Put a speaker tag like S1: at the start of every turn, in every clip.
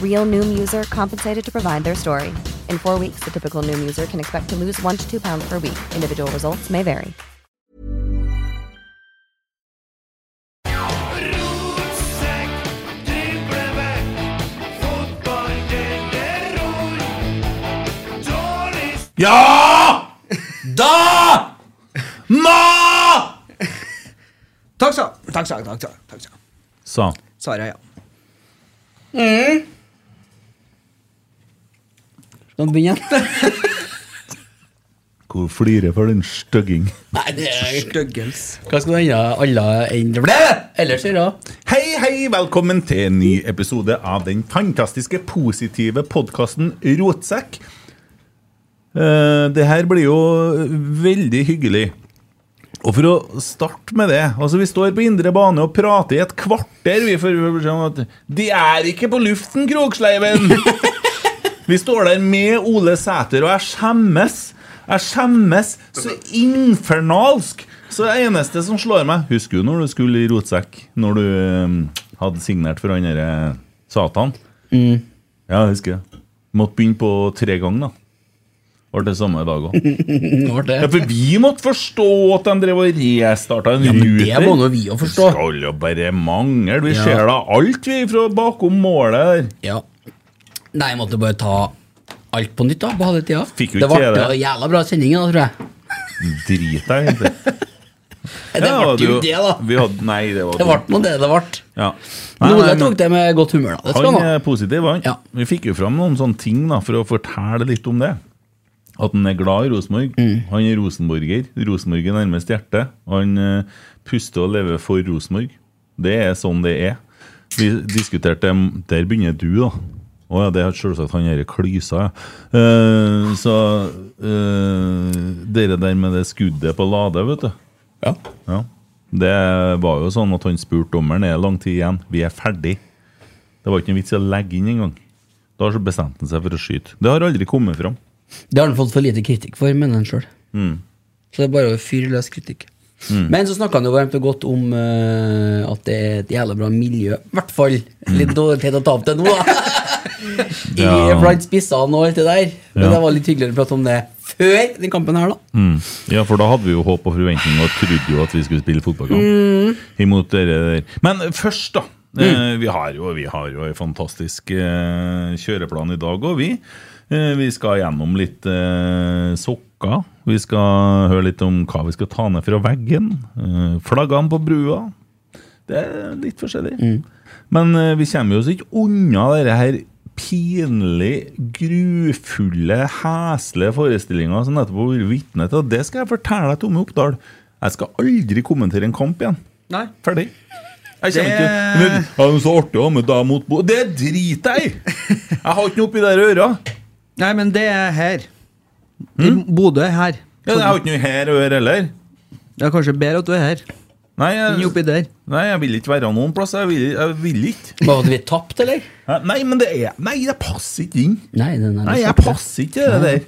S1: Real Noom user compensated to provide their story. In four weeks, the typical Noom user can expect to lose one to two pounds per week. Individual results may vary.
S2: Rotsekk, driblevekk, fotball gjelder ror. Dårlig
S3: Ja! Da! Ma!
S4: Takk sa Takk sa takk sa takk sa
S3: Sånn.
S4: Svaret er ja.
S3: Mm.
S5: Skal han begynne igjen?
S3: Hvor flirer for den støgging?
S5: Nei, det er
S4: Støggels.
S5: Hva skal hende alle enn ellers gjøre?
S3: Hei, hei, velkommen til en ny episode av den fantastiske, positive podkasten Rotsekk. Eh, det her blir jo veldig hyggelig. Og for å starte med det Altså, vi står på indre bane og prater i et kvarter, vi, for å se om at De er ikke på luften, Kroksleiven! Vi står der med Ole Sæter, og jeg skjemmes. Jeg skjemmes så infernalsk. Så det eneste som slår meg Husker du når du skulle i rotsekk? Når du eh, hadde signert for han derre Satan? Ja, jeg husker det. Måtte begynne på tre ganger, da. Ble det samme dag òg.
S5: Nå ble
S3: Mm. Ja,
S5: det.
S3: for vi måtte forstå at de drev og restarta en
S5: Ja, men
S3: ruter.
S5: det må nå vi jo forstå.
S3: Det skal jo bare mangle. Vi
S5: Ja.
S3: ser da alt, vi, fra bakom målet der.
S5: Ja. Nei, jeg måtte bare ta alt på nytt da, på halve tida.
S3: Fikk jo
S5: det
S3: ikke
S5: ble
S3: det.
S5: jo jævla bra sending, da, tror jeg.
S3: Drit deg, egentlig.
S5: Det ble jo det, da.
S3: Vi hadde, nei, det var
S5: Det ble nå det det ble.
S3: Ja.
S5: Men Ole
S3: men
S5: tok det med godt humør, da. Det skal
S3: han
S5: han ha.
S3: er positiv, han.
S5: Ja.
S3: Vi fikk jo fram noen sånne ting da, for å fortelle litt om det. At han er glad i Rosenborg. Han er rosenborger. Rosenborg er nærmest hjertet. Han eh, puster og lever for Rosenborg. Det er sånn det er. Vi diskuterte Der begynner du, da. Å ja, det er selvsagt han derre klysa, ja. Eh, så eh, Dere der med det skuddet på Lade, vet du.
S5: Ja.
S3: Ja. Det var jo sånn at han spurte dommeren er det lang tid igjen. Vi er ferdig. Det var ikke noe vits i å legge inn engang. Da så bestemte han seg for å skyte. Det har aldri kommet fram. Mm.
S5: Det har han fått for lite kritikk for, mener han sjøl. Så det er bare å fyre løs kritikk. Men så snakka han jo varmt og godt om eh, at det er et jævla bra miljø. I hvert fall litt dårlig tid å ta opp det nå, da. I,
S3: Mm. Ja.
S5: Blant spissene og alt det der. Men
S3: Ja.
S5: det var litt hyggeligere å prate om det før den kampen her, da.
S3: Mm. Ja, for da hadde vi jo håp og forventning og trodde jo at vi skulle spille
S5: Mm.
S3: fotballkamp. Imot dere der. Men først, da. eh, Vi har jo, vi har jo en fantastisk eh, kjøreplan i dag òg, vi. Eh, Vi skal gjennom litt eh, sokker. Vi skal høre litt om hva vi skal ta ned fra veggen. Eh, Flaggene på brua. Det er litt forskjellig. Men eh, vi kommer jo oss ikke unna dette her pinlig, grufulle, heslige forestillinga som nettopp har vært vitne til. Og det skal jeg fortelle deg, Tomme Oppdal. Jeg skal aldri kommentere en kamp igjen.
S4: Nei.
S3: Ferdig. Jeg kommer ikke Men, ja, men Så artig å ha med deg mot bo... Det driter jeg i! Jeg har ikke noe oppi der øra.
S4: Nei, men det er her. I Bodø er her.
S3: Hmm? Ja, jeg har ikke noe her å gjøre heller.
S4: Det er kanskje bedre at du er her
S3: Nei
S4: enn
S3: jeg,
S4: oppi der.
S3: nei, jeg vil ikke være noen plass. Jeg vil, jeg vil ikke.
S5: Var det vi tapte, eller?
S3: Hæ? Nei, men det er Nei, det passer ikke inn.
S5: Nei, den er
S3: Nei,
S5: litt
S3: jeg
S5: artig.
S3: passer ikke til det der.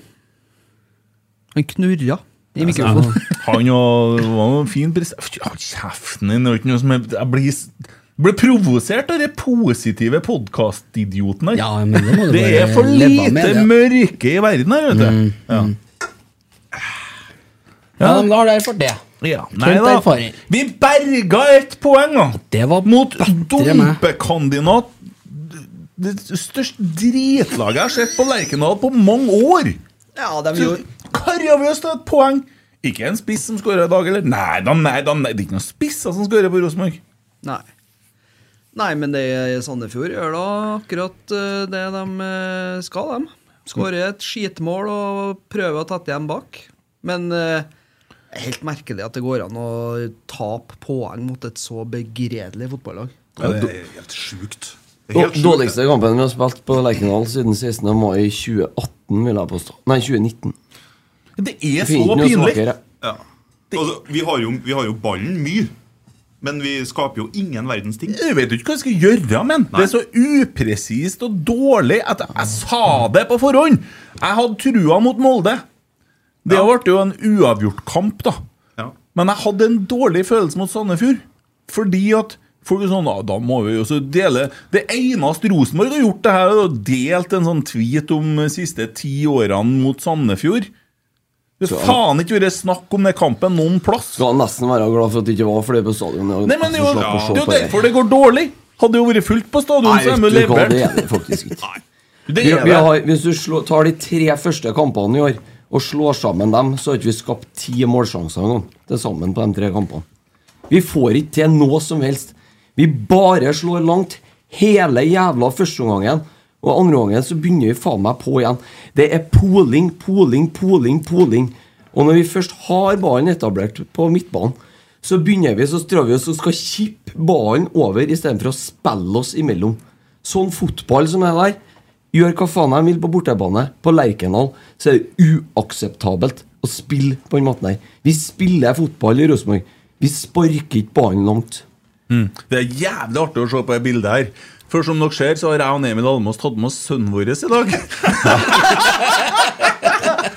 S4: Han knurra. I mikrofonen.
S3: Han og- det var noen fin pres... Fy, Hold kjeften din. det er ikke noe som er- Jeg blir, s- blir provosert av de positive podkastidioten her.
S5: Ja, men det må du
S3: det
S5: bare
S3: er for
S5: leve
S3: lite
S5: med, det. Mm,
S3: mørke i verden her, vet du. ja.
S5: Ja, men da har dere fått det.
S3: Ja, nei
S5: Kjent
S3: da.
S5: erfaring.
S3: Vi berga ett poeng, da!
S5: Det var
S3: Mot
S5: bedre enn meg.
S3: dumpekandidat Det største dritlaget jeg har sett på Lerkendal på mange år!
S4: Ja, de
S3: Så Karaviøst har et poeng! Ikke en spiss som skårer i dag, eller? Nei da, nei da, nei. det er ikke noen spisser som skårer på Rosenborg.
S4: Nei. Nei, men det Sandefjord gjør da akkurat eh, det de eh, skal, de. Skårer et skitmål og prøver å tette igjen bak. Men eh, det er helt merkelig at det går an å tape poeng mot et så begredelig fotballag.
S3: det er helt sjukt.
S6: Og Dårligste kampen vi har spilt på Lerkendal siden 16. mai 2018, vil jeg påstå. Nei, 2019.
S3: Det er
S6: Finner
S3: så
S6: ikke noe
S3: pinlig!
S6: svakere.
S7: Ja. Altså, vi, har jo, vi har jo ballen mye, men vi skaper jo ingen verdens ting.
S3: Jeg vet jo ikke hva jeg skal gjøre, men det er så upresist og dårlig at jeg sa det på forhånd! Jeg hadde trua mot Molde. Det
S7: Ja.
S3: ble jo en uavgjort kamp, da.
S7: Ja.
S3: Men jeg hadde en dårlig følelse mot Sandefjord. Fordi at folk er sånn, «Ah, da må vi jo så dele Det eneste Rosenborg har gjort, det her, er å delt en sånn tweet om de siste ti årene mot Sandefjord. Det har faen ikke vært snakk om den kampen noen plass.
S6: Skal nesten være glad for at det ikke var flere på stadion. og-
S3: Nei, men det er jo,
S6: så slapp å
S3: det er
S6: se
S3: jo
S6: på det.
S3: derfor det går dårlig! Hadde det jo vært fullt på stadion, så
S6: Nei,
S3: hadde de
S6: vet du hva,
S3: levert.
S6: det er det faktisk ikke.
S3: Det
S6: Vi,
S3: er
S6: vi
S3: det.
S6: har, hvis du slår, tar de tre første kampene i år og slår sammen dem, så har ikke vi skapt ti målsjanser engang til sammen på de tre kampene. Vi får ikke til noe som helst. Vi bare slår langt hele jævla førsteomgangen. Og andreomgangen så begynner vi faen meg på igjen. Det er poling, poling, poling, poling. Og når vi først har ballen etablert på midtbanen, så begynner vi så drar vi oss og skal kippe ballen over istedenfor å spille oss imellom. Sånn fotball som er der, gjør hva faen de vil på bortebane. På Lerkendal så er det uakseptabelt å spille på den måten her. Vi spiller fotball i Rosenborg. Vi sparker ikke ballen langt.
S3: Det er jævlig artig å se på det bildet her. For som dere ser, så har jeg og Emil Almås tatt med oss sønnen vår i dag.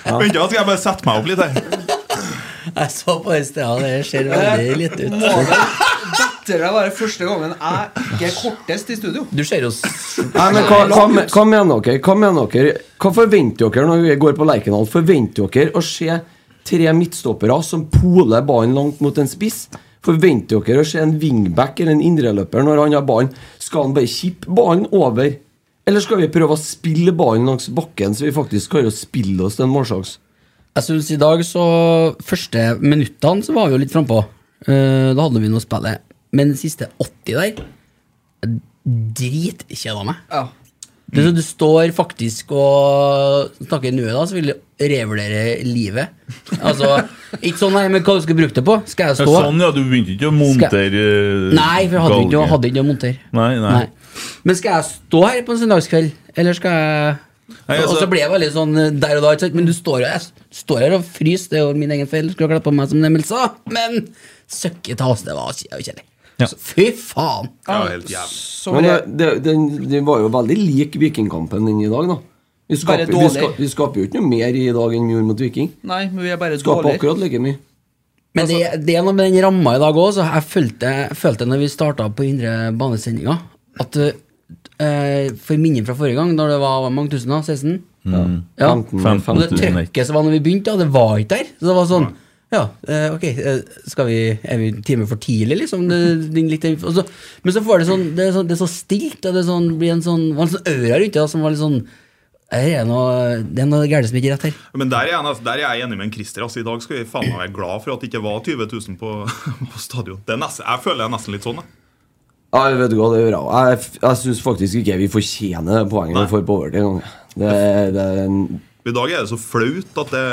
S7: Vent, da skal jeg bare sette meg opp litt her.
S5: Jeg så på et sted, det ser veldig lite ut.
S4: Dette er bare første gangen jeg ikke er kortest i studio.
S5: Du ser jo s-
S6: Nei, men hva, hva, me- hva mener dere? Hva mener dere? Hva forventer dere når vi går på Lerkendal? Forventer dere å se tre midtstoppere som poler ballen langt mot en spiss? Forventer dere å se en wingback eller en indreløper når han har ballen? Skal han bare kippe ballen over? Eller skal vi prøve å spille ballen langs bakken, så vi faktisk klarer å spille oss til en målsjanse?
S5: Jeg synes i dag så Første minuttene så var vi jo litt frampå. Eh, da hadde vi noe å spille. Men de siste 80 der jeg Dritkjeda meg.
S4: Ja.
S5: Du, du står faktisk og snakker nuet, da, så vil du revurdere livet. Altså, ikke sånn nei, men hva du skal bruke det på? Skal jeg stå?
S3: Sånn, ja. Du begynte ikke å montere eh,
S5: Nei, for jeg hadde ikke,
S3: galge.
S5: hadde ikke noe monter.
S3: Nei, nei.
S5: Men skal jeg stå her på en søndagskveld, eller skal jeg
S3: Nei, altså-
S5: Og så ble jeg veldig sånn eh, der og da, ikke sant? men du står, jo- jeg s- står her og fryser, det er jo min egen feil, skulle ha kledd på meg som Emil sa, men søkke ta oss, det var kj- kjedelig.
S3: Ja.
S5: Så Fy faen!
S7: Ja, helt jævlig.
S4: Som
S6: Men eh,
S4: re
S6: det, det, den, den var jo veldig lik Vikingkampen den i dag, da. Vi
S4: Bare
S6: skaper, vi, ska,
S4: dårlig.
S6: vi skaper jo ikke noe mer i dag enn vi gjorde mot Viking.
S4: Nei, men vi er bare
S6: Skaper
S4: dårligere.
S6: akkurat like mye.
S5: Men
S6: Altså-
S5: det, det er noe med den ramma i dag òg. Jeg følte, jeg følte når vi starta på indre banesendinga, at eh, For minnet fra forrige gang, da det var mange tusen, da? 16? Ja.
S6: 15,
S5: Og det
S3: 15 tusen, nei.
S5: trøkket som var når vi begynte, ja, det var ikke der. Så det var sånn Ja, eh, ok, eh, skal vi, er vi en time for tidlig, liksom? Det, det, er litt, og så, men så får det sånn Det er, sånn, det er så stilt, og det er sånn, blir en sånn, var en sånn aura rundt det da, som var litt sånn her er noe, Det er noe gærent som ikke er rett her.
S7: Men der er, jeg, altså, der er jeg enig med en Christer. Altså, I dag skal vi faen meg være glad for at det ikke var 20 000 på, på stadion. Det er nesten, jeg føler jeg er nesten litt sånn. Jeg.
S6: Ja, jeg vet hva det gjør. jeg. Jeg, f- jeg syns faktisk ikke vi fortjener det poenget vi
S7: Nei.
S6: får på overtid. engang. Det, det er en
S7: I dag er det så flaut at det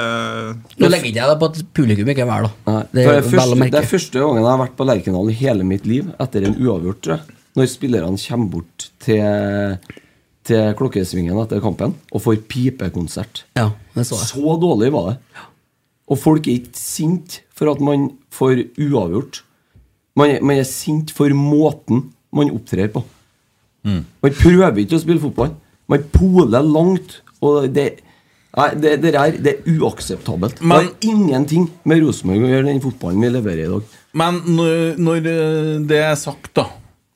S5: Nå legger ikke jeg deg på at publikum ikke er vær, da.
S6: Nei,
S5: Det
S6: for
S5: er
S6: det,
S5: vel å
S6: første, det
S5: merke.
S6: er første gangen jeg har vært på Lerkendal i hele mitt liv, etter en uavgjort, tror jeg. Når spillerne kommer bort til, til klokkesvingen etter kampen og får pipekonsert.
S5: Ja, det så jeg.
S6: Så dårlig var det. Og folk er ikke sint for at man får uavgjort. Man er, man er sint for måten man opptrer på. Man prøver ikke å spille fotball. Man poler langt. Og det, Nei, det, det her det er uakseptabelt.
S3: Men-
S6: det har ingenting med Rosenborg å gjøre, den fotballen vi leverer i dag.
S3: Men når, når eh, det er sagt, da,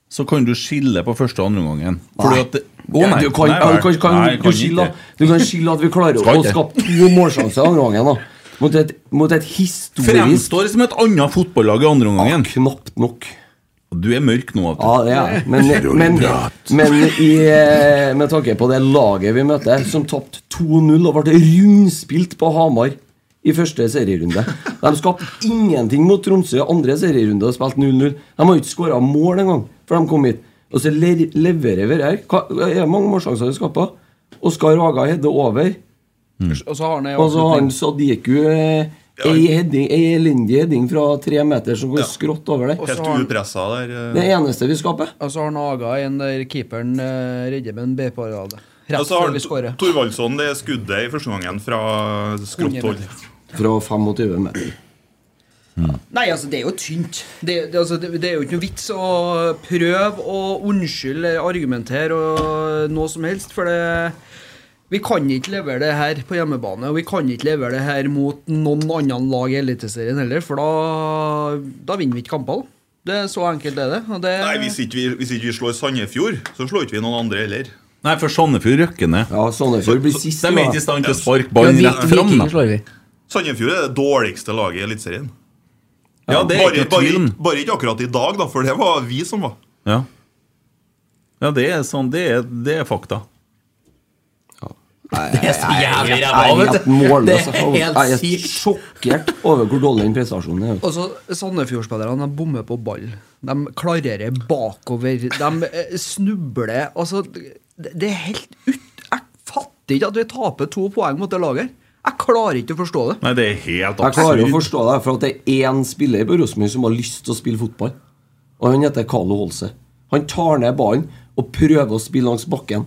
S3: så kan du skille på første og andre gangen. Fordi at det- Å,
S6: Ja,
S3: nei.
S6: Du kan,
S3: Nei,
S6: kan,
S3: nei.
S6: kan, kan,
S3: Nei, jeg
S6: du skille,
S3: ikke.
S6: du kan skille at vi klarer
S3: Skal
S6: å
S3: ikke.
S6: skape to målsjanser i andre gangen. da. Mot et, mot et historisk
S3: Fremstår som et annet fotballag i andre
S6: Ja,
S3: omgangen.
S6: Ah, Knapt nok.
S3: Du er mørk nå, vet du.
S6: Ja, det er jeg. men, men, men i, eh, med tanke på det laget vi møter, som tapte 2-0 og ble rundspilt på Hamar i første serierunde De skapte ingenting mot Tromsø i andre serierunde og spilte 0-0. De har jo ikke skåra mål engang før de kom hit. Og så le leverer vi her. Hva, er det mange målsjanser vi skapa? Oskar Haga hedder over.
S5: Mm.
S4: Og så har han ei
S6: Og så har han
S4: avslutning.
S6: Sadiku eh, ei heading- ei elendig heading fra tre meter som går skrått over der.
S7: Helt upressa der. eh.
S6: Det eneste vi skaper.
S4: Og så har han Aga en der keeperen eh, redder med en B-parade.
S7: Og
S4: Rett
S7: så har
S4: før vi skårer.
S7: Thorvaldsson det skuddet i første gangen fra
S4: 100
S7: skrotthold.
S4: meter.
S6: Fra 25 meter.
S4: Nei, altså, det er jo tynt. Det, det, altså, det, det er jo ikke noe vits å prøve å unnskylde eller argumentere og noe som helst, for det Vi kan ikke levere det her på hjemmebane, og vi kan ikke levere det her mot noen andre lag i Eliteserien heller, for da, da vinner vi ikke kampene. Det er så enkelt er det. Og det
S7: Nei, hvis ikke, vi, hvis ikke vi slår Sandefjord, så slår ikke vi noen andre heller.
S3: Nei, for Sandefjord røkker ned.
S6: Ja, Sandefjord blir sist.
S3: De er
S6: da.
S3: ikke i stand til å sparke ballen
S5: Ja,
S3: rett
S5: vi-
S3: fram.
S5: Viking
S3: da.
S5: slår vi.
S7: Sandefjord er det dårligste laget i Eliteserien.
S3: Ja, det er
S7: Bare,
S3: ikke
S7: bare,
S3: tvil om.
S7: ikke- bare ikke akkurat i dag, da, for det var vi som var.
S3: Ja, ja det er sånn. Det er, det er fakta.
S5: Det er så jævlig
S6: Jeg er
S5: ræva,
S6: helt
S5: vet du.
S6: målløs.
S5: Det er
S6: Jeg er
S5: helt
S6: helt
S5: sykt.
S6: sjokkert over hvor dårlig den prestasjonen er.
S4: Og så Sandefjord-spillerne de bommer på ball. De klarerer bakover. De eh, snubler. Altså, det det er helt ut... Jeg fatter ikke at vi taper to poeng mot det laget. her. Jeg klarer ikke å forstå det.
S3: Nei, det er helt
S6: Jeg klarer å
S3: absurd.
S6: forstå det, for at det er én spiller på Rosenborg som har lyst til å spille fotball. Og han heter Carlo Holse. Han tar ned ballen og prøver å spille langs bakken.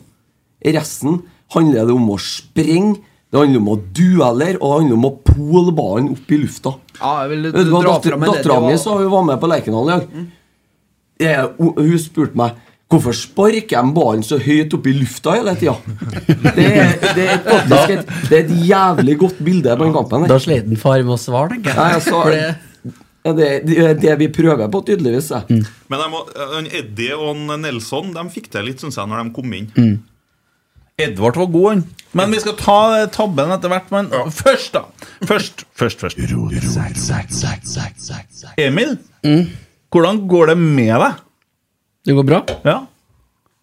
S6: Resten handler det om å sprenge, det handler om å duellere, og det handler om å pole ballen opp i lufta.
S4: Ja, jeg vil
S6: Vet du hva,
S4: dra
S6: datter-
S4: fram en del- Mm.
S6: Dattera mi
S4: det
S6: sa
S4: var-
S6: hun var med på Lerkendal i dag. Jeg- hun- Hun spurte meg hvorfor sparker jeg ballen så høyt opp i lufta hele tida. Det, er- det, er faktisk et- det er et jævlig godt bilde på den kampen.
S5: Da
S6: her.
S5: sleit en far med å svare, tenker
S6: Nei,
S5: jeg.
S6: altså, ja, det, det er det vi prøver på, tydeligvis. jeg.
S5: Mm.
S7: Men jeg må, han Eddie og han Nelson de fikk til litt, syns jeg, når de kom inn.
S3: Mm. Edvard var god, han. Men vi skal ta eh, tabben etter hvert. Men først, da. Først, først, først. Emil, hvordan går det med deg?
S5: Mm. Det går bra?
S3: Ja.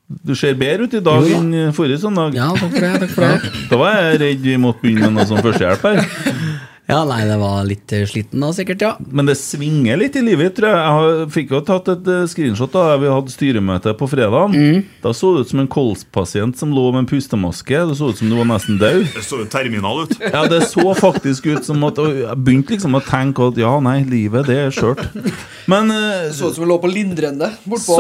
S3: Du ser bedre ut i dag
S5: Jo da.
S3: enn eh, forrige søndag.
S5: Ja, takk for det. takk for det
S3: Da var jeg redd vi måtte begynne med noe som førstehjelp her.
S5: Ja, Nei, det var litt eh, sliten da, sikkert, ja.
S3: Men det svinger litt i livet, tror jeg. Jeg har- fikk jo tatt et eh, screenshot da vi hadde styremøte på fredag.
S5: Mm.
S3: Da så det ut som en kolspasient som lå med en pustemaske. Det så ut som du var nesten død.
S7: Det så jo terminal ut.
S3: Ja, det så faktisk ut som at og Jeg begynte liksom å tenke at ja, nei, livet, det er skjørt. Men eh,
S4: Så ut som hun lå på lindrende bortpå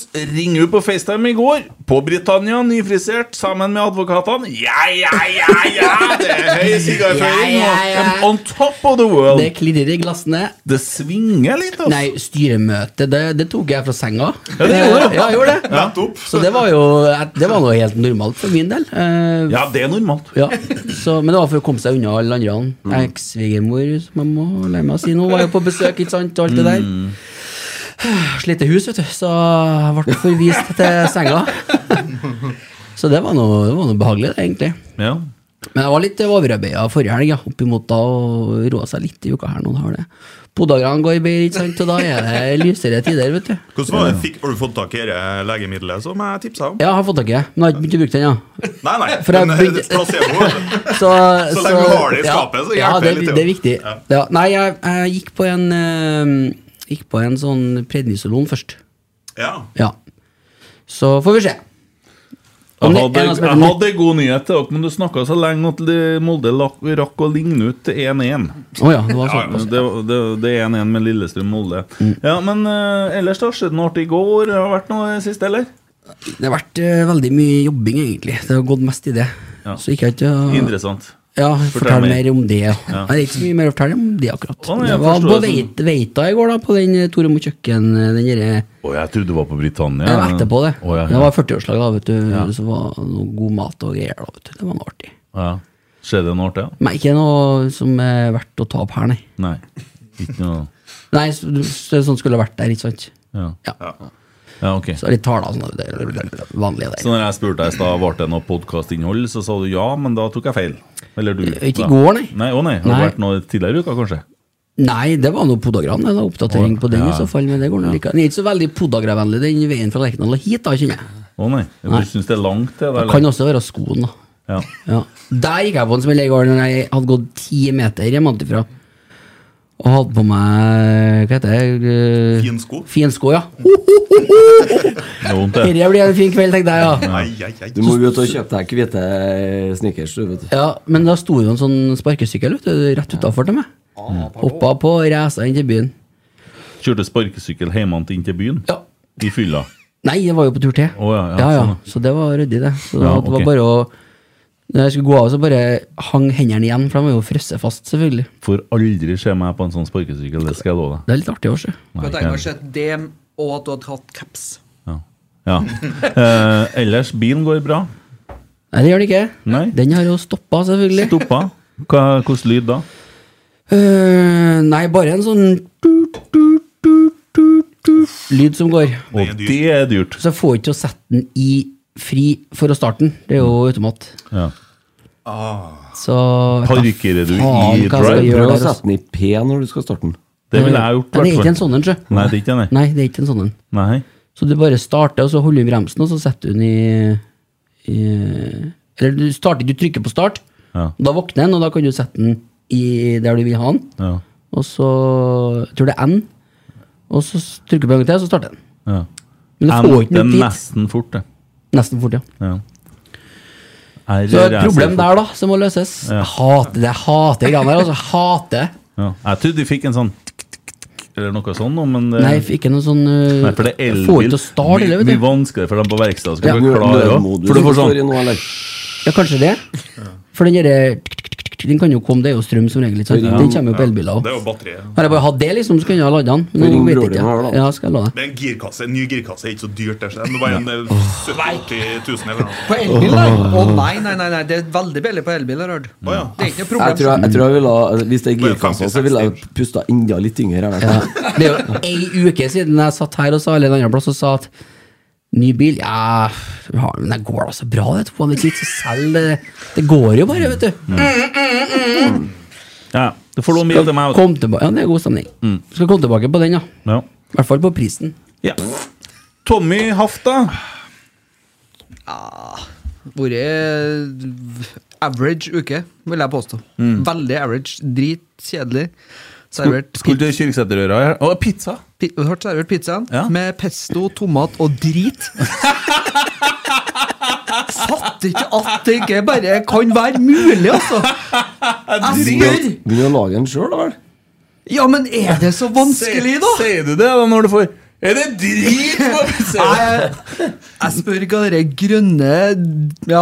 S3: så ringer du på FaceTime i går. På Britannia, nyfrisert, sammen med advokatene. Ja, ja, ja, ja! Det er høy sigarføring.
S5: Ja, ja, ja.
S3: og On top of the world.
S5: Det klirrer i glassene.
S3: Det svinger litt, altså.
S5: Nei, styremøte, det, det tok jeg fra senga.
S3: Ja, det gjorde du.
S5: Ja, jeg gjorde det.
S7: Nettopp.
S5: Så det var jo Det var noe helt normalt for min del. Eh,
S3: Ja, det er normalt.
S5: Ja, så, Men det var for å komme seg unna alle andre. Mm. Eks-svigermor, som jeg må lære meg å si nå, var jo på besøk, ikke sant, og alt
S6: Mm.
S5: det der.
S3: Mm.
S5: Slite hus, vet du, så jeg ble forvist til senga. Så det var noe, det var noe behagelig, det, egentlig.
S3: Ja.
S5: Men jeg var litt overarbeida forrige helg, ja, oppimot da, og roa seg litt i uka her nå. da har det. Podagene går bedre, ikke sant, og da er det lysere tider, vet du.
S7: Hvordan var det? Fikk, har du fått tak i det legemiddelet som jeg tipsa om?
S5: Ja, jeg har fått tak i det, men jeg har ikke begynt å bruke den, ja.
S7: Nei, nei.
S5: For jeg
S7: men,
S5: begynte-
S7: eh, placebo.
S5: Så,
S7: Så lenge du har det i skapet, så hjelper
S5: ja, det,
S7: det litt, jo.
S5: Det er viktig.
S7: Ja.
S5: Ja. Nei, jeg, jeg gikk på en eh, Gikk på en sånn prednisolon først.
S7: Ja.
S5: Ja. Så får vi se.
S3: Jeg
S5: Om det
S3: hadde,
S5: er noe som
S3: jeg
S5: heter-
S3: hadde god nyhet til dere, men du snakka så lenge at det- Molde lak- rakk å ligne ut til 1-1.
S5: Å ja, det var Mm. sånn.
S3: Det, det, det er 1-1 med Lillestrøm-Molde. Ja, Men eh, ellers, da? Skjedde noe artig i går? Har det vært noe sist, eller?
S5: Det har vært eh, veldig mye jobbing, egentlig. Det har gått mest i det.
S3: Ja.
S5: Så gikk jeg ikke å-
S3: Interessant.
S5: Ja,
S3: Fortell
S5: fortell
S3: mer.
S5: mer om det. Ja. Det er ikke så mye mer å fortelle om det, akkurat.
S3: Å, nei, jeg
S5: jeg var
S3: forstår
S5: på
S3: det som-
S5: Veit- Veita i går, da, på den eh, Tore mot kjøkken, eh, den derre
S3: Å, jeg trodde du var på Britannia.
S5: Jeg var etterpå det.
S3: Å, ja,
S5: Det
S3: ja.
S5: var 40-årslag, da, vet du. Så var det noe god mat og greier, da, vet du. Det var noe artig.
S3: Ja. Skjedde det noe artig? da?
S5: Men ikke noe som er verdt å ta opp her, nei.
S3: Nei. Ikke noe
S5: Nei, så, så, sånn skulle det vært der, ikke sant?
S3: Ja,
S5: Ja.
S3: ja ok.
S5: Så er det litt taler og sånn. Det er det vanlige
S3: Så
S5: der.
S3: når jeg spurte deg i stad ble det noe podkastinnhold, så sa du ja, men da tok jeg feil. Eller du.
S5: Ikke i
S3: Ja.
S5: går, nei.
S3: Nei, å nei. Har det
S5: Nei.
S3: vært noe tidligere i uka, kanskje?
S5: Nei, det var noe podagram. Det var oppdatering på den
S3: Ja.
S5: i så fall. Men det går nå like. Den er ikke så veldig podagravennlig, den veien fra Lerkendal og hit, da, kjenner jeg.
S3: Å nei.
S5: Nei.
S3: Du syns det er langt til det?
S5: Det
S3: eller?
S5: kan også være skoen, da.
S3: Ja.
S5: Ja. Der gikk jeg på en smell i går når jeg hadde gått ti meter hjemmefra. Og hadde på meg Hva heter det? Eh,
S7: Finsko.
S5: Finsko, ja.
S3: Det er vondt, det.
S5: Dette blir en fin kveld, tenkte jeg. ja
S7: Ai, ai, ai.
S6: Du må ut og kjøpe deg hvite eh, sneakers, du, vet du.
S5: Ja, Men da sto jo en sånn sparkesykkel vet du, rett utafor til meg. Hoppa på, reisa inn til byen.
S3: Kjørte sparkesykkel hjemmefra inn til byen?
S5: Ja.
S3: I fylla?
S5: Nei, jeg var jo på tur til.
S3: Å, ja, ja, sånn,
S5: Så det var ryddig, det. Så
S3: Ja,
S5: det var
S3: ok.
S5: bare å Når jeg skulle gå av, så bare hang hendene igjen, for de var jo frosset fast, selvfølgelig.
S3: Får aldri se meg på en sånn sparkesykkel, det skal jeg love deg.
S5: Det er litt artig å se.
S4: For jeg tenker meg å se dem, og at du hadde hatt caps.
S3: Ja. ja. Eh, ellers, bilen går bra?
S5: Nei, det gjør det ikke.
S3: Nei.
S5: Den har jo stoppa, selvfølgelig.
S3: Stoppa? Hva, hvordan lyd da?
S5: Øh, nei, bare en sånn tut, tut, tut, tut, tut, lyd som går.
S3: Og
S7: dyrt.
S3: det er dyrt.
S5: Så jeg får ikke til å sette den i fri for å starte den. Det er jo automat.
S3: Ja.
S5: Så
S3: Parkerer du
S5: Faen,
S3: i
S5: hva skal jeg
S3: drive?
S5: gjøre?
S6: Prøv å
S5: der, altså.
S6: sette den i P når du skal starte den.
S3: Det ville jeg gjort.
S5: Men det er ikke
S3: hvertfall.
S5: en sånn en, sjø.
S3: Nei, det er ikke en.
S5: Nei, det er ikke en sånn en.
S3: Nei.
S5: Så du bare starter, og så holder du i bremsen, og så setter du den i, i Eller du starter, du trykker på start,
S3: Ja.
S5: og da våkner den, og da kan du sette den i der du vil ha den.
S3: Ja.
S5: Og så jeg tror det er N, og så s- trykker du på en gang til, og så starter den.
S3: Ja.
S5: Men du får ikke
S3: Endte
S5: noe tid.
S3: nesten fort, det.
S5: Nesten fort, ja.
S3: Ja. Er-
S5: Så
S3: er-
S5: et
S3: er-
S5: problem der, da, som må løses. Jeg hater det. Jeg hater greiene der. Altså, jeg hater
S3: Ja. Jeg trodde de fikk en sånn tikk, tikk, tikk, eller noe sånn, nå, men det,
S5: Nei, jeg fikk ikke noe sånn uh,
S3: Nei, for det er
S5: jeg
S3: elbil.
S5: Får ikke til å starte, eller,
S3: Mye
S5: vet du.
S3: vanskeligere for dem på verkstedet.
S5: Ja.
S3: Skal være klare også.
S6: Nødmodus
S3: For du får
S6: står i
S3: sånn
S6: nå, eller?
S5: Ja, kanskje det. For den derre Den kan jo komme, det er jo strøm som regel. Ikke sant? Den kommer jo på elbiler
S7: Det
S5: òg.
S7: er jo batteriet.
S5: Hadde jeg bare hatt det, liksom, så kunne jeg ha ladet den. Men
S6: Ring
S5: nå vet
S6: broren
S5: jeg
S6: din og lade
S5: ikke.
S6: den.
S5: Ja, skal jeg lade den.
S7: Det er en girkasse. En ny girkasse er ikke så dyrt. Det er bare en eh, 70 000 eller noe.
S4: På elbil, da? Å nei, nei, nei, nei, det er veldig billig på elbil. har jeg hørt. Det er ikke noe
S6: Mm. Jeg tror
S4: problem.
S6: jeg, jeg, tror jeg ville, ha- altså, Hvis det er
S7: Bare
S6: girkassa, så
S7: 50-60
S6: ville jeg pusta enda litt yngre. Jeg vet.
S5: Ja. Det er jo ei uke siden jeg satt her og sa eller en annen plass og sa at ny bil Ja, vi har den, men det går da så bra, det. Få den ikke så selv. Det, det går jo bare, vet du.
S6: Mm.
S3: ja. Du får låne bil til meg. vet
S5: Kom tilba- ja, det er god stemning. Skal komme tilbake på den, ja.
S3: du. Ja.
S5: I hvert fall på prisen.
S3: Ja. Tommy Hafta.
S4: Vært eh, average uke, vil jeg påstå. Veldig average. Dritkjedelig. Servert
S3: Mm. Skulle til Kyrksæterøra. her. Å, pizza!
S4: pi- hardt servert pizzaen
S3: Ja.
S4: med pesto, tomat og drit. Fatter ikke at det ikke bare kan være mulig, altså! Jeg spør!
S6: Begynn å lage en sjøl, da vel?
S4: Ja, men er det så vanskelig, da?
S3: Sier du det da når du får Er det drit på
S4: Nei,
S3: pizzaen?!
S4: jeg, jeg spør hva det grønne ja,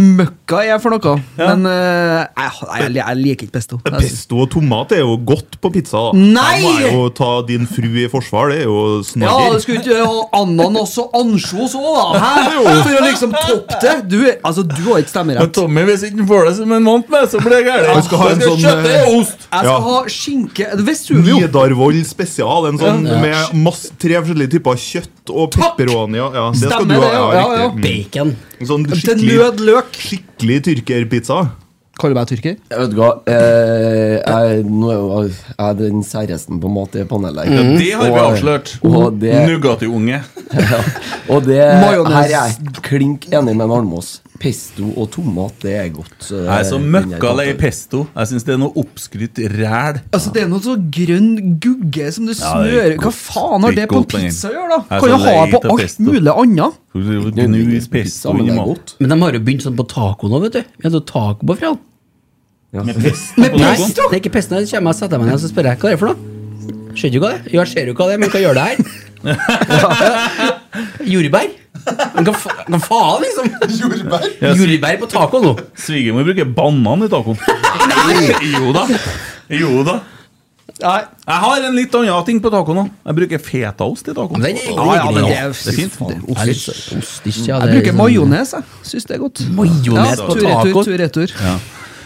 S4: møkka er for noe. Men eh, jeg, jeg, jeg liker ikke pesto. Jeg synes-
S7: Pesto og tomat er jo godt på pizza. da.
S4: Nei!
S7: Her må jeg jo ta din fru i forsvar. Det er jo
S4: Ja,
S7: snarere.
S4: du skulle ikke ha ananas og ansjos òg, da! Hæ? For å liksom toppe det. Du, er- altså, du har ikke
S3: Men
S4: stemmerett.
S3: Tommy, hvis ikke han får det som en vant med, så blir det gærent.
S4: Han skal ha en sånn,
S3: kjøttdeig og ost!
S4: Jeg
S7: Ja.
S4: skal ha skinke Vesuvio.
S7: Nidarvoll spesial. En sånn med masse, tre forskjellige typer kjøtt og pepperoni. Ja, ja, det skal
S4: Stemmer
S7: du ha.
S4: det,
S7: Ja,
S4: ja, ja.
S7: riktig.
S5: Bacon.
S7: Mm. Sånn
S4: Til
S7: skikkelig,
S4: nød løk.
S7: skikkelig tyrkerpizza.
S4: Kaller du meg tyrker?
S6: Jeg vet ikke hva eh, jeg, Nå er jo- jeg er den særhesten på mat i panelet. her.
S3: Det har vi avslørt.
S6: eh, Og Mm. det-
S3: Nugatti-unge.
S6: Og det
S4: Majones.
S6: her er jeg klink enig med Almås. Pesto og tomat, det er godt. eh, så det
S3: Jeg er så
S6: den
S3: møkka
S6: godt.
S3: lei pesto. Jeg syns det er noe oppskrytt ræl.
S4: Altså, Det er noe sånn grønn gugge som du
S3: det er
S4: smører
S3: ikke
S4: Hva
S3: godt.
S4: faen har
S3: Det er
S4: det
S3: ikke
S4: på en
S3: godt lenger.
S4: pizza å gjøre, da?
S3: Jeg er
S4: Kan
S3: så
S4: jo ha
S3: lei
S4: på
S3: av
S4: alt
S3: pesto.
S4: mulig annet.
S3: Gnus pesto
S6: men
S3: inn
S6: det
S3: i
S6: er
S3: maten.
S6: godt.
S5: Men de har jo begynt sånn på taco nå, vet du. Vi hadde jo taco på fredag.
S4: Med
S5: Nei,
S4: pesto!
S5: det er ikke pesten. Jeg kommer og setter meg ned og så spør jeg, hva er det for noe. Skjønner du hva det er? Jo, jeg ser jo hva det er, men hva gjør det her? Jordbær? Men hva, fa hva faen, liksom? Jordbær? Jordbær på taco nå.
S3: Svigermor bruker banan i tacoen. Jo da. Jo da.
S4: Nei,
S3: Jeg har en litt annen ting på tacoen òg. Jeg bruker fetaost i tacoen.
S5: Men den er
S4: ja, ja, men det er,
S3: Det er fint.
S4: Det er
S5: Jeg er litt
S4: ost.
S5: så- ost, ikke, ja, det
S4: Jeg
S5: er
S4: bruker
S5: sånn-
S4: majones, jeg. Syns det er godt.
S5: Majones på
S4: tur-retur.
S5: taco?
S4: tur-retur.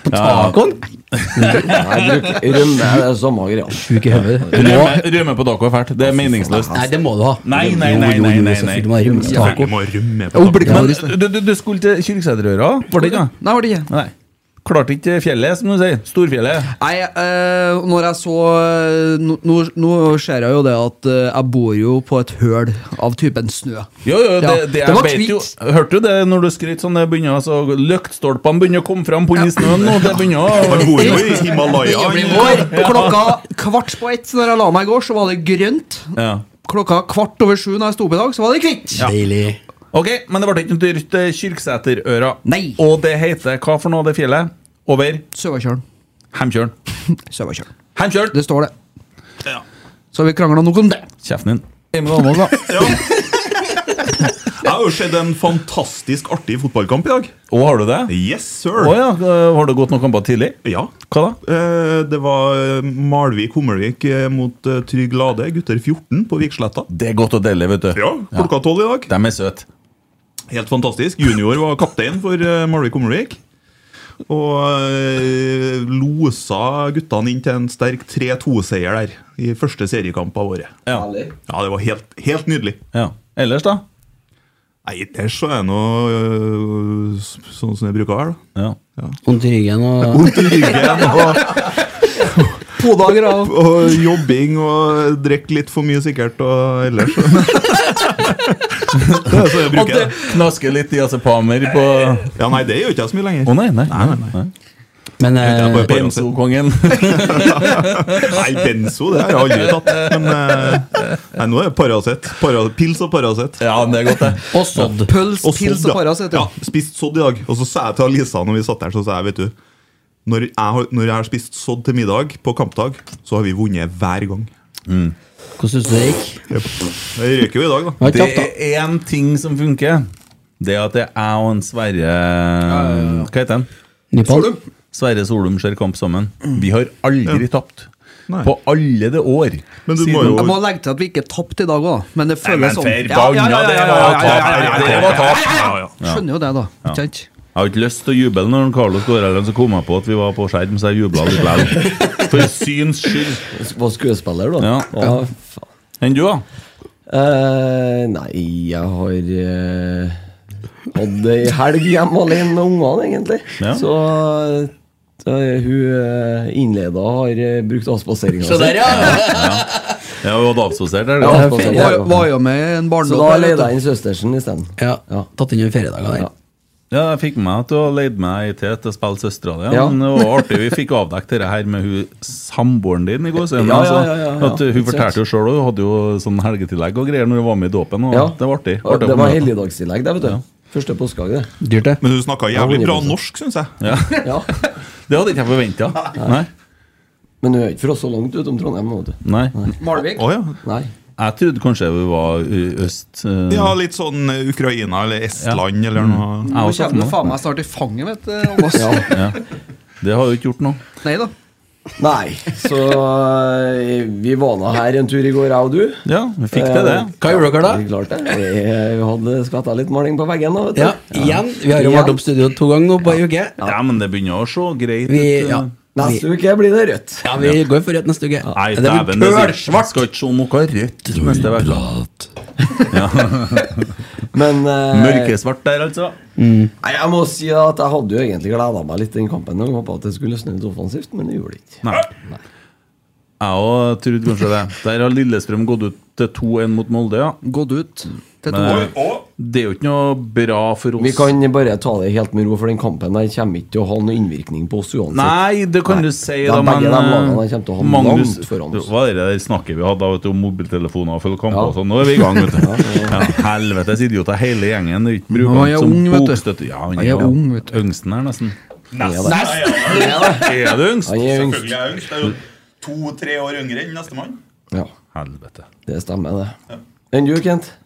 S5: Tacoen?
S6: Nei, bruk rømme, det er samme greia.
S5: Sjuk i hodet. Du må-
S3: Rømme, rømme på taco er fælt. Det er meningsløst.
S5: Nei, det må du ha.
S3: Nei, nei, nei,
S5: Jo, jo, jo,
S3: nei, nei,
S5: selvfølgelig,
S3: nei.
S5: du må ha rømmestaco.
S7: Selvfølgelig må rømme på
S3: Jo,
S7: taco.
S3: blikk- Men du, du, du skulle til Kyrksæterøra? Var det ikke det?
S4: Nei, var det ikke.
S3: Nei. Klarte ikke fjellet, som du sier. Storfjellet.
S4: Nei, eh, når jeg så Nå, nå- nå ser jeg jo det at eh, jeg bor jo på et høl av typen snø.
S3: Jo, jo, det,
S4: Ja,
S3: det,
S4: det
S3: jeg
S4: var
S3: vet
S4: kvitt.
S3: jo Hørte du det når du skrøt sånn? Det begynner altså Løktstolpene begynner å komme fram på under snøen nå. Det
S7: Han
S3: begynner å
S7: bor jo i Himalaya.
S4: Det blir
S7: han.
S4: vår. Klokka kvart på ett når jeg la meg i går, så var det grønt.
S3: ja.
S4: Klokka kvart over sju når jeg sto opp i dag, så var det kvitt.
S5: Deilig.
S3: Ok, men det ble ikke noe dyrt eh, Kyrksæterøra.
S4: Nei.
S3: Og det heter hva for noe, det fjellet? Over
S4: Søvakjølen.
S3: Hemkjølen.
S4: Søvakjølen.
S3: Hemkjølen!
S4: Det står det.
S7: Ja.
S4: Så har vi krangla nok om det.
S3: Kjeften din.
S7: Jeg har jo sett en fantastisk artig fotballkamp i dag.
S3: Å, har du det?
S7: Yes, sir!
S3: Å ja. eh, Har du gått noen kamper tidlig?
S7: Ja.
S3: Hva da?
S7: Eh, Det var Malvik-Hummelvik eh, mot eh, Trygg Lade, gutter 14 på Viksletta.
S3: Det er godt å dele, vet du.
S7: Ja, klokka tolv i dag.
S3: De er søte.
S7: Helt fantastisk. Junior var kaptein for eh, Malvik Hummelvik. Og eh, losa guttene inn til en sterk 3-2-seier der i første seriekamp av året.
S3: Ja.
S7: Ja, det var helt, helt nydelig.
S3: ja. Ellers, da?
S7: Nei, der så jeg nå eh, s- sånn som jeg bruker å være, da.
S3: Ja.
S5: Vondt i ryggen og
S7: Vondt i ryggen og,
S4: Podager av
S7: og jobbing og drikke litt for mye sikkert og ellers. Det er så jeg
S3: At
S7: bruker
S3: det
S7: det.
S3: knasker litt i azepamer på Å
S7: Ja, nei, det gjør ikke jeg så mye lenger.
S3: nei, nei.
S7: Nei, nei, nei.
S5: Men
S7: Jeg
S5: eh,
S7: bare- bare-
S3: Benzokongen.
S7: Nei, benzo det har jeg aldri tatt. Men eh, nei, nå er det Paracet. Para, pils og Paracet.
S3: Ja, det er godt, det.
S5: Og sådd.
S4: pøls,
S7: Og
S4: pils
S7: sodd,
S4: og
S7: ja.
S4: paras. heter det.
S7: Ja, spist sodd i dag. Og så sa jeg til Lisa når vi satt der, så sa jeg, vet du når jeg, har, når jeg har spist sodd til middag på kampdag, så har vi vunnet hver gang.
S5: Hvordan syns du det gikk?
S7: Jeg røyker jo i dag, da.
S5: Det var
S3: Det
S5: ikke tapt,
S3: er én ting som funker. Det er at det er jeg og en Sverre Hva heter han?
S5: da. Nypon.
S3: Sverre Solum ser kamp sammen. Vi har aldri tapt.
S7: Nei.
S3: På alle det år.
S7: Men du
S3: Siden-
S7: må jo-
S4: Jeg må legge til at vi ikke tapte i dag òg, men det
S3: Men
S4: føles sånn.
S3: forbanna, det var tap! Det var tap!
S4: Skjønner jo det, da. Ikke sant?
S3: Jeg har ikke lyst til å juble når Carlo skårer, eller så kom jeg på at vi var på skjerm, så jeg jubla litt likevel. For syns skyld.
S6: Var skuespiller, da.
S3: Ja.
S6: Å, faen.
S3: Enn du, da?
S6: Eh, nei, jeg har eh, hatt ei helg hjemme alene med ungene, egentlig.
S3: Ja.
S6: Så eh, hun eh, innleda har eh, brukt avspaseringa
S5: Så der, ja.
S3: Jeg har jo hatt avsosiert her.
S6: Ja,
S3: da.
S6: fint.
S4: Var, var jo med i en
S6: Så da
S4: barndom.
S6: leide jeg inn søstersen isteden.
S5: ja. Tatt inn noen feriedager der.
S6: Ja.
S3: Ja, jeg fikk meg til å leide meg ei til til å spille søstera di.
S6: Ja.
S3: Men det var artig vi fikk avdekket det her med hun samboeren din i går. så-
S6: Ja, ja, ja, ja, ja.
S3: At uh, Hun fortalte jo sjøl, hun hadde jo sånn helgetillegg og greier når hun var med i dåpen. Og
S6: Ja.
S3: Det var artig.
S6: Og
S3: artig å
S6: Det
S3: få
S6: var
S3: med.
S6: helligdagstillegg, det, vet du. Første påskedag, det.
S5: Dyrt, det.
S7: Men du snakka jævlig bra
S6: 100%.
S7: norsk, syns jeg.
S6: Ja.
S3: Det hadde ikke jeg forventa. Nei.
S6: Men hun er ikke fra så langt utom Trondheim, nå, vet du.
S3: Nei.
S4: Malvik.
S7: Å, ja.
S6: Nei.
S3: Jeg trodde kanskje vi var i øst. uh,
S7: ja, litt sånn eh, Ukraina eller Estland eller noe.
S3: jeg
S4: Nå
S3: også,
S4: kommer det
S3: nå.
S4: faen meg snart i fanget mitt. eh, om oss.
S3: Det har hun ikke gjort nå.
S4: Nei da.
S6: Nei, så eh, vi var nå her en tur i går, jeg og du. Eh,
S3: Ja, vi fikk til det.
S5: Hva gjorde dere da?
S6: Vi klarte det. Vi eh, hadde skvetta litt maling på veggen. Da, vet du.
S5: Ja, igjen. Vi har jo
S6: Igjen.
S5: vært opp studio to ganger nå på ei uke.
S3: Ja, men det begynner å se greit
S5: Vi,
S3: ut.
S5: ja.
S3: uh,
S5: Vi,
S6: Neste uke blir det rødt.
S5: ja, vi går for rett neste uke.
S3: Nei,
S5: det
S3: dæven,
S5: blir
S3: sier-
S5: pølsvart!
S3: Skal ikke se noe rødt neste uke.
S6: Men eh,
S3: Mørkesvart der, altså.
S6: nei, jeg må si at jeg hadde jo egentlig gleda meg litt den kampen. Jeg håpa at det skulle løsne litt offensivt, men det gjorde det ikke.
S3: Nei. Jeg òg trodde kanskje det. Der har Lillestrøm gått ut til 2-1 mot Molde, ja.
S4: Gått ut til to
S3: Men-
S4: år.
S3: Det er jo ikke noe bra for oss.
S6: Vi kan bare ta det helt med ro, for den kampen der kommer ikke til å ha noen innvirkning på oss uansett.
S3: Nei, det kan
S6: Nei.
S3: du si,
S6: Det er
S3: da, men
S6: begge de
S3: eh,
S6: lagene som kommer til å ha
S3: Magnus,
S6: langt foran oss.
S3: Hva er det der snakket vi hadde da, vet du, om mobiltelefoner og følge kamper
S6: Ja.
S3: og sånn? Nå er vi i gang, vet du. ja, helvetes idioter, hele gjengen. Det er ikke bruker
S4: Han er
S3: han som
S4: ung, vet du.
S3: bokstøtte. Ja, han
S4: Han er ung, vet du.
S3: Yngsten her, nesten.
S6: Ja,
S3: Er du yngst?
S6: Han er yngst.
S7: Selvfølgelig er jeg yngst. Jeg er jo to-tre år yngre enn nestemann.
S6: Ja,
S3: Helvete.
S6: det stemmer, det. Enn du, Kent?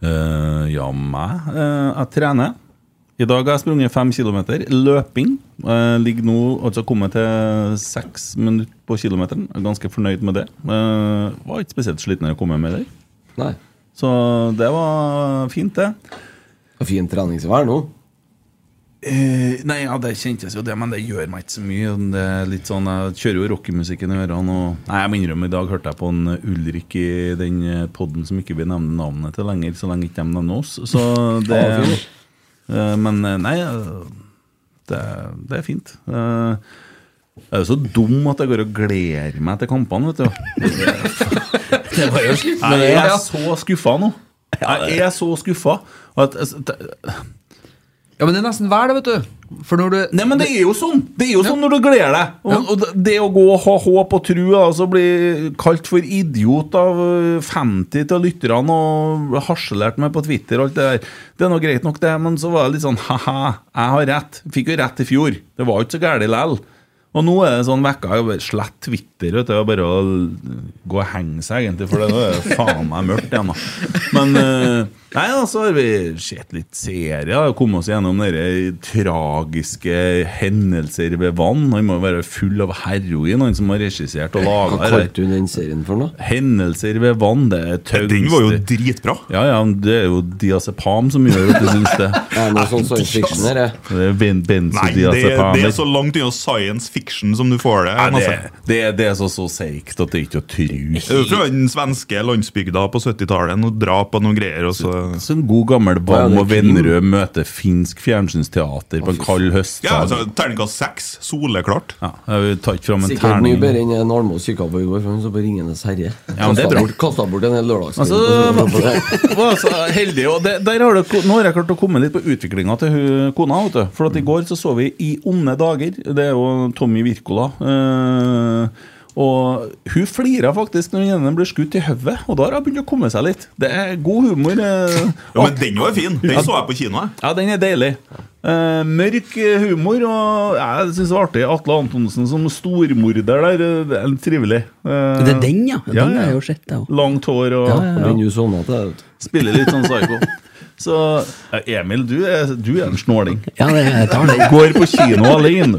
S3: Eh, ja, meg. Eh, jeg trener. I dag har jeg sprunget fem kilometer. Løping. Eh, ligger nå altså kommet til seks minutter på kilometeren. Jeg er ganske fornøyd med det. Eh, var ikke spesielt sliten når jeg kom hjem heller.
S6: Nei.
S3: Så det var fint, det.
S6: Fint treningsvær nå.
S3: Eh, nei, ja, det kjentes jo det, men det gjør meg ikke så mye. Det er litt sånn, Jeg kjører jo rockemusikken i ørene. Og, nei, jeg må innrømme, i dag hørte jeg på en Ulrik i den poden som ikke vi nevner navnet til lenger, så lenge ikke de nevner oss. Så det eh, Men eh, nei, eh, det, det er fint. Eh, jeg er jo så dum at jeg går og gleder meg til kampene, vet du.
S5: Det var jo slutt.
S3: Jeg er så skuffa nå. Jeg er så skuffa. At, altså,
S4: Ja, men det er nesten hver, det, vet du. For når du
S3: Nei, men det er jo sånn Det er jo sånn når du gleder deg. Og, og det- det å gå og ha håp og tru, da, og så bli kalt for idiot av øh, 50 av lytterne og harselert med på Twitter og alt det der, det er nå greit nok, det, men så var det litt sånn ha-ha, jeg har rett. Fikk jo rett i fjor. Det var jo ikke så gærent likevel. Og nå er det sånn vekka jeg bare slett Twitter vet du, og bare å l- gå og henge seg, egentlig, for det nå er det faen meg mørkt igjen. da. Men eh, nei, da, så har vi sett litt serier og kommet oss gjennom dere tragiske hendelser ved vann. Han må jo være full av heroin, han som har regissert og
S6: Hva
S3: laga det.
S6: kalte hun den serien for noe?
S3: der. Hendelser ved vann, det er taust.
S7: Den var jo dritbra.
S3: Ja, ja, men det er jo diazepam som gjør at du syns det.
S6: Er det noe sånn science fiction her? jeg?
S3: Det er ben-
S7: Nei, det,
S3: benzodiazepam.
S7: det er så langt unna science fiction som du får det.
S3: Ja,
S7: altså.
S3: det, det, det er så, så seigt at det ikke er å
S7: Det er jo
S3: tru.
S7: fra den svenske landsbygda på 70-tallet. Noe drap og noen greier. Og så.
S3: Så en god gammel Bang
S6: Ja, det er
S3: og Vennerød møter finsk fjernsynsteater på en kald
S7: Ja, altså,
S3: høstdag.
S7: Terningkast seks. Soleklart.
S3: Ja, jeg tar ikke fram en
S6: Sikkert mye
S3: terning.
S6: bedre enn en Almås kikka på i går, for han så på Ringenes herre.
S3: Ja, men det er
S6: Kastet
S3: bra.
S6: bort- Kastet bort en hel lørdagskveld.
S3: Altså,
S6: på sånn-
S3: var så heldig, og det, der har det, ko- Nå har jeg klart å komme litt på utviklinga til hun, kona. Vet du. For at i går så så vi I onde dager. Det er jo Tommy Wirkola. eh, og hun flira faktisk når henne ble skutt i hodet, og da har hun begynt å komme seg litt. Det er god humor. eh.
S7: Ja, men den var fin! Den så jeg på kino. jeg.
S3: Ja, den er deilig. Eh, mørk eh, humor, og jeg syns det var artig. Atle Antonsen som stormorder der, eh, det er trivelig. Eh,
S5: Det er den, ja. Den
S3: Ja, ja.
S5: har jeg jo sett, jeg òg.
S3: Langt hår og
S6: Men du sovna til det, vet du.
S3: spiller litt sånn psycho. Så ja, Emil, du er, du er en snåling.
S5: Ja, det, jeg tar den.
S3: Går på kino alene.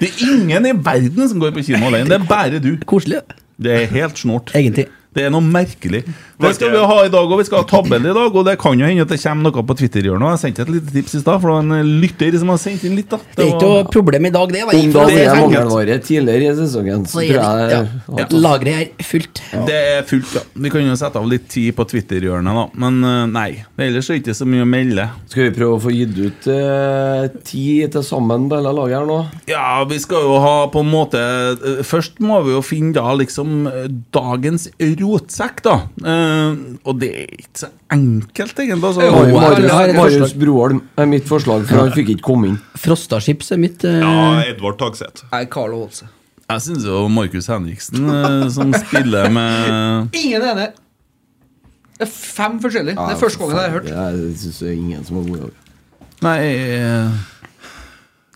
S3: Det er ingen i verden som går på kino alene, det er bare du.
S5: Koselig, ja.
S3: Det er helt snort.
S5: egentlig.
S3: Det er noe merkelig. Det skal vi ha i dag, og vi skal ha tabell i dag. Og det kan jo hende at det kommer noe på Twitter-hjørnet. Jeg sendte et lite tips i stad, for det var en lytter som har sendt inn litt. da
S5: Det er ikke noe problem i dag, det.
S6: Om da det
S5: det
S6: er
S3: enkelt.
S6: mangelvare tidligere i sesongen, så tror jeg
S5: ja.
S6: at
S5: Lageret er fullt.
S3: Det er fullt, ja. Vi kan jo sette av litt tid på Twitter-hjørnet, da. Men eh, nei. Ellers er det ikke så mye å melde.
S6: Skal vi prøve å få gitt ut eh, ti til sammen på hele laget her nå?
S3: Ja, vi skal jo ha på en måte eh, Først må vi jo finne da liksom eh, dagens rotsekk, da. Eh, og det er ikke så enkelt, egentlig. Altså.
S6: Har
S5: jeg
S6: jo
S5: har- jeg
S6: Eh, Marius,
S5: har et
S6: Marius
S5: forslag.
S6: Broholm er mitt forslag, for han fikk ikke komme inn.
S5: Frostachips er mitt eh,
S7: Ja, Edvard Tagseth.
S4: er Carl Holse.
S3: Jeg syns jo Markus Henriksen, eh, som spiller med
S4: Ingen er enig. Det er fem forskjellige. Det er første gangen jeg har hørt.
S6: Jeg synes det er ingen som har gode lag.
S3: Nei eh,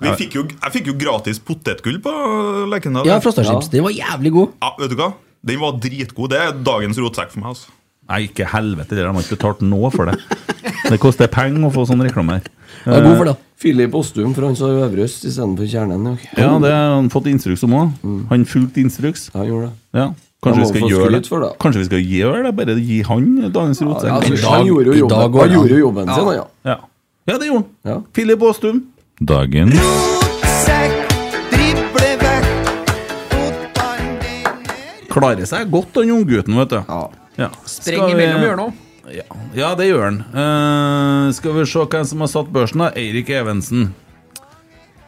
S7: Vi fikk jo, jeg fikk jo gratis potetgull på Lekendal.
S5: Ja, Frostachips. Den var jævlig god.
S7: Ja, vet du hva? Den var dritgod. Det er dagens rotsekk for meg. altså.
S3: Nei, ikke helvete, de har ikke betalt noe for det. Det koster penger å få sånn reklame her.
S5: Den var god for det.
S6: Philip Eh, Ostum, for han sa øvre øst istedenfor kjernen. ok.
S3: Ja, det har han fått instruks om òg. Han fulgte instruks.
S6: Mm. Ja, han gjorde det.
S3: Ja.
S6: Han
S3: Kanskje
S6: må
S3: vi skal
S6: få
S3: gjøre
S6: skryt
S3: det.
S6: for det.
S3: Kanskje vi skal gjøre det? Bare gi han dagens
S6: Altså,
S3: rotsekk.
S6: han gjorde jo
S5: i dag
S6: jobben,
S5: går
S6: han
S5: det an.
S6: gjorde jo jobben sin, han, ja.
S3: Ja. ja, det gjorde
S6: Ja.
S3: han. Philip Aastum. Dagen. Klarer seg godt, den unggutten, vet du.
S6: Ja.
S3: Ja.
S4: Spreng
S3: Skal vi-
S4: imellom hjørnene.
S3: Ja, ja, det gjør han. Eh, skal vi se hvem som har satt børsen, da? Eirik Evensen.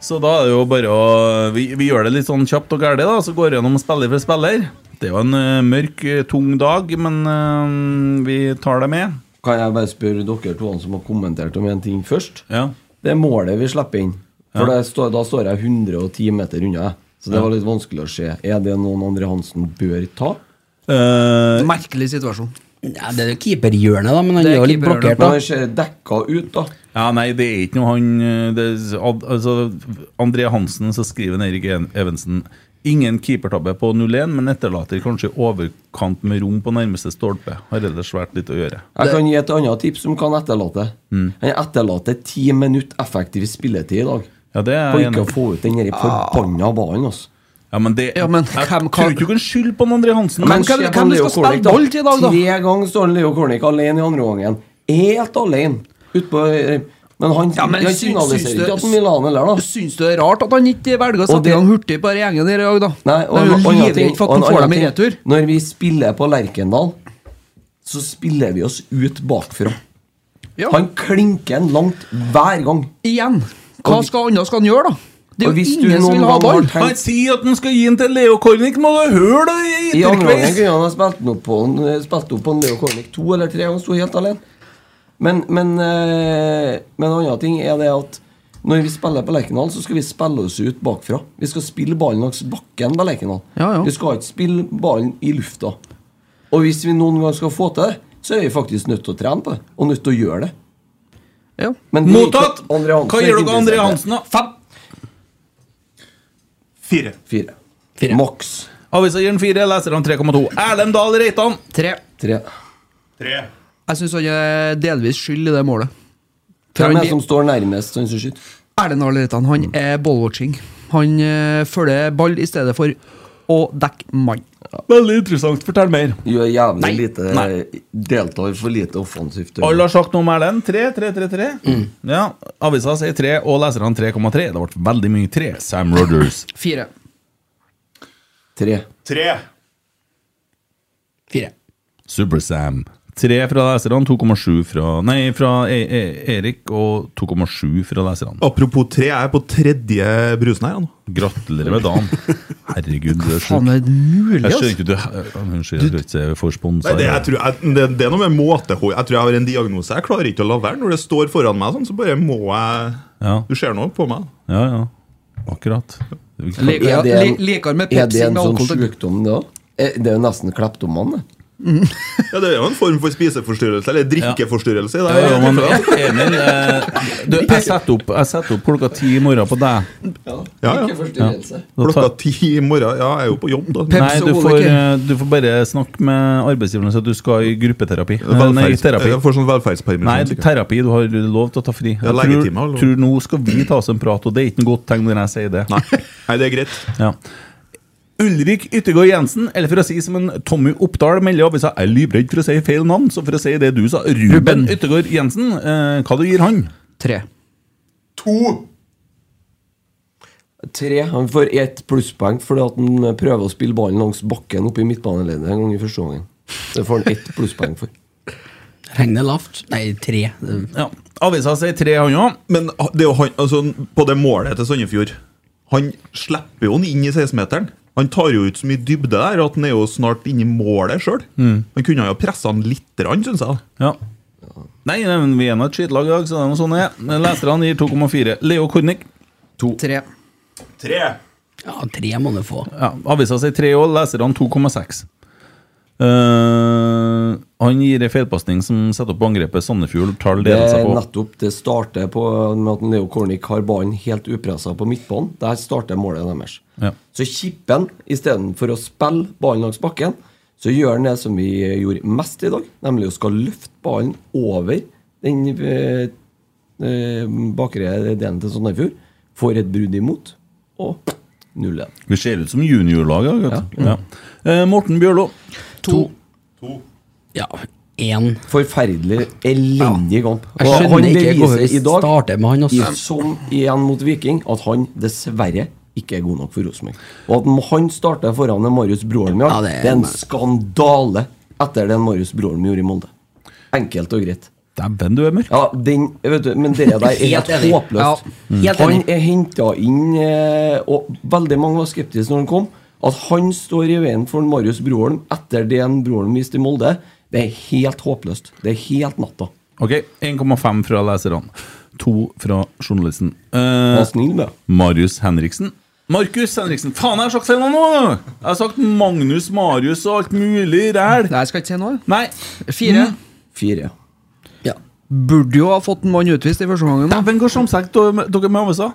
S3: Så da er det jo bare å Vi, vi gjør det litt sånn kjapt og gærent, da. Så går vi gjennom spiller for spiller. Det var en eh, mørk, eh, tung dag, men eh, vi tar det med.
S6: Kan jeg bare spørre dere to som har kommentert om en ting først?
S3: Ja.
S6: Det er målet vi slipper inn. For det står, da står jeg 110 meter unna. jeg. Så det var litt vanskelig å se. Er det noen Andre Hansen bør ta?
S3: Eh,
S4: Merkelig situasjon.
S5: Ja, det er jo keeperhjørnet, da, men han
S4: Det
S5: er
S4: er
S5: jo litt
S4: keeperhjørnet,
S5: blokkert,
S6: Men
S5: da.
S6: han ser dekka ut, da.
S3: ja, nei, det er ikke noe han eh, det, er- ad- altså, André Hansen, så skriver han Eirik En- Evensen Ingen keepertabbe på 0-1, men etterlater kanskje i overkant med rom på nærmeste stolpe. Har ellers vært litt å gjøre.
S6: Jeg kan gi et annet tips som kan etterlate.
S3: Mm.
S6: Han etterlater ti minutter effektiv spilletid i dag.
S3: Ja, det er
S6: For
S3: jeg enig i.
S6: ikke å få ut den der
S5: Ah.
S6: forbanna ballen, altså.
S3: Ja, men det
S4: Ja, men
S3: Jeg
S4: hvem
S3: tror
S4: kan-
S3: ikke du kan skylde på en André Hansen.
S6: Men
S4: Hvem kan-
S6: se på
S4: hvem du
S6: Leo
S4: skal spille
S6: Kornic, da.
S4: ball til i dag, da?
S6: Tre ganger står Leo Kornic alene i andre gangen. Helt alene. Ut på, eh, Men han,
S4: Ja, men
S6: han
S4: syns- syns
S6: signaliserer
S4: du-
S6: ikke at han vil ha han heller, da.
S4: Syns du det er rart at han ikke velger å sette
S6: det-
S4: i gang hurtig på denne gjengen her i dag, da?
S6: Nei,
S4: det
S6: og
S4: er
S6: en-
S4: jo
S6: annen ting-
S4: livredd for
S6: og
S4: at
S6: en
S4: han får
S6: annen
S4: dem i
S6: ting.
S4: retur.
S6: Når vi spiller på Lerkendal, så spiller vi oss ut bakfra.
S4: Ja.
S6: Han klinker en langt hver gang.
S4: Igjen. Hva
S6: Og-
S4: skal annet skal han gjøre, da? Det
S6: Og
S4: er jo
S6: hvis du
S4: ingen som
S6: noen
S4: vil ha
S6: gang har
S4: ball.
S6: tenkt- Han
S4: sier at han skal gi den til Leo Kornik, må du høre det
S6: I andre gangen kunne han ha spilt den opp på han- Spilt opp på han Leo Kornik to eller tre, han sto helt alene. Men, men, eh, men en annen ting er det at når vi spiller på Lerkendal, så skal vi spille oss ut bakfra. Vi skal spille ballen langs bakken på Lerkendal.
S4: Ja, ja.
S6: Vi skal ikke spille ballen i lufta. Og hvis vi noen gang skal få til det, så er vi faktisk nødt til å trene på det. Og nødt til å gjøre det.
S4: Ja.
S6: Men det er ikke
S3: Mottatt!
S6: Andre Hansen
S3: Hva
S6: er
S3: gir
S6: ikke
S3: dere Andre
S6: interessert i det.
S3: Hansen, da? Fem? Fire.
S6: Fire.
S5: Fire.
S6: Maks
S3: Avisa gir den fire, leserne 3,2. Erlend Dahl Reitan.
S4: Tre.
S6: tre.
S7: Tre.
S4: Jeg syns han er delvis skyld i det målet. For
S6: Hvem
S4: han
S6: er det som står nærmest han som Mm. skyter?
S4: Erlend Arne Reitan han er ballwatching. Han eh, følger ball i stedet for å dekke mann.
S3: Veldig interessant. Fortell mer.
S6: Gjør jævlig
S3: Nei,
S6: lite
S3: nei.
S6: Deltar for lite offensivt.
S3: Alle har sagt noe om Erlend. 3, 3, 3, 3.
S4: Mm.
S3: Ja, Avisa sier 3, og leserne 3,3. Det ble veldig mye 3. Sam Rogers.
S4: Fire.
S6: Tre.
S7: Tre.
S5: Fire.
S3: Super-Sam. 3 fra leserne, 2,7 fra Nei, fra e e Erik, og 2,7 fra leserne.
S7: Apropos tre, jeg er på tredje brusen her. nå.
S3: Gratulerer med dagen. Herregud, du er
S4: Faen,
S3: sjuk.
S4: er det mulig,
S3: Jeg
S4: altså?
S3: skjønner ikke du eh, Unnskyld, jeg tror ikke jeg får sponsa.
S7: Nei, det, jeg tror, jeg, det, det er noe med måtehold. Jeg tror jeg har en diagnose. Jeg klarer ikke å la være. Når det står foran meg sånn, så bare må jeg
S3: Ja.
S7: Du ser noe på meg.
S3: Ja, ja. Akkurat.
S4: Liker,
S6: Er det en-
S4: li- liker med
S6: Er det
S4: Pepsi
S6: en
S4: med
S6: sånn
S4: alkohol.
S6: sjukdom, det òg? Det er jo nesten kleptoman, det.
S7: Ja, Det er jo en form for spiseforstyrrelse, eller drikkeforstyrrelse. i Det,
S3: Ja, ja, men Emil, eh, du, jeg setter opp, jeg setter opp klokka ti i morgen på deg.
S7: ja,
S6: Ikke
S7: ja.
S6: forstyrrelse.
S3: Da
S7: Klokka
S3: tar-
S7: ti i morgen. Ja, jeg er jo på jobb, da.
S3: Nei,
S4: Pepsi
S3: du
S4: og
S3: får,
S4: Oliker.
S3: eh, du får bare snakke med arbeidsgiveren så at du skal i gruppeterapi. Eh, Nei,
S7: Velferds-
S3: terapi.
S7: Jeg får sånn
S3: Nei,
S7: velferdspermisjon.
S3: du-
S7: sikkert.
S3: terapi. Du har lov til å ta fri. Jeg
S7: Ja,
S3: tror,
S7: leggetime, eller?
S3: tror nå skal vi ta oss en prat, og det er ikke noe godt tegn når jeg sier det.
S7: Nei. Nei, det er greit.
S3: Ja. Ulrik Yttergård Jensen, eller for å si som en Tommy Oppdal melder i avisa, er livredd for å si feil navn, så for å si det du sa, Ruben
S4: Ruben.
S3: Yttergård Jensen, eh, hva du gir han?
S4: Tre.
S6: Tre. Han får ett plusspoeng fordi at han eh, prøver å spille ballen langs bakken oppe i midtbaneleddet en gang i første gangen. Det får han ett plusspoeng for.
S5: Regner lavt. Nei, tre. Det-
S3: Ja. Avisa sier tre, han òg.
S7: Men det er jo han, altså, på det målet til Sandefjord Han slipper jo han inn i 16-meteren. Han tar jo ut så mye dybde der at han er jo snart inne i målet sjøl.
S3: Mm.
S7: Han kunne jo pressa han litt, syns jeg.
S3: Ja. Nei, nei, men vi er nå et skittlag i dag, så det er noe sånn det er. Men Leserne gir 2,4. Leo Kornik.
S4: Tre.
S7: Tre.
S5: Ja, tre må du få.
S3: Ja, avisa sier 3 år, leserne 2,6. Eh, han gir ei feilpasning som setter opp angrepet Sandefjord tar
S6: Det
S3: ledelsen
S6: er
S3: på.
S6: nettopp det starter på med at Leo Kornik har ballen helt upressa på midtbanen. Der starter målet deres.
S3: Ja.
S6: Så kipper han istedenfor å spille ballen langs bakken, så gjør han det som vi gjorde mest i dag, nemlig å skal løfte ballen over den eh, eh, bakre delen til Sandefjord. Får et brudd imot, og 0-1.
S3: Vi ser ut som juniorlaget. Ja. Ja. Eh, Morten Bjørlo.
S5: To. Ja, én.
S6: Forferdelig, elendig kamp.
S5: Jeg
S6: Og
S5: skjønner ikke
S6: beviser
S5: hvorfor vi starter med han, altså.
S6: i- Som igjen mot Viking, at han dessverre ikke er god nok for Rosenborg. Og at m- han starter foran en Marius Broholm, ja,
S5: Ja,
S6: det,
S5: det
S6: er
S5: er-
S6: en skandale etter den Marius Broholm gjorde i Molde. Enkelt og greit.
S3: Dæven, du er mørk.
S6: Ja, den, vet du, Men det der er
S5: Helt
S6: helt
S5: enig.
S6: håpløst.
S5: Ja, helt
S6: Han
S5: enig.
S6: er henta inn, eh, og veldig mange var skeptiske når han kom. At han står i veien for Marius Broholm etter det en Broholm viste i Molde, det er helt håpløst. Det er helt natta.
S3: Ok, 1,5 fra leserne. 2 fra journalisten. Eh,
S6: Vær snill med det.
S3: Marius Henriksen. Markus Henriksen. Faen, jeg har sagt feil navn nå! Jeg har sagt Magnus, Marius og alt mulig ræl.
S4: Nei, jeg skal ikke si noe.
S3: Nei.
S4: Fire.
S3: Mm.
S6: Fire.
S5: Ja.
S4: Burde jo ha fått en mann utvist i første gangen. da.
S3: Dæven går samsekt dere med avisa.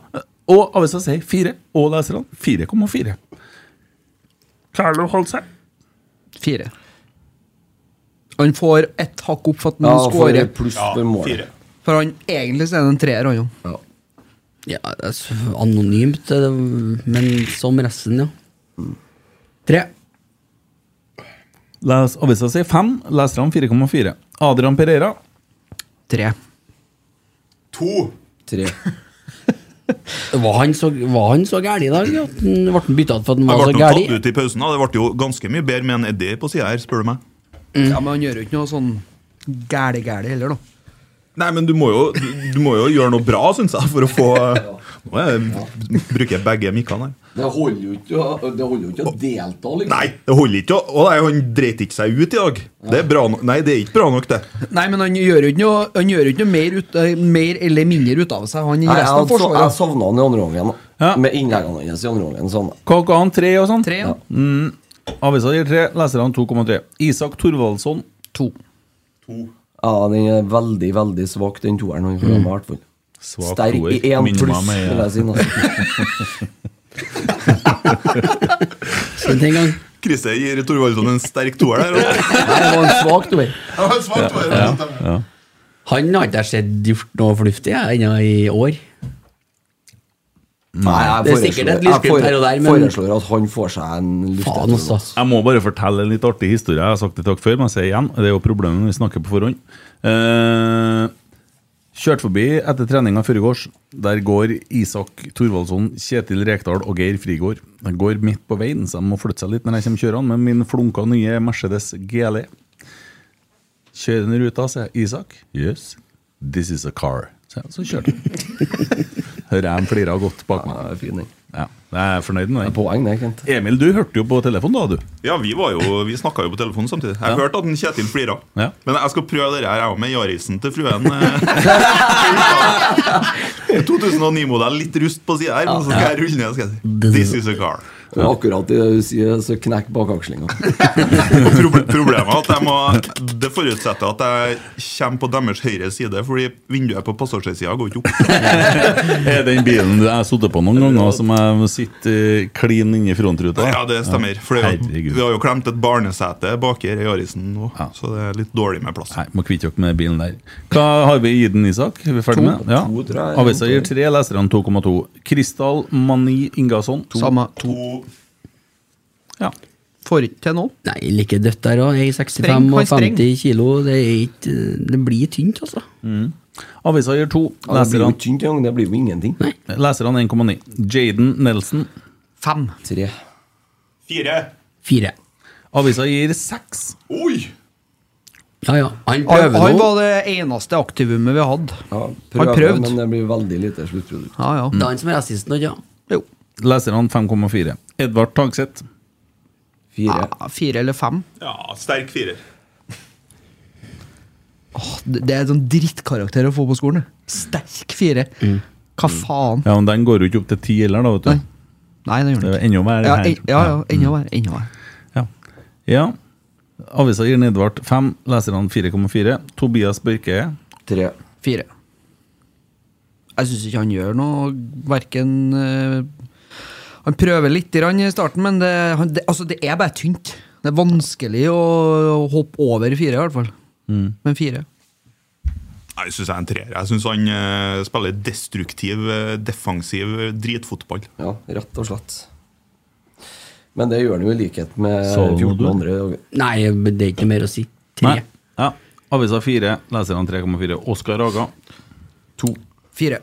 S3: Og avisa sier fire, og leserne 4,4. Klarer du å holde seg?
S4: Fire. Han får ett hakk opp for at han
S6: Ja, for
S4: scorer.
S6: pluss for målet.
S4: For han egentlig så er det en treer, han jo.
S5: ja altså, anonymt, eh, men som resten, ja. Tre.
S3: Les, avisa sier fem, leserne 4,4. Adrian Pereira
S4: Tre.
S7: To.
S6: Tre.
S5: Var han så, var han så gæren i dag at han ble han bytta ut for at
S7: Jeg ble
S5: han var så
S7: nå tatt
S5: gæren?
S7: ut i pausen. da. Det ble jo ganske mye bedre med en Eddie på sida her, spør du meg.
S4: Ja, men han gjør jo ikke noe sånn gæli-gæli heller, da.
S7: Nei, men du må jo, du, du må jo gjøre noe bra, syns jeg, for å få Nå er jeg, bruker jeg begge mikkene her.
S6: Det holder jo ikke å- det holder jo ikke å delta, liksom.
S7: Nei, det holder ikke. å- Å nei, han dreit ikke seg ut i dag. Det er bra nok. Nei, det er ikke bra nok, det.
S4: Nei, men han gjør jo ikke noe, han gjør jo ikke noe mer, ut, eh, mer eller mindre ut av seg, han i
S6: Nei, altså, jeg,
S4: resten av
S6: hadde så, jeg
S4: forsvaret.
S6: savna han i andre omgangen.
S3: Ja.
S6: Med innleggene hans i andre omgangen. Sånn.
S3: Hva ga han? Tre og sånn?
S4: Tre, ja.
S3: Avisa gir tre, leserne 2,3. Isak Thorvaldsson to.
S6: Ja, den er veldig, veldig svak, den toeren han får med, i hvert fall.
S3: Mm. Svak
S6: Sterk
S3: toer.
S6: i én
S3: Minner
S6: pluss,
S3: meg
S6: vil
S3: med-
S6: jeg si. Altså.
S5: Men den gang
S7: Krise gir Thorvaldsson en sterk toer der. altså.
S5: Nei, det var en svak toer.
S7: Ja, en svak toer, altså.
S5: Han har ikke jeg sett gjort noe fornuftig jeg, ennå i år.
S6: Nei, jeg
S5: Det er sikkert
S6: foreslår-
S5: et lysglimt
S6: jeg fore-
S5: her og der, men-
S6: foreslår at han får seg en
S5: Faen altså.
S6: luftetur.
S5: også.
S3: Jeg må bare fortelle en litt artig historie. Jeg har sagt det takk før, men jeg sier igjen. Det er jo problemet når vi snakker på forhånd. Eh, kjørt forbi etter treninga foregårs. Der går Isak Thorvaldsson, Kjetil Rekdal og Geir Frigård. De går midt på veien, så de må flytte seg litt når jeg kommer kjørende med min flunka nye Mercedes GLE. Kjører den i ruta, sier jeg. Isak? Yes. This is a car. Så, så kjørte han. Hører jeg dem flire godt bak
S6: Ja,
S3: meg.
S6: det er fin, den.
S3: Ja, jeg er fornøyd med
S6: Det er
S3: den.
S6: poeng, det, Kent.
S3: Emil, du hørte jo på telefonen da, du.
S7: Ja, vi, var jo- vi snakka jo på telefonen samtidig. Jeg hørte at den Kjetil flira.
S3: Ja.
S7: Men jeg skal prøve det her jeg òg, med Yarisen til fruen. eh. 2009-modell, litt rust på sida her, men så skal jeg rulle ned. Skal jeg si. This is a car.
S6: Og Akkurat det du sier, så knekk bakakslinga.
S7: Og proble- Problemet er at jeg må Det forutsetter at jeg kommer på deres høyre side, fordi vinduet på passasjersida går ikke opp.
S3: Er den bilen jeg har sittet på noen ganger, som jeg sitter eh, klin inni frontruta?
S7: Ja, det stemmer. For det er jo-
S3: Herregud.
S7: vi har jo klemt et barnesete baki her i Yarisen nå, så det er litt dårlig med plass.
S3: Nei, må kvitte dere med den bilen der. Hva har vi gitt den, Isak? Er vi ferdig med? Ja.
S6: To, tror jeg.
S3: Avisa gir tre, leserne 2,2. Kristal Mani Ingasson.
S4: Samme.
S7: To
S3: Ja.
S4: Får ikke til nå.
S5: Nei, like dødt der òg. Jeg er 65
S4: Streng, han
S5: og
S4: streng.
S5: 50 kilo. Det, er ikke, det blir tynt, altså.
S3: Mm. Avisa gir to,
S6: Ja, det blir jo
S3: leserne
S6: ikke tynt engang. Det blir jo ingenting.
S3: leserne 1,9. Jaden Nelson.
S4: Fem.
S6: Tre.
S7: Fire.
S5: Fire.
S3: Avisa gir seks.
S7: Oi!
S5: Ja, ja. Han
S4: Han,
S5: prøver
S4: han
S5: nå.
S4: var det eneste aktivumet vi hadde.
S6: Ja,
S4: Har
S6: prøvd,
S4: prøvd.
S6: men det blir veldig lite sluttprodukt.
S4: Ja, ja.
S5: Det er han som er rasisten, ikke sant?
S4: Jo.
S3: Leserne 5,4. Edvard Tagseth.
S6: Fire.
S4: Ja, Ah, fire eller fem.
S7: Ja, sterk firer.
S4: Åh, det det er en sånn drittkarakter å få på skolen. det. Sterk fire.
S6: Mm.
S4: Hva faen?
S3: Ja, men den går jo ikke opp til ti heller, da, vet
S4: Nei.
S3: du.
S4: Nei, det gjør
S3: Det
S4: den
S3: er
S4: ikke.
S3: enda mer
S4: Ja,
S3: her. Mm.
S4: en, ja, ja, enda verre. Enda verre.
S3: Ja. ja. Avisa gir Edvard 5, leserne 4,4. Tobias Børke
S6: Tre.
S4: Fire. Jeg syns ikke han gjør noe, verken Han prøver litt grann i starten, men det, han, det, altså, det er bare tynt. Det er vanskelig å, å hoppe over fire, i hvert fall.
S3: Mm.
S4: Men fire.
S7: Nei, Jeg syns jeg er en treer. Jeg syns han eh, spiller destruktiv, eh, defensiv eh, dritfotball.
S6: Ja, rett og slett. Men det gjør han jo i likhet med
S3: Sa du noe,
S6: 14
S3: du?
S6: andre.
S5: Nei, det er ikke noe mer å si. Tre.
S3: Nei. Ja. Avisa 4, leserne 3,4. Oskar Haga.
S7: To.
S4: Fire.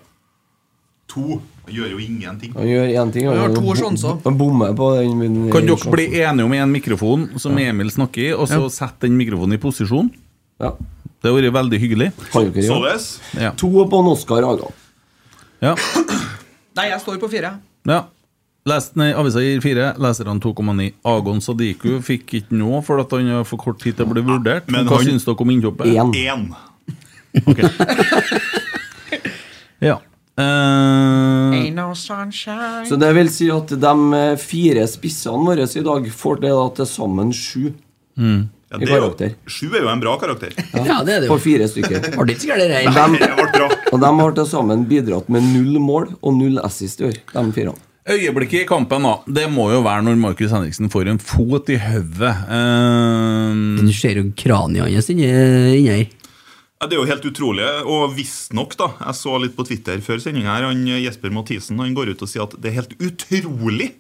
S7: To. Han gjør jo ingenting.
S6: Han gjør én ting.
S4: Han har
S6: jo
S4: to
S6: bo-
S4: sjanser.
S6: Han bommer på den. men-
S3: Kan dere
S6: sjansen.
S3: bli enige om en mikrofon som Emil snakker i, og så sette den mikrofonen i posisjon?
S6: Ja.
S3: Det hadde vært veldig hyggelig.
S6: Kan dere gjøre det?
S7: Således.
S3: Ja.
S6: To på en Oscar Haga.
S3: Ja.
S4: Nei, jeg står på fire.
S3: ja. Les, nei, avisa gir 4, leserne 2,9. Agon Sadiku fikk ikke noe for at han har for kort tid til å bli vurdert.
S7: Men
S3: Men hva
S7: han-
S3: syns dere om innhoppet?
S6: Én.
S7: Én.
S3: Ja. Eh,
S4: Ain't no sunshine.
S6: Så det vil si at de fire spissene våre i dag får det da til sammen sju
S3: Mm.
S7: Ja,
S6: i
S7: det er jo,
S6: karakter.
S7: sju er jo en bra karakter.
S5: Ja, det er det
S6: På
S5: jo.
S6: fire stykker.
S5: Var det ikke så gærent, det
S6: Dem-
S5: her?
S7: Det ble bra.
S6: og de har til sammen bidratt med null mål og null assist i år, de fire.
S3: Øyeblikket i kampen, da. Det må jo være når Markus Henriksen får en fot i hodet. Eh,
S5: Du ser jo kraniet hans inni inni her.
S7: Ja, det er jo helt utrolig, og visstnok, da Jeg så litt på Twitter før sendinga her, han eh, Jesper Mathisen han går ut og sier at det er helt utrolig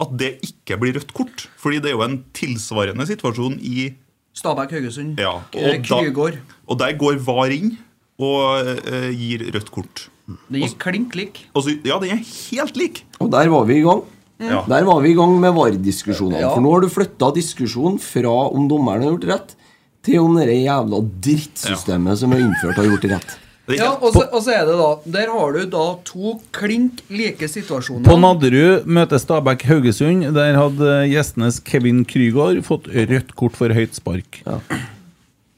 S7: at det ikke blir rødt kort. Fordi det er jo en tilsvarende situasjon i
S4: Stabæk Haugesund.
S7: Ja.
S4: Eh,
S7: da-
S4: Krygård.
S7: og der går VAR inn og eh, gir rødt kort.
S4: Det gikk klink lik.
S7: Og så- ja, den er helt lik!
S6: Og der var vi i gang.
S7: Ja.
S6: Der var vi i gang med VAR-diskusjonene.
S4: Ja.
S6: For nå har du flytta diskusjonen fra om dommeren har gjort rett, til om det jævla drittsystemet som er innført, har gjort rett.
S7: Den er
S4: Ja, og så, og så er det da Der har du da to klink like situasjoner.
S3: På Nadderud møter Stabæk Haugesund. Der hadde gjestenes Kevin Krygård fått rødt kort for høyt spark.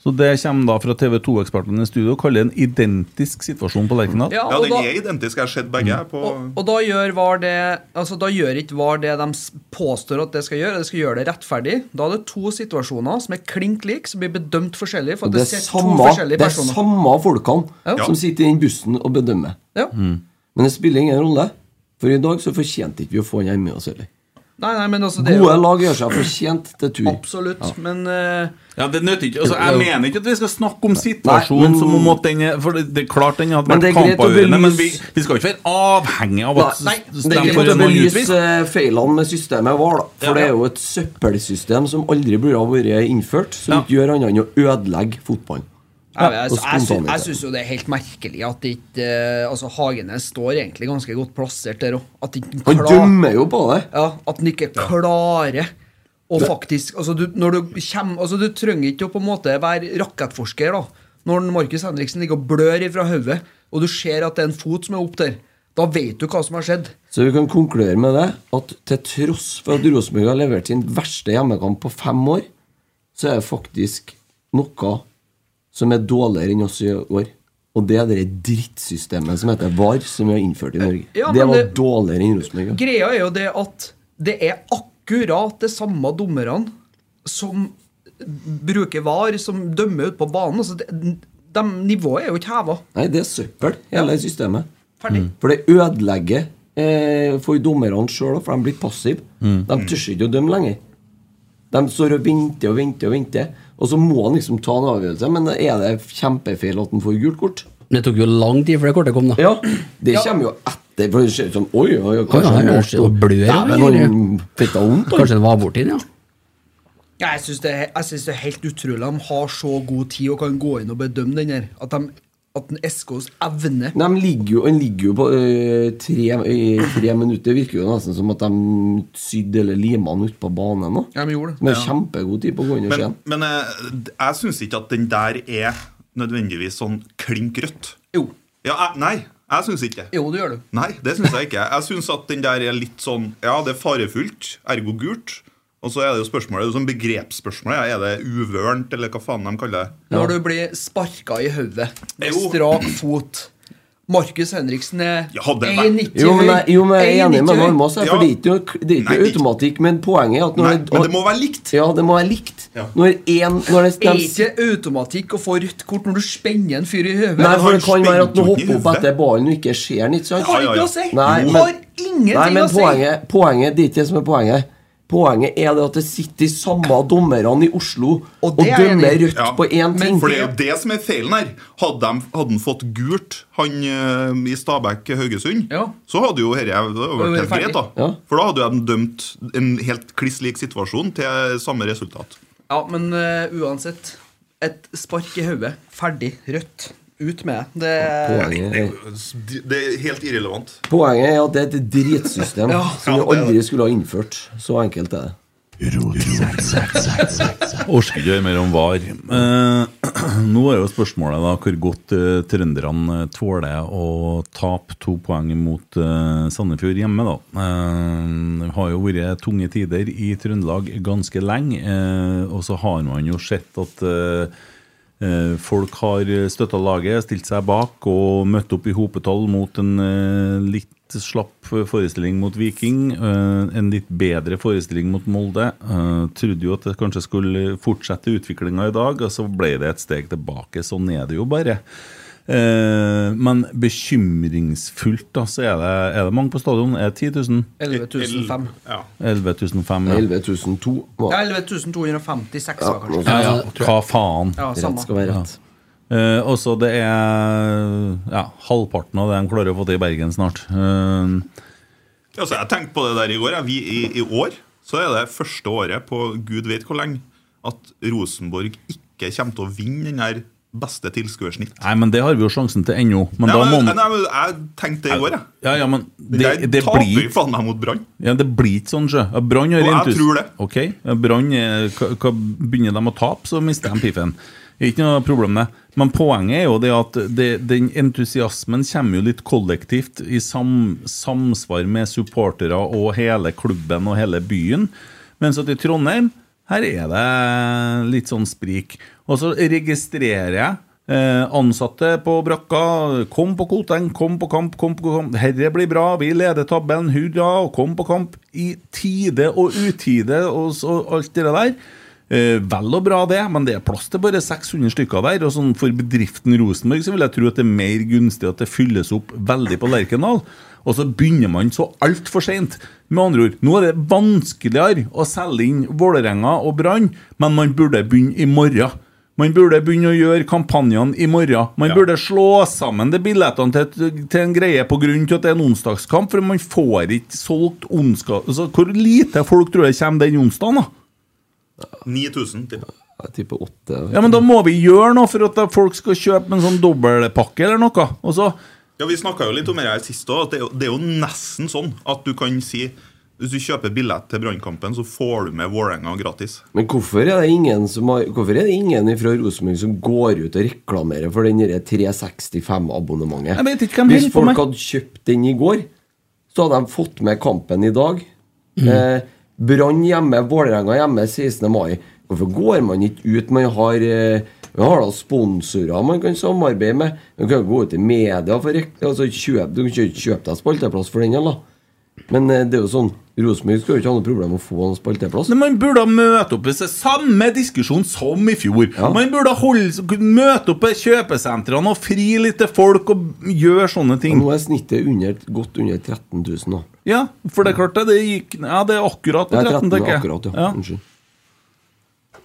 S3: Så det kommer da fra TV 2-ekspertene i studio og kaller en identisk situasjon på Lerkendal.
S4: ja,
S7: Ja,
S4: og
S7: den
S4: da,
S7: er identisk. Jeg har sett begge. jeg, På,
S4: og, og da gjør VAR det Altså da gjør ikke VAR det de s- påstår at det skal gjøre. Det skal gjøre det rettferdig. Da er det to situasjoner som er klink like, som blir bedømt forskjellig. For
S6: Og
S4: at
S6: det
S4: det
S6: er
S4: ser to
S6: samme,
S4: forskjellige
S6: det er
S4: personer
S6: samme folkene
S4: Ja.
S6: som sitter i den bussen og bedømmer. Mm.
S4: ja.
S6: Men det spiller ingen rolle, for i dag så fortjente ikke vi å få han her med oss heller.
S4: Nei, nei, men altså det er jo
S6: Gode lag gjør seg fortjent til tur.
S4: Absolutt, men eh,
S3: Ja, det nytter ikke. Altså, jeg mener ikke at vi skal snakke om
S6: Nei,
S3: situasjonen
S6: men-
S3: som om at den er For det, det er klart den hadde
S6: Men det
S3: vært
S6: er greit å
S3: kampavgjørende, men vi,
S6: belyse-
S3: vi skal jo ikke være avhengig av at
S6: Nei,
S3: s-
S6: det er
S3: stemme
S6: ikke
S3: for
S6: å
S3: en mann utvist.
S6: belyse feilene med systemet VAR, da.
S3: Ja,
S6: For
S3: ja.
S6: det er jo et søppelsystem som aldri burde ha vært innført, som
S3: Ja.
S6: ikke gjør annet enn å ødelegge fotballen.
S4: Jeg, jeg,
S6: og
S4: altså,
S6: liksom.
S4: jeg, sy-
S6: spontanhet.
S4: jeg syns jo det er helt merkelig at ikke eh, Altså, Hagenes står egentlig ganske godt plassert der òg. At ikke
S6: Han
S4: klar,
S6: dømmer jo på det.
S4: ja, at han ikke klarer å faktisk Altså, du, når du kommer Altså, du trenger ikke å på en måte være rakettforsker, da. Når Markus Henriksen ligger og blør ifra hodet, og du ser at det er en fot som er opp der, da vet du hva som har skjedd.
S6: Så vi kan konkludere med det at til tross for at Rosenborg har levert sin verste hjemmekamp på fem år, så er det faktisk noe som er dårligere enn oss i år. Og det er det drittsystemet som heter VAR, som vi har innført i Norge.
S4: Ja,
S6: det
S4: men
S6: var
S4: det-
S6: dårligere enn Rosenborg. ja.
S4: Greia er jo det at det er akkurat det samme dommerne som bruker var, som dømmer ut på banen. Altså, det, de, nivået er jo ikke heva.
S6: Nei, det er søppel, hele systemet. Mm.
S4: Ferdig.
S6: For det ødelegger eh, for dommerne sjøl, for de blir passive.
S8: Mm.
S6: De tør ikke å dømme lenger. De står og venter og venter og venter. Og så må han liksom ta en avgjørelse, men er det kjempefeil at han får gult kort?
S5: Det tok jo lang tid før det kortet kom, da.
S6: Ja, Det kommer jo etter, for det ser ut som Oi, oi, oi,
S5: Oi,
S6: kanskje
S5: han
S6: han
S5: er
S6: har stått
S5: og blør, ja,
S6: Dæven,
S5: eller?
S6: han fikk da vondt, han.
S5: Kanskje det var borti den, ja.
S4: Ja, Jeg syns det, er- jeg synes det er helt utrolig at de har så god tid og kan gå inn og bedømme den her. At, de, at den SKs evne
S6: Nei, De ligger jo, han ligger jo på ø, tre, ø, tre minutter. Det virker jo nesten som at de sydde eller lima han ut på banen. nå.
S4: Ja, de gjorde det.
S6: Som er kjempegod tid på å gå inn og se
S7: men
S6: den.
S7: men eh, jeg syns ikke at den der er nødvendigvis sånn klink rødt.
S4: Jo,
S7: Ja, jeg, nei, jeg syns ikke det.
S4: jo det gjør du.
S7: Nei, det syns jeg ikke. Jeg syns at den der er litt sånn Ja, det er farefullt, ergo gult. Og så er det jo spørsmålet, det er jo sånn begrepsspørsmål. ja. Er det uvørent, eller hva faen de kaller det?
S4: Når du blir sparka i hodet med
S7: Jo.
S4: strak fot. Markus Henriksen er
S7: Ja, det er-
S4: 1,90
S6: Jo, men jeg, jo, men jeg er enig
S4: 1,90
S6: med altså,
S4: høy.
S6: Almas. her,
S7: Ja.
S6: For det er ikke noe- det er ikke
S7: Nei,
S6: noe
S7: det-
S6: automatikk. Men poenget er at når
S7: Nei,
S6: det-
S7: men det må være likt.
S6: Ja, det må være likt.
S7: Ja.
S6: Når en, når det,
S4: Det er
S6: de,
S4: ikke automatikk å få rødt kort når du spenner en fyr i høvet.
S6: Nei,
S7: han
S6: for det
S7: har
S6: kan være at den
S7: spent
S6: hopper
S7: hodet i
S6: opp etter ballen og ikke ser den, ikke sant?
S7: Ja,
S4: har
S7: ja,
S4: ikke
S7: ja.
S4: å si!
S6: Nei,
S4: det
S6: men-
S4: har ingenting
S6: Nei, men
S4: å si!
S6: poenget, poenget det er ikke det som er poenget. Poenget er det at det sitter de samme dommerne i Oslo
S4: Og
S6: og,
S4: det er jeg enig
S6: dømmer
S4: i.
S6: rødt på én ting.
S7: For det er jo det som er feilen her. Hadde de- hadde han fått gult, han eh, i Stabæk Haugesund,
S4: Ja.
S7: så hadde jo dette vært
S4: det
S7: helt
S4: ferdig.
S7: greit. da
S6: Ja.
S7: For da hadde jo de dømt en helt kliss lik situasjon til samme resultat.
S4: Ja, men eh, uansett. Et spark i hodet. Ferdig. Rødt. Ut med det. det.
S6: Poenget, er-
S7: Det er helt irrelevant.
S6: poenget er at det er et dritsystem
S4: Ja,
S6: som
S7: ja,
S6: vi
S7: det er
S6: aldri
S7: det.
S6: skulle ha innført. Så enkelt er det.
S3: Orker ikke høre mer om VAR. Eh, nå er jo spørsmålet da hvor godt eh, trønderne eh, tåler å tape to poeng mot eh, Sandefjord hjemme, da. Eh, det har jo vært tunge tider i Trøndelag ganske lenge, eh, og så har man jo sett at eh, eh, Folk har støtta laget, stilt seg bak og møtt opp i hopetall mot en eh, litt slapp forestilling mot Viking. eh, En litt bedre forestilling mot Molde. Eh, Trodde jo at det kanskje skulle fortsette utviklinga i dag, og så ble det et steg tilbake. Sånn er det jo bare. Eh, Men bekymringsfullt, da, så er det, er det mange på stadion. Er det 10 000?
S4: 11.005.
S7: Ja.
S3: 11 500?
S6: 11.002 var
S4: Ja, 11.256 var kanskje.
S6: nå
S3: Ja, ja, hva faen?
S4: Ja,
S6: Rett skal
S4: samme.
S6: være rett.
S3: Eh, og så det er ja, halvparten av det de klarer å få til i Bergen snart. Eh,
S7: Altså, jeg tenkte på det der i går. jeg. Vi, i, I år så er det første året på gud vet hvor lenge at Rosenborg ikke kommer til å vinne den her beste tilskuersnitt.
S3: Nei, men det har vi jo sjansen til ennå. Men
S7: Nei,
S3: da må
S7: men,
S3: man
S7: nei, men jeg tenkte det i går, jeg.
S3: Ja, ja, men det,
S7: Jeg
S3: det
S7: taper
S3: blir
S7: jo faen meg mot Brann.
S3: Ja, det blir ikke sånn, sjø. Ja, Brann har
S7: Og jeg
S3: rent hus.
S7: tror det.
S3: Ok, ja, Brann er- hva- hva- Begynner de å tape, så mister de piffen. Det er Ikke noe problem, det. Men poenget er jo det at det, den entusiasmen kommer jo litt kollektivt i sam, samsvar med supportere og hele klubben og hele byen. Mens at i Trondheim, her er det litt sånn sprik. Og så registrerer jeg Eh, ansatte på brakka, kom på Koteng, kom på kamp, kom på kamp. Herre blir bra, vi leder tabellen, hurra, og kom på kamp. I tide og utide og, s- og alt det der. Eh, vel og bra, det, men det er plass til bare 600 stykker der. Og sånn for bedriften Rosenborg så vil jeg tro at det er mer gunstig at det fylles opp veldig på Lerkendal. Og så begynner man så altfor seint. Med andre ord, nå er det vanskeligere å selge inn Vålerenga og Brann, men man burde begynne i morgen. Man burde begynne å gjøre kampanjene i morgen. Man burde slå sammen de billettene til, et- til en greie pga. at det er en onsdagskamp, for man får ikke solgt onsdag... Altså, hvor lite folk tror jeg kommer den onsdagen, da?
S7: 9000 til.
S6: Jeg tipper åtte.
S3: Ja, men da må vi gjøre noe for at da folk skal kjøpe en sånn dobbeltpakke eller noe. Og så
S7: Ja, Vi snakka jo litt om det her sist òg. Det, er jo- det er jo nesten sånn at du kan si hvis du kjøper billett til Brannkampen, så får du med Vålerenga gratis.
S6: Men hvorfor er det ingen, som har, hvorfor er det ingen fra Rosenborg som går ut og reklamerer for den derre 365-abonnementet?
S3: Jeg vet ikke hvem holder på
S6: Hvis folk
S3: med.
S6: hadde kjøpt den i går, så hadde de fått med kampen i dag.
S3: Mm.
S6: Eh, Brann hjemme, Vålerenga hjemme 16. mai. Hvorfor går man ikke ut? Man har, eh, man har da sponsorer man kan samarbeide med. Man kan jo gå ut i media for rek- altså kjøp, Du kan ikke kjøpe deg spalteplass for den, eller? Men eh, det er jo sånn Rosenborg skal jo ikke ha noe problem med å få en spalteplass.
S3: Men man burde ha møte opp i seg samme diskusjon som i fjor. Man burde holde, møte opp på kjøpesentrene og fri litt til folk og gjøre sånne ting.
S6: Nå er snittet under, godt under 13 000, da.
S3: Ja, for det er klart det, det gikk Ja, det er akkurat
S6: Det
S3: på
S6: er 13
S3: 13,
S6: 000
S3: tenker jeg.
S6: akkurat, ja. Unnskyld.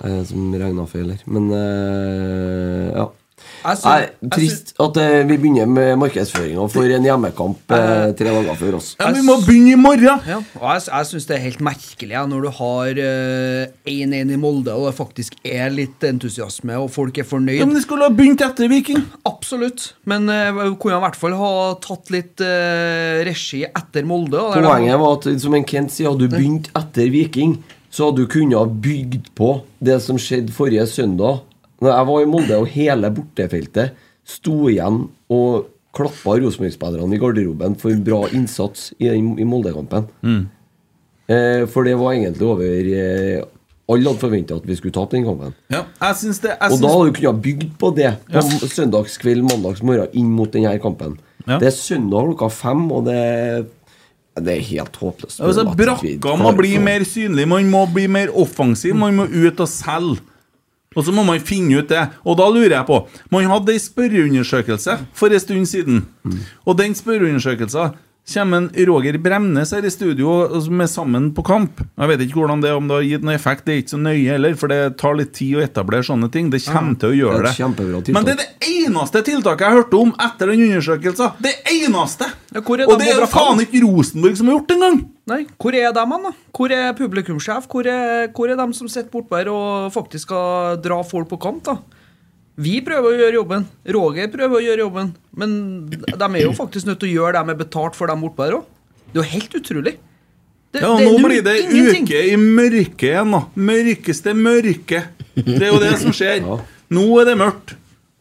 S6: Det er jeg som regna feil her. Men eh, ja.
S4: Jeg syns-
S6: Nei,
S4: jeg
S6: trist at eh, vi begynner med markedsføringa for en hjemmekamp eh, tre dager før oss.
S3: Ja, vi må begynne i morgen!
S4: Ja, og jeg, jeg syns det er helt merkelig ja, når du har eh, 1-1 i Molde, og det faktisk er litt entusiasme, og folk er fornøyd.
S3: Ja, men det skulle ha begynt etter Viking.
S4: Absolutt, men eh, kunne jeg i hvert fall ha tatt litt eh, regi etter Molde. da, der de-
S6: Poenget var at som en Kent sier, hadde du begynt etter Viking, så hadde du kunnet ha bygd på det som skjedde forrige søndag. Når jeg var i Molde, og hele bortefeltet sto igjen og klappa Rosenborg-spillerne i garderoben for en bra innsats i, den- i Molde-kampen. Eh, for det var egentlig over eh, Alle hadde forventa at vi skulle tape den kampen.
S3: Ja, jeg syns det jeg
S6: Og da
S3: syns-
S6: hadde du kunnet ha bygd på det på søndagskveld, mandagsmorgen inn mot denne kampen.
S3: Ja.
S6: Det er søndag klokka fem, og det Det er helt håpløst.
S3: altså,
S6: At vi
S3: Brakka må
S6: klarer
S3: bli
S6: å-
S3: mer synlig, man må bli mer offensiv, man må ut og selge. Og så må man finne ut det. Og da lurer jeg på Man hadde ei spørreundersøkelse for en stund siden. Og den spørreundersøkelsen kommer en Roger Bremnes her i studio og- med sammen på kamp. Jeg vet ikke hvordan det er, om det har gitt noen effekt. Det er ikke så nøye heller, for det tar litt tid å etablere sånne ting. Det kommer til å gjøre
S6: Det er
S3: det.
S6: et kjempebra tiltak.
S3: Men det er det eneste tiltaket jeg hørte om etter den undersøkelsen. Det eneste!
S4: Ja, hvor er
S3: og
S4: de
S3: det er
S4: på
S3: jo
S4: Brakka?
S3: faen ikke Rosenborg som har gjort det engang!
S4: Nei, hvor er de, hen, da? Hvor er publikumssjef? Hvor er, hvor er de som sitter bortpå her og faktisk skal dra folk på kamp, da? Vi prøver å gjøre jobben. Roger prøver å gjøre jobben. Men de er jo faktisk nødt til å gjøre det de er betalt for, dem bortpå her òg. Det er jo helt utrolig. Det,
S3: Ja, og
S4: det er
S3: nå
S4: null-
S3: blir det
S4: ingenting.
S3: uke i mørket igjen, da. Mørkeste mørke. Det er jo det som skjer. Nå er det mørkt.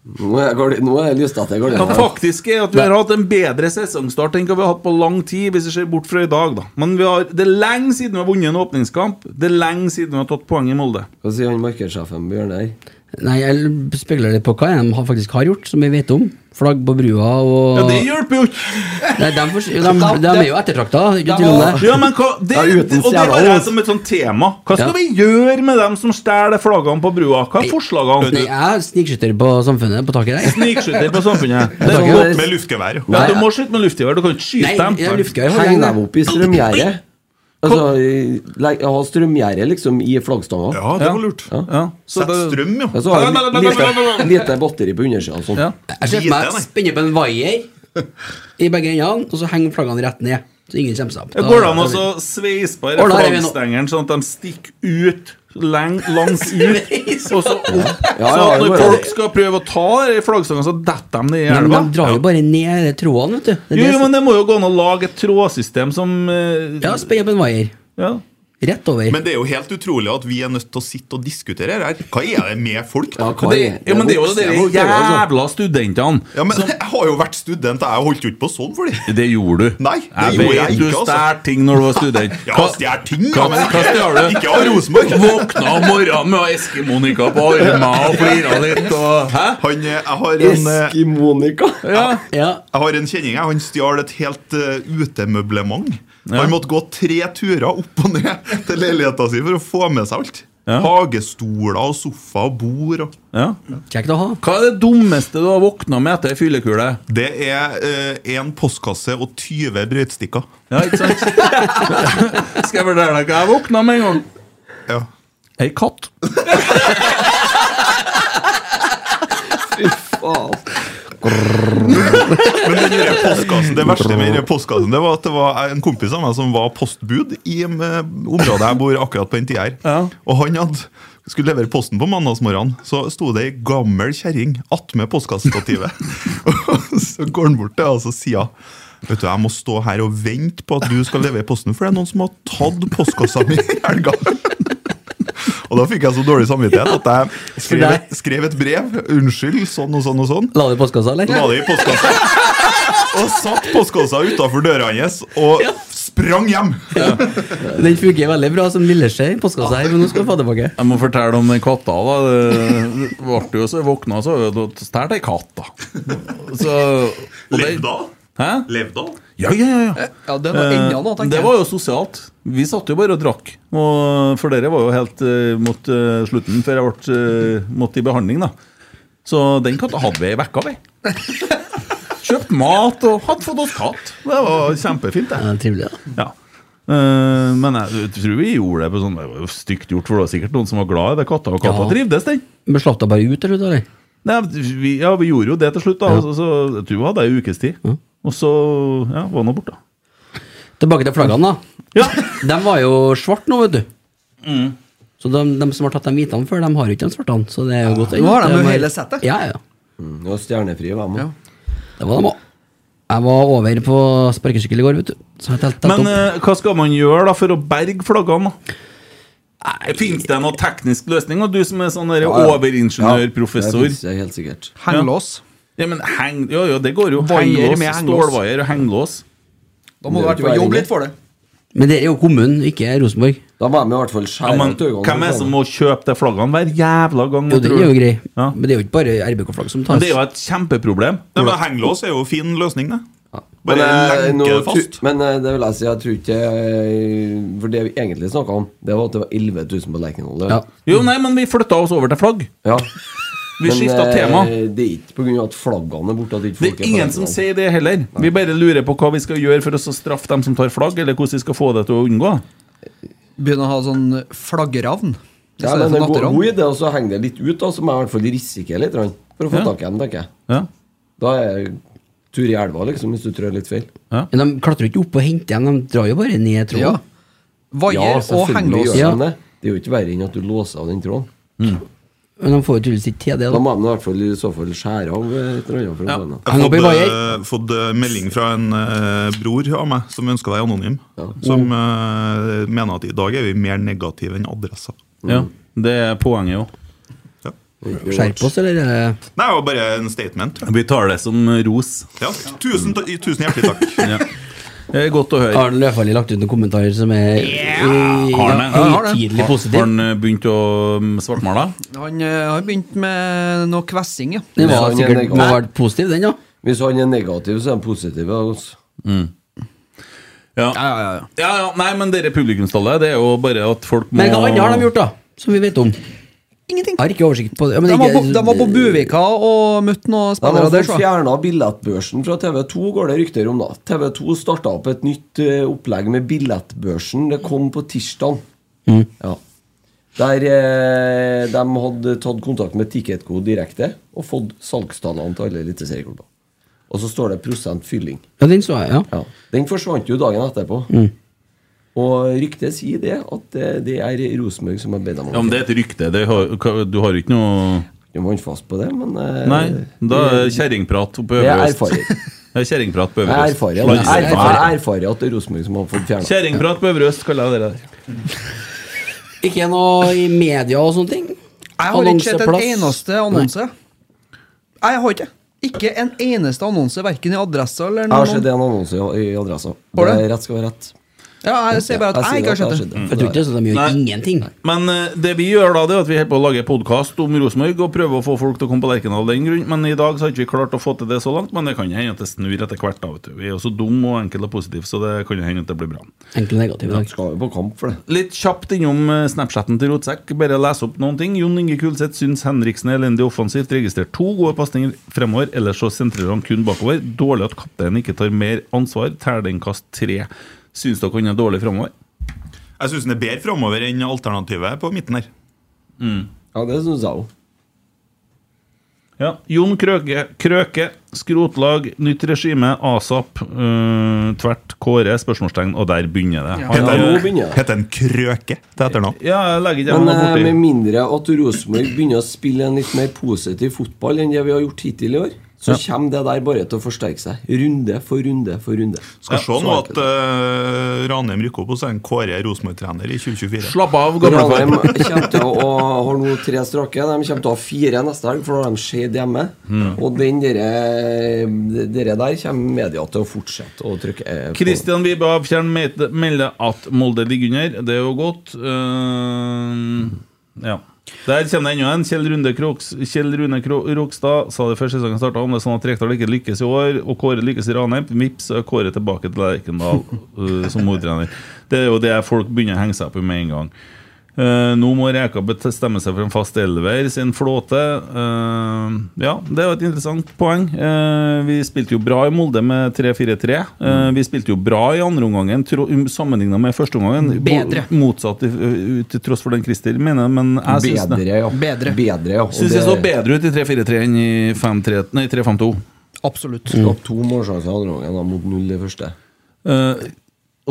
S6: Nå er, jeg gardi- nå er jeg lyst til
S3: Ja,
S6: gardina.
S3: faktisk er at Vi har hatt en bedre sesongstart enn hva vi har hatt på lang tid. Hvis vi ser bort fra i dag da Men vi har, det er lenge siden vi har vunnet en åpningskamp. Det er lenge siden vi har tatt poeng i Molde.
S6: Hva sier han markedssjefen Bjørn her?
S5: Nei, jeg speiler litt på hva de har- faktisk har gjort, som vi vet om. Flagg på brua og
S3: Ja, Det hjelper jo ikke!
S5: Nei, de, fors- de, de, de er jo ettertrakta, ikke
S4: De
S5: tvil om
S4: var-
S5: det.
S3: Ja, men hva, det,
S6: Ja,
S3: og
S6: uten
S3: det
S6: stjæla,
S3: har jeg
S6: altså.
S3: som et sånt tema. Hva skal
S5: Ja.
S3: vi gjøre med dem som stjeler flaggene på brua? Hva er
S5: Nei,
S3: forslagene?
S5: jeg er snikskytter på samfunnet, på taket der.
S3: Snikskytter
S7: sånn-
S3: på samfunnet. Det
S5: Jeg
S3: er
S5: tror ikke
S3: godt.
S5: det-
S7: Med luftgevær.
S3: Ja, du må slutte med luftgevær. Du kan ikke
S5: Nei,
S3: skyte
S5: jeg
S3: dem.
S5: luftgevær har
S6: Heng
S5: jeg.
S6: dem opp i strømgjerdet. Altså, legg- ha strømgjerde liksom i flaggstanga.
S7: Ja, det var lurt.
S3: Ja, så
S7: Sett
S3: det-
S7: strøm,
S6: Og
S7: jo.
S6: så har du lite, lite batteri på undersida. og sånn.
S3: Ja.
S5: Jeg ser for meg å spenne opp en vaier i begge endene, og så henger flaggene rett ned. Så ingen kommer seg opp.
S3: Det går det an altså å så sveise på
S5: Ordner det vi nå.
S3: flaggstengeren sånn at de stikker ut leng, langt ut, og så opp.
S6: Ja,
S3: så
S6: ja,
S3: at
S6: det går
S3: når
S6: an.
S3: folk skal prøve å ta de flaggstengene, så detter de ned i
S5: Nei, men
S3: elva.
S5: de drar jo bare ned de trådene, vet du. Det er
S3: Jo,
S5: det
S3: jo,
S5: som-
S3: men det må jo gå an å lage et trådsystem som eh,
S5: Ja, spenn opp en wire.
S3: ja.
S5: Rett over.
S7: Men det er jo helt utrolig at vi er nødt til å sitte og diskutere her. Hva er det med folk? da?
S6: hva
S3: Men det, ja, men det er jo
S6: voksne
S3: de
S6: folk, det er jo
S7: sånn.
S6: altså.
S3: jævla studentene.
S7: Ja, men Jeg har jo vært student, jeg holdt jo ikke på sånn for dem.
S3: Det gjorde du.
S7: Nei, det
S3: jeg
S7: gjorde
S3: vet
S7: jeg
S3: du
S7: ikke, altså.
S3: stjal ting når du var student.
S7: Ja,
S3: Hva-
S7: stjæl ting, ja,
S3: hva-
S7: men
S3: hva stjal du?
S7: ikke av Rosenborg.
S3: Våkna om morgenen med Eskimonika på armene og flira litt og Hæ?
S7: Han, eh, jeg har en eh,
S6: Eskimonika.
S5: Ja.
S7: Jeg har en kjenning. jeg. Han stjal et helt eh, utemøblement. Han måtte gå tre turer opp og ned til leiligheta si for å få med seg alt.
S3: Ja.
S7: Hagestoler og sofa og bord. Og.
S3: Ja.
S5: Kjekt å ha.
S3: Hva er det dummeste du har våkna med etter ei fyllekule?
S7: Det er én postkasse og 20 brøytestikker.
S3: Ja, ikke sant? Skal jeg fortelle deg hva jeg våkna med en gang?
S7: Ja.
S3: Ei katt.
S7: Men den der postkassen, det verste med den der postkassen Det var at det var en kompis av meg som var postbud i eh, området jeg bor akkurat på NTR.
S3: Ja.
S7: Og han hadde, skulle levere posten på mandagsmorgenen. Så sto det ei gammel kjerring attmed postkassestativet. Og så går han bort til henne og så sier hun, Vet du, Jeg må stå her og vente på at du skal levere posten, for det er noen som har tatt postkassa mi i helga. Og da fikk jeg så dårlig samvittighet at jeg skrev, et- skrev et brev. Unnskyld, sånn og sånn og sånn.
S5: La det i postkassa, eller?
S7: La det i postkassa. Og satt postkassa utafor døra hans og sprang hjem.
S5: Den funker veldig bra som lilleskje i postkassa her, men nå skal du få tilbake.
S3: Jeg må fortelle om den katta. da Det ble jo så jeg våkna, så var det jo stjålet ei katt. da så, og det-
S7: Levde hun?
S3: Hæ?
S7: Levde hun?
S3: Ja, ja, ja, ja.
S4: Eh, Ja, det var enda noe,
S3: Eh,
S4: tenker
S3: det var jo sosialt. Vi satt jo bare og drakk. Og for dere var jo helt eh, mot eh, slutten før jeg ble, eh, måtte i behandling, da. Så den katta hadde vi ei uke, vi. Kjøpt mat og hadde fått oss katt. Det var kjempefint, det.
S5: Ja, trivelig, da.
S3: Ja. Eh, men jeg tror vi gjorde det på sånn Det var jo stygt gjort, for det var sikkert noen som var glad i det katta, og katta
S5: Ja.
S3: trivdes, den.
S5: Men slapp deg bare ut, eller? eller?
S3: Nei, vi, ja, vi gjorde jo det til slutt, da. Så, så, jeg tror vi hadde ei ukes tid. Og så ja, var nå borte.
S5: Tilbake til flaggene, da.
S3: Ja. Mm.
S5: De var jo svarte nå, vet du. Så de, de som har tatt de hvitene før, de har jo ikke de svartene. Så det er jo godt.
S4: Nå har de jo hele settet.
S5: Ja, ja.
S6: Mm, det var stjernefrie, hvem
S4: Ja.
S6: òg?
S5: Det var de òg. Jeg var over på sparkesykkel i går, vet du. Så jeg telte
S3: Men
S5: opp.
S3: eh, hva skal man gjøre da for å berge flaggene? da? Fins det noen teknisk løsning? Og du som er sånn der
S6: Ja, ja.
S3: overingeniørprofessor.
S6: Det er helt sikkert.
S4: Henglås.
S3: Ja, men heng, ja, ja, det går jo.
S4: Vaier
S3: Henglås,
S4: med henglås.
S3: stålvaier og henglås.
S4: Da må du i
S6: Det er
S4: hvert fall
S6: ikke
S4: jobbe
S6: verre.
S4: litt for det.
S5: Men det er jo kommunen, ikke Rosenborg.
S6: Da må de i hvert
S3: Ja,
S6: fall skjære
S3: men,
S6: ut øynene.
S3: hvem er det som må kjøpe de flaggene hver jævla gang?
S5: Jo, den er jo grei.
S3: Ja.
S5: Men det er jo ikke bare RBK-flagg som
S3: Men
S5: tas.
S3: det er jo et kjempeproblem.
S7: Nei, men Henglås er jo en fin løsning, det.
S6: Men,
S7: Bare
S6: eh,
S7: lenke
S6: nå
S7: det fast.
S6: tru- Men eh, det vil jeg si, jeg tror ikke eh, For det vi egentlig snakka om, det var at det var 11 000 på Lerkendal.
S5: Ja.
S3: Jo, nei, men vi flytta oss over til flagg.
S6: Ja.
S3: Vi skifta
S6: eh,
S3: tema.
S6: Det er ikke pga. at flaggene er borte. At
S3: Det
S6: ikke folk
S3: er
S6: på
S3: ingen
S6: Lerkendal.
S3: som sier det heller. Vi bare lurer på hva vi skal gjøre for å så straffe dem som tar flagg, eller hvordan vi skal få det til å unngå.
S4: Begynne å ha sånn flaggeravn.
S6: ja,
S4: sånn
S6: men det er en god, god idé, og så henger det litt ut, da, så må jeg i hvert fall risikere litt grann, for å få
S3: Ja.
S6: tak i dem, tenker jeg.
S3: Ja,
S6: Da er tur i elva, liksom, hvis du trør litt feil.
S5: Men de klatrer jo ikke opp og henter igjen, de drar jo bare
S4: Ja.
S5: ned tråden.
S4: Vaier og henglås.
S6: gjør de
S5: Ja.
S6: det. Det er jo ikke verre enn at du låser av den tråden.
S5: Men de får jo tydeligvis ikke til det,
S6: Da
S5: da.
S6: må de i hvert fall i så fall skjære av eh, et eller annet. for å få den av.
S7: Jeg
S5: Hang opp i
S7: har
S5: vaier.
S7: fått, eh, fått eh, melding fra en eh, bror av meg som ønsker å være anonym. Som eh, mener at i dag er vi mer negative enn adressa.
S3: ja. Det er poenget jo.
S5: Skjerp oss, eller? eh,
S7: Nei, det var bare en statement. tror jeg.
S3: Vi tar det som ros.
S7: Ja, tusen, ta- tusen hjertelig takk.
S3: Ja. Det er godt å høre.
S5: Arne Løfali lagt ut noen kommentarer som er eh,
S3: Har han det?
S5: ja,
S3: Har
S5: høytidelig
S3: Har
S5: positiv.
S3: han eh, begynt å mm, svartmale?
S4: Han eh, har begynt med noe kvessing, ja.
S5: Den
S6: Hvis
S5: var
S6: han er
S5: sikkert
S6: negativ.
S5: må ha vært positiv, den, ja. Mm.
S6: Hvis han er negativ, så er han positiv. da, altså.
S3: Ja. Ja,
S4: ja, ja.
S3: ja, Nei, men dere publikumstallet, det er jo bare at folk må
S5: Men hva annet har de gjort, da? Som vi vet om?
S4: Ingenting.
S5: Jeg har ikke oversikt på det. Ja, men
S4: De var, på,
S5: ikke-
S4: de var på Buvika og møtte noen
S6: De har
S4: spillere der,
S6: fått
S4: så.
S6: fjerna billettbørsen fra TV2, går det rykter om. da TV2 starta opp et nytt eh, opplegg med billettbørsen. Det kom på tirsdag. Ja. Der eh, de hadde tatt kontakt med Ticketco direkte og fått salgstallene til alle eliteserieklubber. Og så står det prosent fylling.
S5: Ja, den så jeg, ja.
S6: Ja. Den forsvant jo dagen etterpå. Og ryktet sier det, at det, det er Rosenborg som har bedt dem
S3: Ja, men det er et rykte. Det har, hva- du har ikke noe
S6: Du må holde fast på det, men eh,
S3: Nei, da er det kjerringprat på
S6: det er
S3: Øvre Øst.
S6: erfaring.
S3: Det er Kjerringprat på Øvre
S6: Jeg
S3: Øst.
S6: erfarer, jeg
S3: Sladre.
S6: erfarer, jeg erfarer at det er Rosenborg som har fått fjerna.
S3: Kjerringprat på Øvre Øst, kaller jeg det der.
S5: Ikke noe i media og sånne ting?
S4: Jeg har ikke sett en
S5: Annonseplass?
S4: eneste annonse. Nei, jeg har ikke. Ikke en eneste annonse, verken i adressa eller
S6: Jeg har sett
S4: noe.
S6: en annonse i i Adressa.
S4: Har du?
S6: Det er rett skal være rett.
S4: Ja, jeg sier bare at jeg ikke har sett det.
S5: Jeg tror ikke det er sånn at de gjør
S3: Nei.
S5: ingenting.
S3: Men eh, det vi gjør da, det er at vi holder på å lage podkast om Rosenborg og prøver å få folk til å komme på Lerkendal av den grunn. Men i dag så har ikke vi klart å få til det så langt, men det kan jo hende at det snur etter hvert. da, vet du. Vi er jo så dumme og enkle og positive, så det kan jo hende at det blir bra.
S5: Enkelt negativ i dag.
S6: Skal jo på kamp for det.
S3: Litt kjapt innom eh, Snapchatten til Rotsekk. Bare lese opp noen ting. Jon Inge Kulseth syns Henriksen er elendig offensivt. Registrert to gode pasninger fremover, ellers så sentrerer han kun bakover. Dårlig at kapteinen ikke tar mer ansvar. Terningkast tre. Syns dere han er dårlig fremover?
S7: Jeg syns den er bedre framover enn alternativet på midten her.
S3: Mm.
S6: Ja, det syns jeg òg.
S3: Ja. Jon Krøke, Krøke, skrotlag, nytt regime, ASAP, eh, tvert Kåre, spørsmålstegn, og der begynner det. Han,
S6: Ja, nå
S7: Heter
S6: begynner jeg.
S7: heter en krøke til etternavn.
S3: ja, jeg legger ikke
S6: Men
S3: henne
S6: eh, med
S3: borti.
S6: mindre at Rosenborg begynner å spille en litt mer positiv fotball enn det vi har gjort hittil i år, så kommer det der bare til å forsterke seg. Runde for runde for runde.
S7: Skal se nå
S6: så
S7: at eh, Ranheim rykker opp, og så er en Kåre Rosenborg-trener i 2024.
S3: Slapp av,
S6: Ranheim
S3: gamlefar.
S6: kommer til å har nå tre strake. De kommer til å ha fire neste helg, for da har de Skeid hjemme. Og den dere, dere der kommer media til å fortsette å trykke eh, på.
S3: Kristian Vibe Avtjern mete- melder at Molde ligger under. Det er jo godt. Eh, ja. Der kommer det enda en. Kjell Runde Kroks, Kjell Rune Kro- Rokstad sa det før sesongen starta, om det er sånn at Rekdal ikke lykkes i år, og Kåre lykkes i Ranheim, vips, så er Kåre tilbake til Lerkendal eh, som hovedtrener. Det er jo det folk begynner å henge seg opp i med en gang. Eh, nå må Reka bestemme seg for en fast elver, sin flåte. Eh, ja, det er jo et interessant poeng. Eh, vi spilte jo bra i Molde med 3-4-3.
S6: Mm.
S3: Eh, vi spilte jo bra i andre omgangen tro- sammenlignet med første omgangen.
S4: Bedre.
S3: Bo- Motsatt i- til tross for den Christer mener, men jeg syns
S6: Bedre,
S3: det.
S6: ja.
S4: Bedre.
S6: ja. Og
S3: Syns det så
S6: det-
S3: bedre ut i 3-4-3 enn i 5-3 nei, 3-5-2.
S4: Absolutt.
S6: Slapp Mm. to målsjanser i andre gangen sånn, da, mot null i første.
S3: Eh,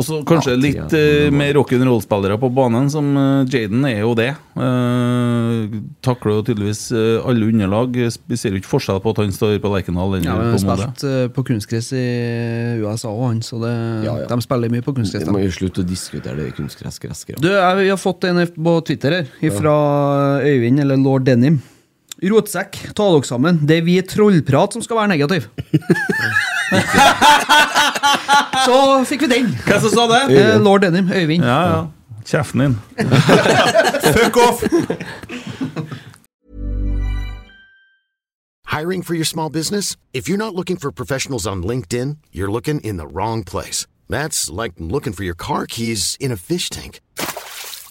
S3: og så kanskje
S6: Ja,
S3: litt
S6: ja.
S3: eh,
S5: Mm.
S3: mer rock'n'roll-spillere på banen, som eh, Jaden er jo det. Eh, takler jo tydeligvis eh, alle underlag. Vi ser jo ikke forskjell på at han står på Lerkendal
S4: Ja,
S3: eller
S4: men
S3: på Molde.
S4: spilt eh, på kunstgress i USA og han, så det,
S6: Ja, ja.
S4: Mm. de spiller mye på kunstgress.
S6: Vi
S4: de.
S6: må jo slutte å diskutere det kunstgressgressgreiene.
S4: Du, jeg, vi har fått en på Twitter her, fra Øyvind, eller lord Denim. Rotsekk, ta dere sammen. Det er vi trollprat som skal være negativ. så fikk vi den.
S3: Hva som sa det?
S4: Eh, lord Denim, Øyvind.
S3: Ja, ja. Kjeften din.
S7: Fuck off!
S9: Hiring for your small business? If you're not looking for professionals on LinkedIn, you're looking in the wrong place. That's like looking for your car keys in a fish tank.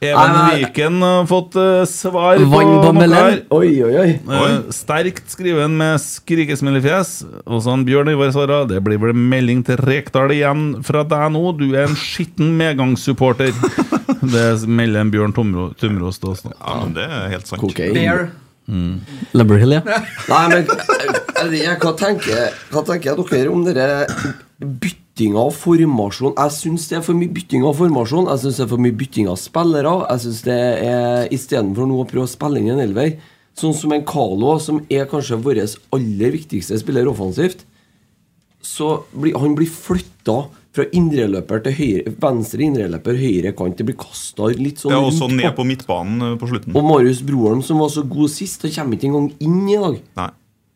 S3: Even
S5: Nei, nei.
S3: Viken har fått eh, svar på
S5: Vann på
S3: noe
S5: Mellem.
S3: her.
S6: Oi, oi, oi.
S3: Eh, sterkt skriven med skrikesmellefjes. Og så han Bjørn Ivar svarer det blir vel melding til Rekdal igjen fra deg nå. Du er en skitten medgangssupporter. Det melder en Bjørn Tomro, Tumros til oss nå.
S7: Ja, men det er helt sant.
S6: Kokain.
S4: Bear.
S3: Mm.
S5: Lumberhill, ja.
S6: Nei, men eh, jeg vet ikke, hva tenker, hva tenker dere om dere byttinga av formasjon? Jeg syns det er for mye bytting av formasjon. Jeg syns det er for mye bytting av spillere. Jeg synes det er Istedenfor nå å prøve å spille inn en elver, sånn som en Kalo, som er kanskje vår aller viktigste spiller offensivt, så blir han blir flytta fra indreløper til høyre, venstre indreløper, høyre kant. Det blir kasta litt sånn
S7: Ja, og så
S6: rundt
S7: ned
S6: på-
S7: på midtbanen eh, på slutten.
S6: Og Marius Broholm, som var så god sist, han kommer ikke engang inn i dag.
S7: Nei.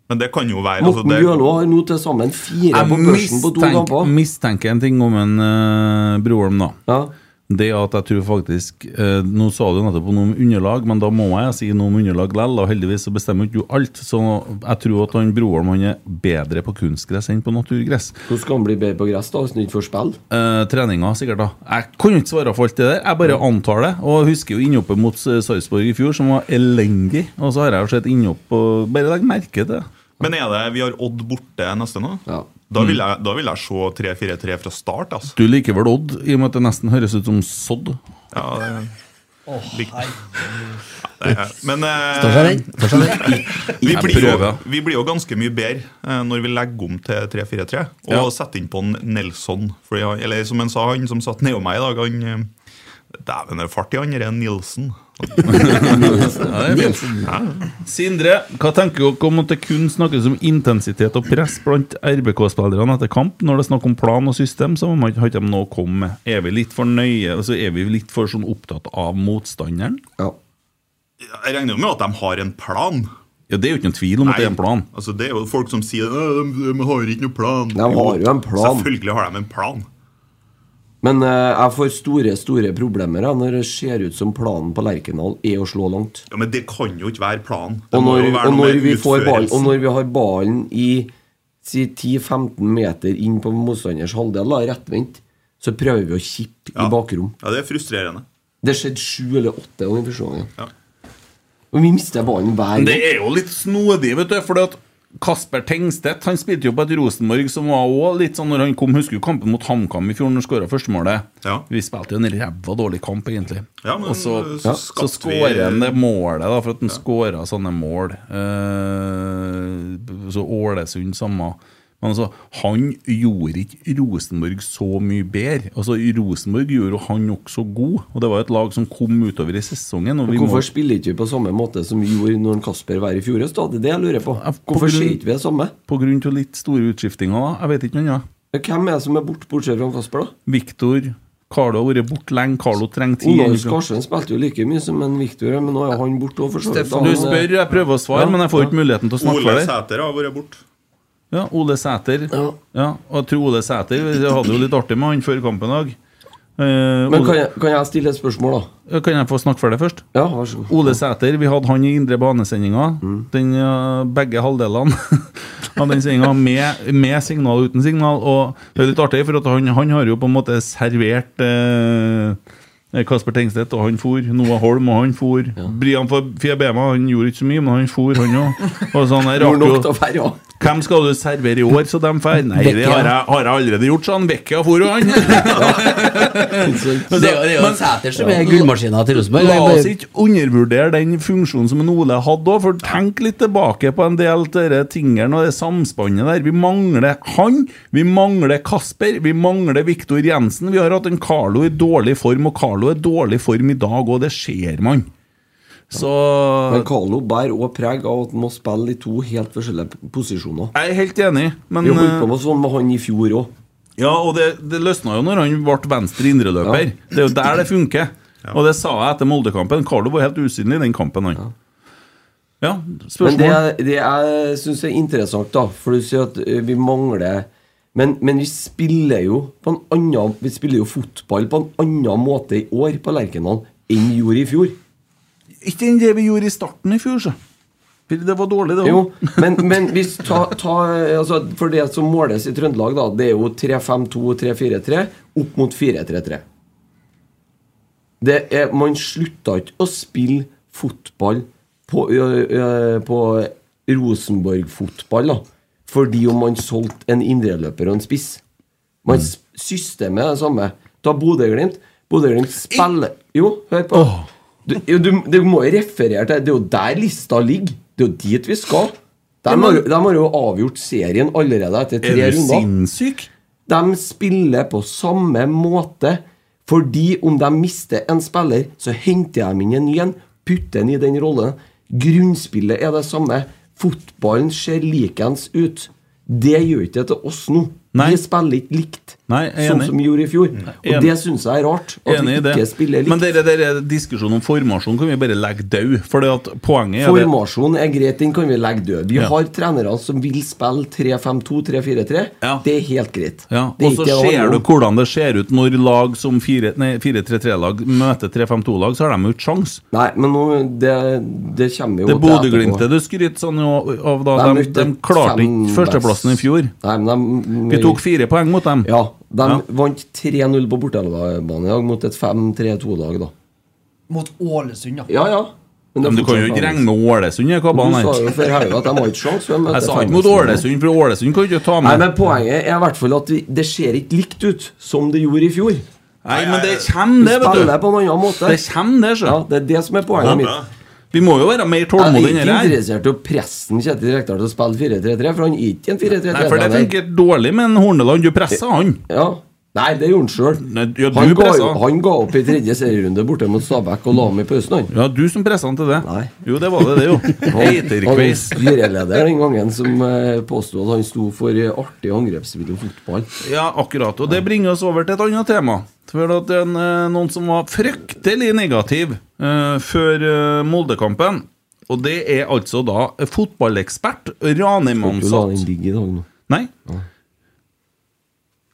S7: Men det kan jo være altså,
S6: Morten
S7: det,
S6: Bjørlo har nå til sammen fire
S3: Jeg
S6: på børsen på to
S3: mistenker,
S6: kamper.
S3: mistenker en ting om en uh, Broholm, da.
S6: Ja.
S3: Det at jeg tror faktisk eh, Nå sa du nettopp noe om underlag, men da må jeg si noe om underlag likevel. Og heldigvis så bestemmer ikke du alt. Så jeg tror at han Broholm han er bedre på kunstgress enn på naturgress.
S6: Hvordan skal han bli bedre på gress da, hvis han ikke får spille?
S3: Eh, treninga, sikkert. da Jeg kan jo ikke svare for alt det der. Jeg bare antar det. Og jeg husker jo innhoppet mot eh, Sarpsborg i fjor, som var elendig. Og så har jeg jo sett innhopp og Bare legg merke til det.
S7: Men er det vi har Odd borte neste nå?
S6: Ja.
S7: Da vil
S3: Mm.
S7: jeg, da vil jeg se 3-4-3 fra start, altså.
S3: Du liker vel Odd, i og med at det nesten høres ut som sodd?
S7: Ja, det, Lik- Ja, det er- Men eh,
S5: Står seg den. Står seg den.
S7: vi,
S3: Jeg
S7: blir jo,
S3: prøver.
S7: vi blir jo ganske mye bedre eh, når vi legger om til 3-4-3 og
S3: Ja.
S7: setter inn på en Nelson. Fordi, han- eller som han sa, han som satt nedom meg i dag, han eh, Dæven, det er fart i han der Nilsen.
S3: Sindre, hva tenker dere om at det kun snakkes om intensitet og press blant RBK-spillerne etter kamp? Når det er snakk om plan og system, så har man ikke- har ikke de noe å komme med. Er vi litt for nøye, altså er vi litt for sånn opptatt av motstanderen?
S6: Ja.
S7: Jeg regner jo med at de har en plan.
S3: Ja, Det er jo ikke noen tvil om at det er en plan.
S7: Altså, det er jo folk som sier at de, de har ikke noen plan.
S6: De har jo en plan.
S7: Selvfølgelig har de en plan.
S6: Men eh, jeg får store store problemer jeg, når det ser ut som planen på Lerkendal er å slå langt.
S7: Ja, Men det kan jo ikke være planen. Det
S6: Og
S7: må
S6: når,
S7: jo være
S6: og
S7: noe
S6: når,
S7: med
S6: vi, får ball, og
S7: utførelsen.
S6: når vi har ballen i si 10-15 meter inn på motstanders halvdel, da, rettvendt, så prøver vi å kippe i bakrom.
S7: Ja, det er frustrerende.
S6: Det skjedde sju eller åtte ganger i første gangen. Og vi mister ballen hver
S3: Men
S6: gang.
S3: Det er jo litt snodig, vet du. Fordi at Kasper Tengstedt han spilte jo på et Rosenborg som var også litt sånn når han kom Husker du kampen mot HamKam i fjor, når han skåra førstemålet?
S7: Ja.
S3: Vi spilte jo en ræva dårlig kamp, egentlig.
S7: Ja, men
S3: og så,
S7: så
S3: så
S7: skapte vi-
S3: skårer han det målet, da, for at han skåra sånne mål. Eh, så Ålesund samme. Men altså, han gjorde ikke Rosenborg så mye bedre. Altså, Rosenborg gjorde jo han også god, og det var et lag som kom utover i sesongen. Og vi må
S6: Hvorfor spiller ikke vi på samme måte som vi gjorde når Kasper var i fjor høst? da? Det er det jeg lurer på.
S3: Ja, på
S6: Hvorfor
S3: grunn-
S6: sier ikke vi det samme?
S3: På grunn til litt store utskiftinger, da. Jeg vet ikke noe annet.
S6: Hvem er det som er borte, bortsett fra Kasper, da?
S3: Viktor Carlo har vært borte lenge. Carlo trenger tid.
S6: Olav
S3: innifra.
S6: Skarsen spilte jo like mye som en Viktor, men nå er han borte òg, for så vidt.
S4: Stefan,
S3: Du
S6: Han, eh,
S3: spør, jeg prøver å svare,
S6: Ja,
S3: men jeg får
S6: ja.
S3: ikke muligheten til å
S7: Ole
S3: snakke for deg.
S7: Sæter har vært borte.
S3: Ja, Ole Sæter. Ja.
S6: Ja.
S3: og jeg tror Ole Sæter Jeg hadde jo litt artig med han før kampen i dag. Eh,
S6: Men
S3: Ole,
S6: kan jeg, kan jeg stille et spørsmål, da?
S3: kan, jeg få snakke for deg først?
S6: Ja, vær så god.
S3: Ole Sæter, vi hadde han i indre banesendinga.
S6: Mm.
S3: Den, ja, begge halvdelene av den sendinga, med, med signal og uten signal. Og det er litt artig, for at han, han har jo på en måte servert eh, Kasper Tengstedt, og han for. Noah Holm, og han for. Brian Fiabema, han gjorde ikke så mye, men han for, han sånn
S6: Gjorde nok til
S3: òg.
S6: å være ja.
S3: Hvem skal du servere i år, så de drar? Nei, det har jeg, har jeg allerede gjort, sa han. Vekka for jo han.
S5: Det er jo- det er jo Sæter som er gullmaskina til Rosenborg.
S3: La oss ikke undervurdere den funksjonen som en Ole hadde òg, for tenk litt tilbake på en del av disse tingene og det samspannet der. Vi mangler han, vi mangler Kasper, vi mangler Viktor Jensen. Vi har hatt en Carlo i dårlig form, og Carlo er i dårlig form i dag, og det ser man. Så
S6: Men Carlo bærer òg preg av at han må spille i to helt forskjellige p- posisjoner.
S3: jeg er helt enig, men eh,
S6: Vi holdt på med sånn med han i fjor òg.
S3: Ja, og det, det løsna jo når han ble venstre indreløper. Det er jo der det funker. Og det sa jeg etter Molde-kampen. Carlo var helt usynlig i den kampen, han. Ja, spørsmål.
S6: Men det, jeg- det jeg syns er interessant, da For du sier at ø, vi mangler men, men vi spiller jo på en annen Vi spiller jo fotball på en annen måte i år på Lerkendal enn vi gjorde i fjor.
S3: Ikke enn det vi gjorde i starten i fjor, så. For Det var dårlig, det
S6: Jo,
S3: òg.
S6: men, men hvis ta, ta, ø, altså, For det som måles i Trøndelag, da, det er jo 3-5-2, 3-4-3 opp mot 4-3-3. Det er, man slutta ikke å spille fotball på, ø- ø- på Rosenborg-fotball da fordi om man solgte en indreløper og en spiss. Man, s- Systemet er det samme. Ta Bodø-Glimt. Bodø-Glimt spiller Jo, hør på. Du, jo, du, du må jo referere til Det er jo der lista ligger. Det er jo dit vi skal. De har, jo- de har jo avgjort serien allerede etter tre
S3: Er du
S6: runder.
S3: sinnssyk?
S6: De spiller på samme måte, fordi om de mister en spiller, så henter de inn en ny en, putter den i den rollen. Grunnspillet er det samme. Fotballen ser likens ut. Det gjør ikke det til oss nå.
S3: Nei.
S6: Vi spiller ikke likt,
S3: Nei, jeg er
S6: sånn
S3: enig. Mm.
S6: som vi gjorde i fjor.
S3: enig.
S6: Og det syns jeg er rart. At vi
S3: Enig i det.
S6: ikke spiller
S3: Men
S6: likt.
S3: dere, dere, diskusjonen om formasjon kan vi bare legge død. For det at poenget er det
S6: Formasjonen er greit, den kan vi legge død. Vi
S3: Ja.
S6: har trenere som vil spille 3-5-2, 3-4-3.
S3: Ja.
S6: Det er helt greit.
S3: ja,
S6: Det er
S3: Og så
S6: ikke det det
S3: ser
S6: handler
S3: du
S6: om.
S3: hvordan det ser ut når lag som fire- nei, 4-3-3-lag møter 3-5-2-lag, så har de jo ikke sjans.
S6: Nei, men nå, det, det kommer jo
S3: Det
S6: til etterpå.
S3: Bodø-Glimtet du skryter sånn av, av da, de, de
S6: møtte
S3: klarte
S6: fem
S3: ikke førsteplassen i
S6: best.
S3: fjor.
S6: Nei, men de,
S3: Vi tok fire poeng mot dem.
S6: Ja, de
S3: Ja.
S6: vant 3-0 på bortebane i dag mot et 5-3-2-lag, da.
S4: Mot Ålesund, ja.
S6: Ja, ja. det er
S3: Men du kan jo ikke
S6: fortsatt sånn. annerledes.
S3: regne med Ålesund i kabalen.
S6: Du sa
S3: her.
S6: jo før helga at de har ikke sjans. hvem møter
S3: Jeg sa ikke mot
S6: Femmesen?
S3: Ålesund, for Ålesund kan ikke ta
S6: Nei,
S3: med.
S6: men Poenget er i hvert fall at vi, det ser ikke likt ut som det gjorde i fjor.
S3: Nei, men det kommer,
S6: Vi
S3: det, vet du.
S6: spiller på en annen måte.
S3: Det kommer, det,
S6: Ja,
S3: sjø.
S6: Det er det som er poenget mitt.
S3: Vi må jo være mer
S6: Jeg er
S3: tålmodige enn
S6: ikke
S3: det her.
S6: interessert i å presse en Kjetil Rekdal til å spille 4-3-3, for han er ikke en 4-3-3.
S3: Nei, for det
S6: trener.
S3: funker dårlig med en Horneland. Du pressa han.
S6: Ja. Nei, det gjorde han sjøl.
S3: Nei, ja, du
S6: han, ga
S3: pressa.
S6: jo- han ga opp i tredje serierunde borte mot Stabæk og la ham i pausen, han.
S3: Ja, du som pressa han til det.
S6: Nei.
S3: Jo, det var det, det, jo.
S6: Han var
S3: Haterquiz.
S6: styreleder den gangen som eh, påsto at han sto for eh, artig angrepsvideo fotball.
S3: Ja, akkurat. Og det bringer oss over til et annet tema. For at det er en, eh, noen som var fryktelig negativ eh, før eh, Moldekampen. Og det er altså da fotballekspert
S6: Du la den
S3: Ranheim-ansatt.
S6: ligge i dag nå.
S3: Nei?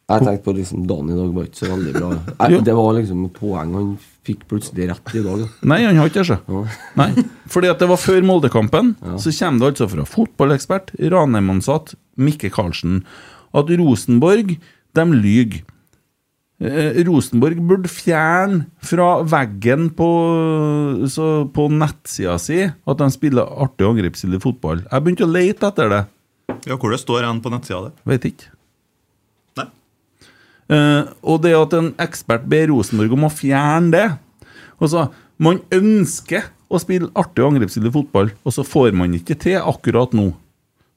S6: Jeg tenkte på liksom dagen i dag var ikke så veldig bra.
S3: Jo.
S6: Jeg, det var liksom et poeng han fikk plutselig rett i dag. da.
S3: Nei, han har ikke det, sjø. Nei. Fordi at det var før Moldekampen. Så kommer det altså fra fotballekspert, Ranheim-ansatt, Mikke Karlsen, at Rosenborg, de lyver. Eh, Rosenborg burde fjerne fra veggen på, så på nettsida si at de spiller artig og angrepsvillig fotball. Jeg begynte å lete etter det.
S7: Ja, hvor det står en på nettsida der?
S3: Vet ikke.
S7: Nei.
S3: Eh, og det at en ekspert ber Rosenborg om å fjerne det Og så, Man ønsker å spille artig og angrepsvillig fotball, og så får man ikke til akkurat nå.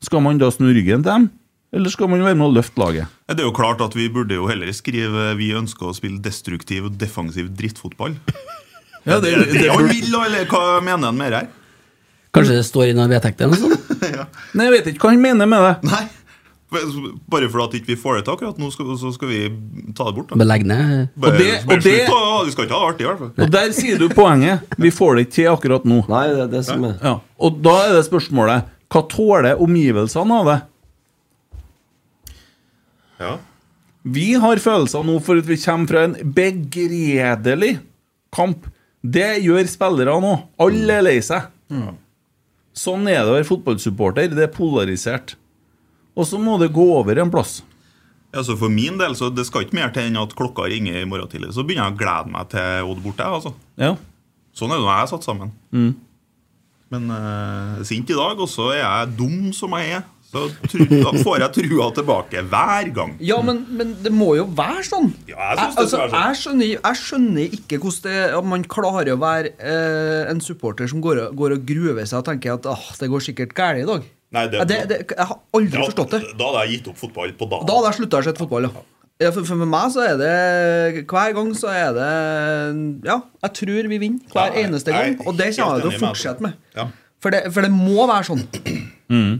S3: Skal man da snu ryggen til dem, eller skal man være med og løfte laget?
S7: Nei, Det er jo klart at Vi burde jo heller skrive vi ønsker å spille destruktiv og defensiv drittfotball.
S3: Ja, det,
S7: Er det det han vil, eller hva mener han mer her?
S5: Kanskje det står i noen vedtekter? eller noe sånt?
S3: Nei, Jeg vet ikke hva han mener med det.
S7: Nei, Bare for at ikke vi ikke får det til akkurat nå, skal, så skal vi ta det bort. da
S5: Belegg ned
S7: Bare,
S3: Og det-
S7: bare
S3: og det-
S7: slutt, da. Du skal ikke ha det artig, i hvert fall.
S3: Og Der sier du poenget. Vi får det ikke til akkurat nå.
S6: Nei, det er det som er
S3: Ja, Og da er det spørsmålet Hva tåler omgivelsene av det?
S7: Ja.
S3: Vi har følelser nå for at vi kommer fra en begredelig kamp. Det gjør spillere nå. Alle er lei seg. Sånn er det å være fotballsupporter. Det er polarisert. Og så må det gå over en plass.
S7: Ja, så For min del så det skal ikke mer til enn at klokka ringer i morgen tidlig. Så begynner jeg å glede meg til Odd borte. jeg, altså.
S3: Ja.
S7: Sånn er det når jeg er satt sammen.
S3: Mm.
S7: Men eh, sint i dag, og så er jeg dum som jeg er. Så tru, da får jeg trua tilbake hver gang.
S4: Ja, men, men det må jo være sånn.
S7: Ja, jeg synes det skal være sånn.
S4: jeg, skjønner, jeg skjønner ikke hvordan det at man klarer å være eh, en supporter som går, og- går og gruer seg og tenker at ah, det går sikkert galt i dag.
S7: Nei, det-
S4: Ja, det, det, jeg har aldri
S7: Ja,
S4: forstått det.
S7: Da hadde jeg gitt opp fotball på dagen.
S4: Da hadde jeg slutta å se fotball, ja. ja for, for meg så er det Hver gang så er det Ja, jeg tror vi vinner hver
S7: Ja, jeg-
S4: eneste
S7: jeg er
S4: gang. Og det
S7: helt
S4: kommer jeg til
S7: enig
S4: å
S7: med
S4: fortsette
S7: deg.
S4: med.
S7: Ja.
S4: For det, for det må være sånn.
S3: Mm.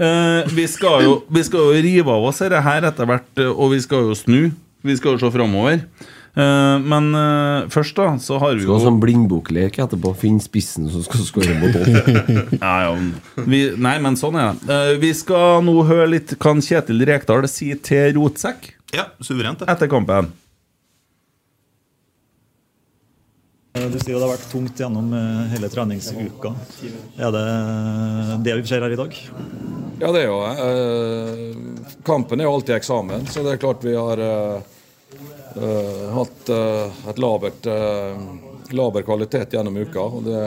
S3: Eh, vi, skal jo, vi skal jo rive av oss dette her etter hvert, eh, og vi skal jo snu. Vi skal jo se framover. Eh, men eh, først, da, så har vi
S6: Skal ha
S3: jo
S6: sånn blindboklek etterpå. Finn spissen som skal skåre mot oss.
S3: Ja, ja. Vi, nei, men sånn er det. Eh, vi skal nå høre litt hva en Kjetil Rekdal sier til Rotsekk
S7: Ja, suverent, det.
S3: etter kampen.
S10: Eh, Du sier jo det har vært tungt gjennom eh, hele treningsuka. Er det eh, det vi ser her i dag?
S8: Ja, det er jo eh, Kampen er jo alltid eksamen, så det er klart vi har eh, eh, hatt eh, et labert eh, laber kvalitet gjennom uka. og Det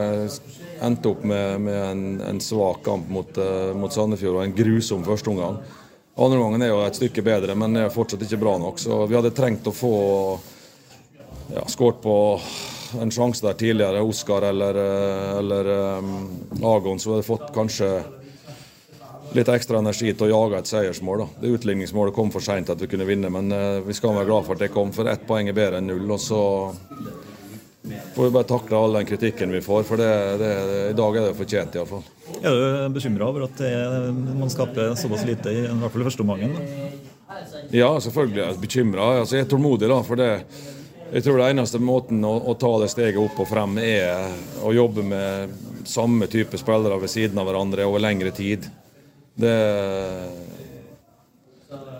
S8: endte opp med, med en, en svak kamp mot, eh, mot Sandefjord og en grusom førsteomgang. Andreomgangen er jo et stykke bedre, men er fortsatt ikke bra nok. Så vi hadde trengt å få ja, skåret på en sjanse der tidligere, Oskar eller, eh, eller eh, Agon, så hadde vi fått kanskje litt ekstra energi til å jage et seiersmål. Da. Det utligningsmålet kom for seint at vi kunne vinne, men eh, vi skal være glad for at det kom, for ett poeng er bedre enn null. og så får vi bare takle all den kritikken vi får, for det, det, i dag er det fortjent iallfall.
S10: Er du bekymra over at det, er- man skaper såpass lite, i i hvert fall i første omgangen? da?
S8: Ja, selvfølgelig er jeg bekymra. Altså, jeg er tålmodig, da. For det, jeg tror det eneste måten å, å ta det steget opp og frem er å jobbe med samme type spillere ved siden av hverandre over lengre tid. Det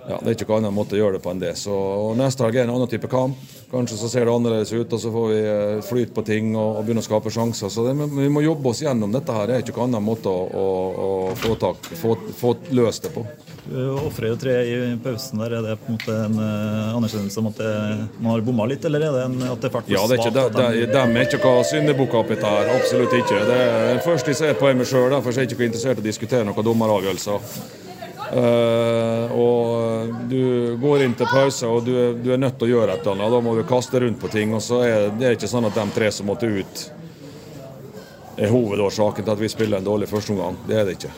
S8: ja, Det er ikke noen annen måte å gjøre det på enn det. Så, og neste helg er en annen type kamp. Kanskje så ser det annerledes ut, og så får vi eh, flyt på ting og, og begynne å skape sjanser. Så det, men vi må jobbe oss gjennom dette her. Det er ikke noen annen måte å, å, å få, tak, få, få løst det på.
S10: Du ofrer Eh, jo tre i pausen. der, Er det på en måte en eh, anerkjennelse om at det, man har bomma litt, eller er det en, at det er fælt for
S8: Ja, det er ikke,
S10: svakt
S8: de, de,
S10: at de-
S8: de er ikke hva syndebukker oppi dette her. Absolutt ikke. Det er den første jeg ser på er meg sjøl, derfor er jeg ikke interessert i å diskutere noen dommeravgjørelser. Eh, og du går inn til pause, og du, er- du er nødt til å gjøre et eller annet. Da må du kaste rundt på ting, og så er det er ikke sånn at de tre som måtte ut, er hovedårsaken til at vi spiller en dårlig førsteomgang. Det er det ikke.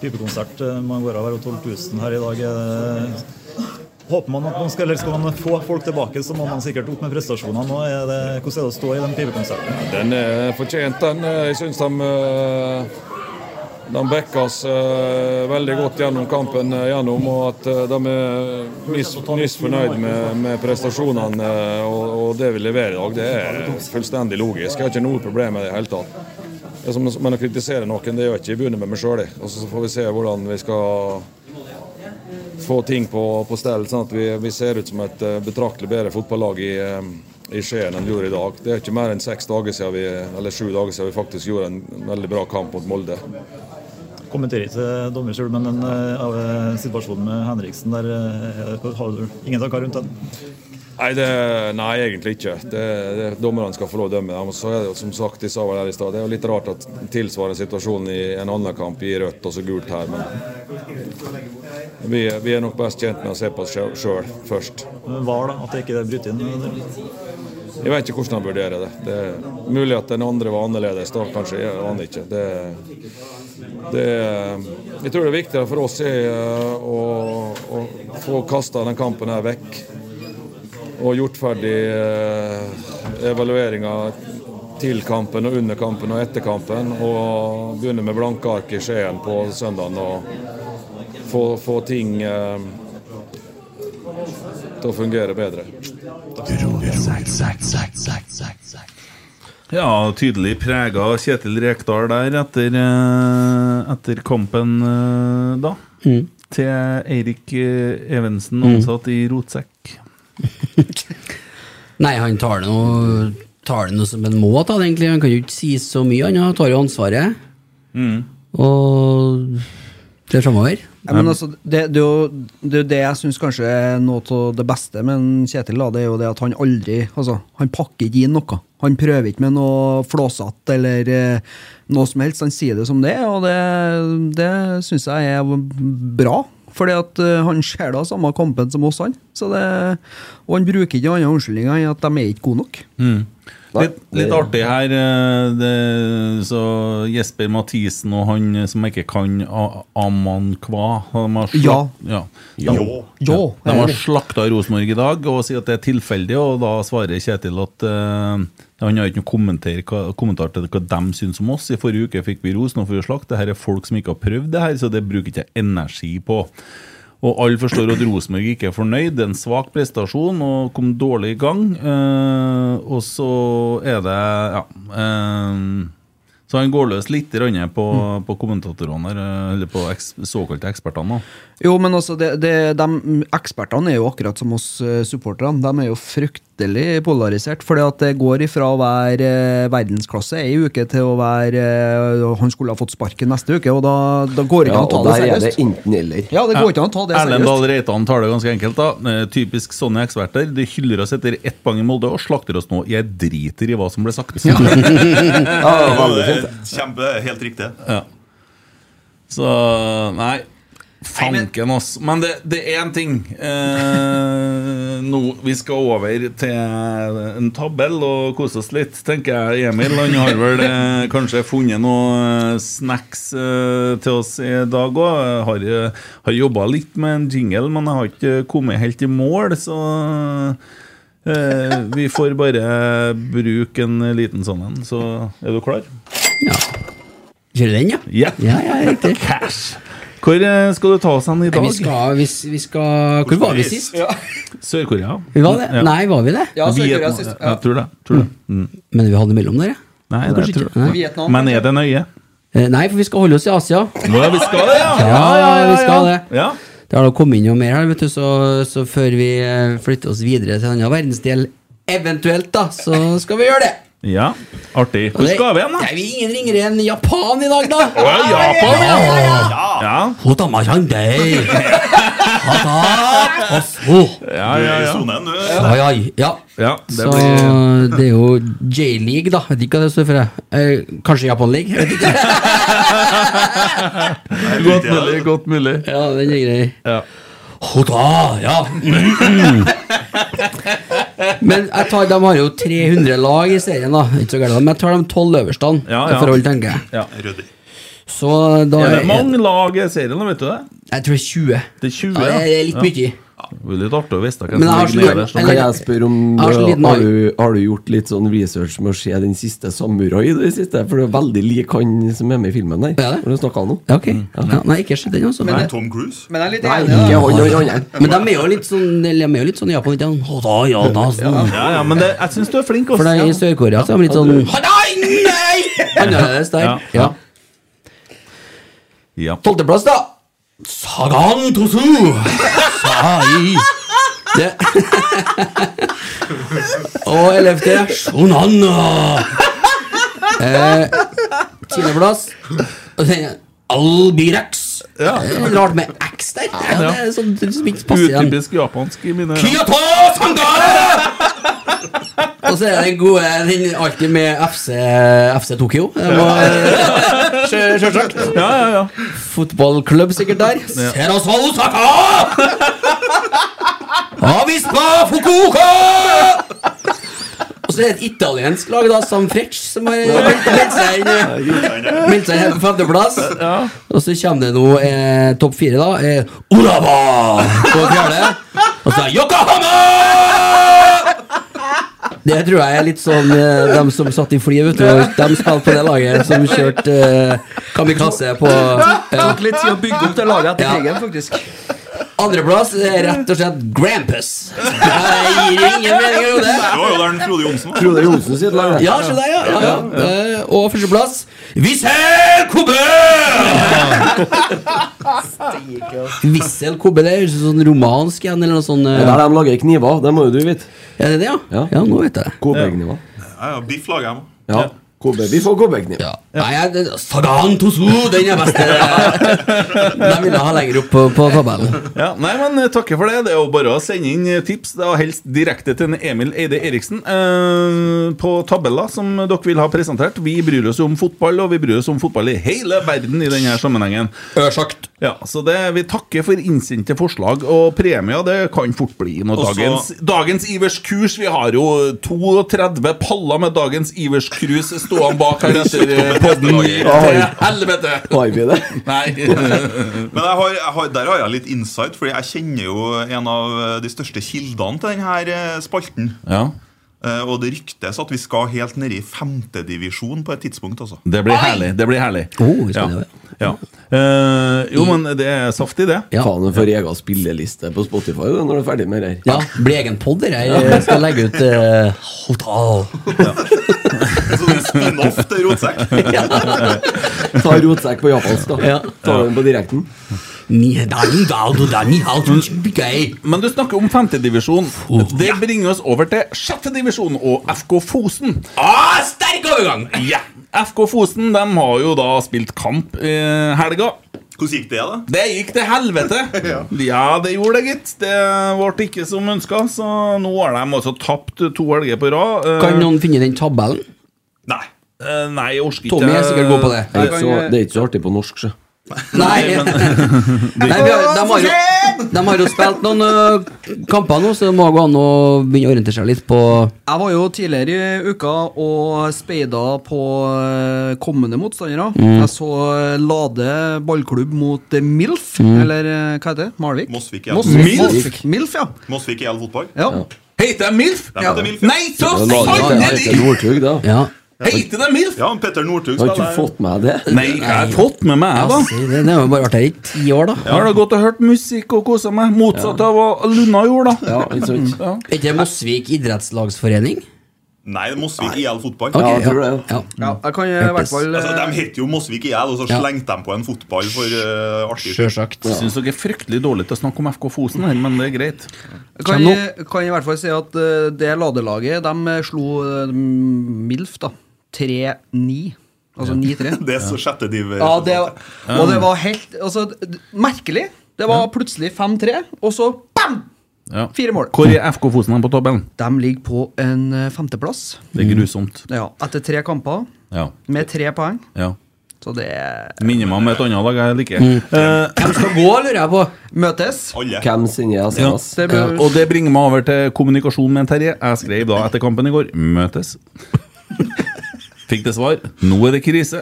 S10: Pipekonsert. eh, Man går av her og 12 000 her i dag. eh, Håper man at man skal, eller skal man få folk tilbake, så må man sikkert opp med prestasjoner. Nå er det, hvordan er det å stå i den pipekonserten?
S8: Den er fortjent, den. Jeg syns de, eh, de backas eh, veldig godt gjennom kampen. eh, gjennom, Og at eh, de er mis, misfornøyd med, eh, med prestasjonene eh, og, og det vi leverer i dag. Det er fullstendig logisk. Jeg har ikke noe problem med det i det hele tatt. Det er som, men å kritisere noen, det gjør jeg ikke. Jeg begynner med meg sjøl. Og så får vi se hvordan vi skal få ting på, på stell, sånn at vi, vi ser ut som et eh, betraktelig bedre fotballag i, eh, i Skien enn vi gjorde i dag. Det er ikke mer enn seks dager siden vi, eller sju dager siden vi faktisk gjorde en veldig bra kamp mot Molde.
S10: Kommenterer ikke dommer selv, men den eh, av, eh, situasjonen med Henriksen der eh, er- Har du ingen tanker rundt den?
S8: Nei, det, nei egentlig ikke. Det, det, dommerne skal få lov å dømme. dem. Og så er det jo, som sagt, de sa vel her i stad, det er jo litt rart at tilsvarende situasjon i en annen kamp gir rødt og så gult her, men vi, vi er nok best tjent med å se på oss sjøl først.
S10: Var da, at det ikke er brutt inn?
S8: Jeg vet ikke hvordan han vurderer det. det er mulig at den andre var annerledes da, kanskje. Jeg aner ikke. Det, det, jeg tror det viktigere for oss er eh, å, å få kasta den kampen her vekk. Og gjort ferdig eh, evalueringa til kampen og under kampen og etter kampen. Og begynne med blanke ark i Skien på søndagen og få, få ting eh, til å fungere bedre.
S3: Ja, tydelig prega Kjetil Rekdal der etter, eh, etter kampen eh, da.
S5: Mm.
S3: Til Eirik eh, Evensen, ansatt i Rotsekk.
S5: Nei, han tar det noe, tar det noe som en må ta, det, egentlig. Han kan jo ikke si så mye, han. Han tar jo ansvaret.
S3: Mm.
S5: Og det er framover.
S4: Ja, men altså, det, det, er jo, det er jo det jeg syns kanskje er noe av det beste med en Kjetil. Da, det er jo det at han aldri altså, Han pakker ikke inn noe. Han prøver ikke med noe flåsete eller eh, noe som helst. Han sier det som det er, og det, det syns jeg er bra. Fordi at eh, han ser da samme kampen som oss, han. Så det, og han bruker ikke andre unnskyldninger enn at de er ikke gode nok.
S3: Mm.
S4: Nei,
S3: Litt, litt artig her. eh, Det, så Jesper Mathisen og han eh, som jeg ikke kan A- Amankwa de har slakt,
S4: Ja.
S3: ja.
S4: Ja.
S3: De,
S4: Ja.
S3: de har slakta Rosenborg i dag og sier at det er tilfeldig, og da svarer Kjetil at eh, han har ikke noen kommentar, hva- kommentar til hva de syns om oss. I forrige uke fikk vi ros, nå får vi slakt. Det her er folk som ikke har prøvd det her, så det bruker ikke jeg energi på. Og alle forstår at Rosenborg ikke er fornøyd. Det er en svak prestasjon og kom dårlig i gang. Eh, og så er det Ja. eh, så han går løs litt grann på,
S4: Mm.
S3: på kommentatorene her, eh, eller på eks, såkalte ekspertene. da.
S4: Jo, men altså, det, det, de ekspertene er jo akkurat som oss eh, supporterne. De er jo fryktelig fryktelig polarisert. Fordi at det går ifra å være eh, verdensklasse ei uke til å være eh, Han skulle ha fått sparken neste uke, og da, da går det ikke
S6: Ja,
S4: an å ta
S6: og
S4: det
S6: der er det
S4: seriøst.
S6: enten-eller.
S4: Ja, det går ikke an å ta det
S3: Erlend Dahl
S4: seriøst.
S3: Reitan tar det ganske enkelt. da Eh, Typisk sånne eksperter. De hyller oss etter ett poeng i Molde og slakter oss nå. Jeg driter i hva som ble sagt.
S7: Ja.
S3: Ja.
S7: det er Kjempe, helt riktig.
S3: Så nei. Fanken, ass. Men det, det er én ting. Eh, nå, vi skal over til en tabell og kose oss litt, tenker jeg. Emil han har vel eh, kanskje funnet noe eh, snacks eh, til oss i dag òg. Har, eh, har jobba litt med en jingle, men jeg har ikke kommet helt i mål, så eh, vi får bare bruke en liten sånn en. Så er du klar?
S5: Kjører den, ja?
S3: Ja,
S5: riktig.
S3: Cash. Hvor eh, skal du ta oss hen i dag?
S5: Nei, vi skal, vi, vi skal Hvor var vi sist?
S3: Sør-Korea.
S5: Vi var det? Nei, var vi det?
S3: Ja,
S5: Vietnam.
S3: Sør-Korea sist. Ja. Jeg tror det. Tror det. Mm.
S5: Men vi hadde mellom der, ja?
S3: Nei, det
S5: Kanskje
S3: tror
S5: ikke.
S3: jeg.
S5: Nei.
S3: Vietnam, Men er det nøye?
S5: Eh, Nei, for vi skal holde oss i Asia.
S3: Nå ja, vi skal det, ja!
S5: Ja, vi skal det.
S3: Ja.
S5: Det har da kommet inn noe mer her, vet du, så, så før vi eh, flytter oss videre til en annen verdensdel, eventuelt, da, så skal vi gjøre det.
S3: ja. Artig. Hvor
S5: det-
S3: skal vi hen, da?
S5: Nei, vi er ingen ringere enn Japan i dag, da!
S3: Å, ja, Japan, ja. Ja.
S5: Hotamashandei. Hata- Osso.
S3: Ja, ja, ja.
S5: Ai, ai. Ah! Ja.
S3: Ja, det
S5: så
S3: blir-
S5: det er jo J-league, da. Vet ikke hva det står for. jeg. Eh, kanskje Japan League? Vet ikke.
S3: Godt mulig. Godt mulig.
S5: Ja, den er grei.
S3: Ja.
S5: Hota, ja. Men jeg tar, de har jo 300 lag i serien, da. Ikke så gærent, men jeg tar de tolv øverste.
S3: Ja,
S5: i
S3: ja.
S5: forhold, tenker jeg.
S3: Ja.
S5: Så da
S3: Er det mange lag i serien, da, vet du det?
S5: Jeg tror det er 20.
S3: Det er 20,
S5: Ja, det er litt mye.
S3: Ja. Det blir litt artig å vite hvem
S5: Men jeg har
S3: som
S5: så-
S3: ligger nederst.
S5: jeg-
S3: da.
S6: Kan jeg spørre om
S5: Jeg har så liten
S6: har
S5: arm.
S6: du, har du gjort litt sånn research med å se den siste samurai? i Det siste? For det er veldig lik han som er med i filmen der.
S5: Er det?
S6: Har du snakket om noe?
S5: Ja, ok. Ja, nei, ikke sett den, altså.
S4: Men, det-
S7: Tom Cruise?
S4: men jeg er litt
S6: Nei,
S4: enig, da.
S6: ikke han, han, han.
S5: Men de er jo litt sånn eller De er jo litt sånn i Japan. ikke sant? Hota, ja, da, sånn.
S3: Ja, ja, men det, jeg syns du er flink,
S5: For
S3: også.
S5: de i
S3: Ja.
S5: Sør-Korea så er de litt sånn Hata, nei!
S4: er-
S5: Annerledes der.
S3: Ja.
S5: Ja.
S3: Ja.
S5: Tolvteplass, da! Sagan Tosu! Sai! Det. Og ellevte Shonana! Eh, Tiendeplass Og så er det Albirex.
S3: Ja.
S5: Det er Rart med X der. Ja, det er sånn som ikke passer igjen.
S3: Utypisk japansk i mine øyne.
S5: Kyoto Sangare! Og så er det gode den alltid med FC, FC Tokyo. Det må- eh, Sjø- Sjølsagt.
S3: Ja, ja, ja.
S5: Fotballklubb sikkert der. Serasa Osaka! Avispa Fukuoka! Og så er det et italiensk lag, da, Sam Fretch, som har meldt meldt seg inn Meldt seg inn på femteplass. Og så kommer det nå eh, topp fire, da. Eh, Orava på fjerde. Og så er Yokohama! Det tror jeg er litt sånn eh, dem som satt i flyet, vet du. De spilte på det laget som kjørte eh, kamikaze på ja.
S4: Det tok litt tid å bygge opp det laget etter krigen, faktisk.
S5: Andreplass er rett og slett Grampus. Jeg gir jo ingen mening om det.
S7: Det var jo der Frode Johnsen var.
S6: Frode Johnsen sitt lag. det.
S5: Ja, se der, ja. ja, ja. Eh, Og førsteplass Wissel Kobe! Wissel Kobe, det høres ut som sånn romansk igjen, eller noe sånt.
S6: Det er
S5: eh,
S6: der de lager kniver. Det må jo du vite.
S5: Er det det, ja?
S6: Ja.
S5: Ja, nå vet jeg det.
S6: Kobekniver.
S7: Ja, ja, Biff lager jeg med.
S6: Ja. Kobe. Vi får kobekniv.
S5: Ja. Nei, jeg, det- Sagan Tosu, den er best. Den vil jeg ha lenger opp på, på tabellen.
S3: Ja, nei, men eh, takker for det. Det er jo bare å sende inn eh, tips, da helst direkte til en Emil Eide Eriksen, eh, på tabeller som dere vil ha presentert. Vi bryr oss om fotball, og vi bryr oss om fotball i hele verden i denne sammenhengen.
S5: Ørsagt.
S3: Ja, så det, Vi takker for innsendte forslag, og premier det kan fort bli noe.
S7: Og så-
S3: Dagens, dagens Ivers-kurs Vi har jo 32 paller med dagens Ivers-krus stående bak her etter eh, podden. Til helvete!
S6: Har vi det?
S3: Nei.
S7: Men jeg har, jeg har, der har jeg litt insight, Fordi jeg kjenner jo en av eh, de største kildene til denne spalten.
S3: Ja,
S7: Eh, Og det ryktes at vi skal helt ned i femtedivisjon på et tidspunkt. altså
S3: Det blir herlig. det blir herlig
S5: Oh, vi skal det,
S3: ja. Eh, jo, men det er saftig, det.
S5: Ja.
S6: Faen, du får egen spilleliste på Spotify du, når du er ferdig med det her.
S5: Ja, blir egen pod, det her. Jeg skal legge ut eh, Hotel.
S7: En sånn spin-off til rotsekk.
S6: Ta rotsekk på japansk, da.
S5: Ja.
S6: Ta den på direkten.
S3: Men du snakker om femtedivisjon.
S5: Oh.
S3: Det bringer oss over til sjettedivisjon og FK Fosen. Ah, sterk overgang! Ja. FK Fosen de har jo da spilt kamp i helga. Hvordan gikk det, da? Det gikk til helvete. ja. det gjorde det, gitt. Det ble ikke som ønska, så nå har de altså tapt to helger på rad. Eh,
S5: Kan noen finne den tabellen?
S3: Nei. Eh, Nei, jeg orker ikke
S5: Tommy er sikkert god på det.
S6: Det er ikke så, det er ikke så artig på norsk, sjø.
S5: Nei, Nei vi har, de, har jo, de har jo spilt noen ø, kamper nå, så det må gå an å begynne å orientere seg litt på
S4: Jeg var jo tidligere i uka og speida på eh, kommende motstandere.
S5: Mm.
S4: Jeg så eh, Lade ballklubb mot eh, MILF, eller eh, hva heter det? Malvik?
S7: Mosvik,
S4: ja.
S7: ja.
S4: Milf? Milf, ja.
S7: Mosvik i all fotball?
S4: ja.
S3: Heter de MILF?
S7: Ja. heter MILF, ja.
S3: Nei, så
S6: Det var Lade
S3: sannelig!
S6: Northug, da.
S5: Ja.
S3: Heter de MILF?
S7: Ja, Petter Northug
S6: Har ikke
S7: spiller-
S6: fått med deg det?
S3: Nei, jeg har fått med meg, da.
S5: Ja, si det, det har jo bare vært her i ti år, da.
S3: Jeg har da gått og hørt musikk og kosa meg. Motsatt av hva Lunna gjorde, da.
S6: Ja, ikke sant?
S3: Ja.
S5: Er ikke det Mosvik idrettslagsforening?
S7: Nei, Mosvik i all fotball.
S5: Ok,
S6: Ja, jeg tror det, ja.
S5: ja.
S4: ja. Jeg kan eh, i hvert fall
S7: Altså,
S4: eh,
S7: de het jo Mosvik i hjel, og så
S5: Ja.
S7: slengte de på en fotball for eh, artig.
S5: Sjølsagt.
S3: Jeg syns dere er fryktelig dårlige til å snakke om FK Fosen her, men det er greit.
S4: kan,
S5: Kjem nå.
S4: jeg- kan jeg i hvert fall si at eh, det Lade-laget, de eh, slo eh, MILF, da. 3-9. Altså 9-3.
S7: Det er så sjette div.
S4: Ja, det, og det var helt altså, d- merkelig. Det var plutselig 5-3, og så bam!
S3: Ja.
S4: Fire mål.
S3: Hvor er FK Fosen her på tabellen?
S4: De ligger på en eh, femteplass
S3: Det er grusomt.
S4: ja, etter tre kamper
S3: Ja.
S4: med tre poeng.
S3: ja.
S4: Så det er-
S3: Minner meg om et annet lag jeg liker.
S6: Mm.
S3: Eh,
S5: Hvem skal gå, lurer jeg på?
S4: møtes.
S7: Alle.
S6: Hvem sender jeg
S3: ja. Eh,
S6: SMS?
S4: Det bør-
S3: Og det bringer meg over til kommunikasjon med en Terje. Jeg skrev da etter kampen i går 'møtes'. Fikk det svar. Nå er det krise.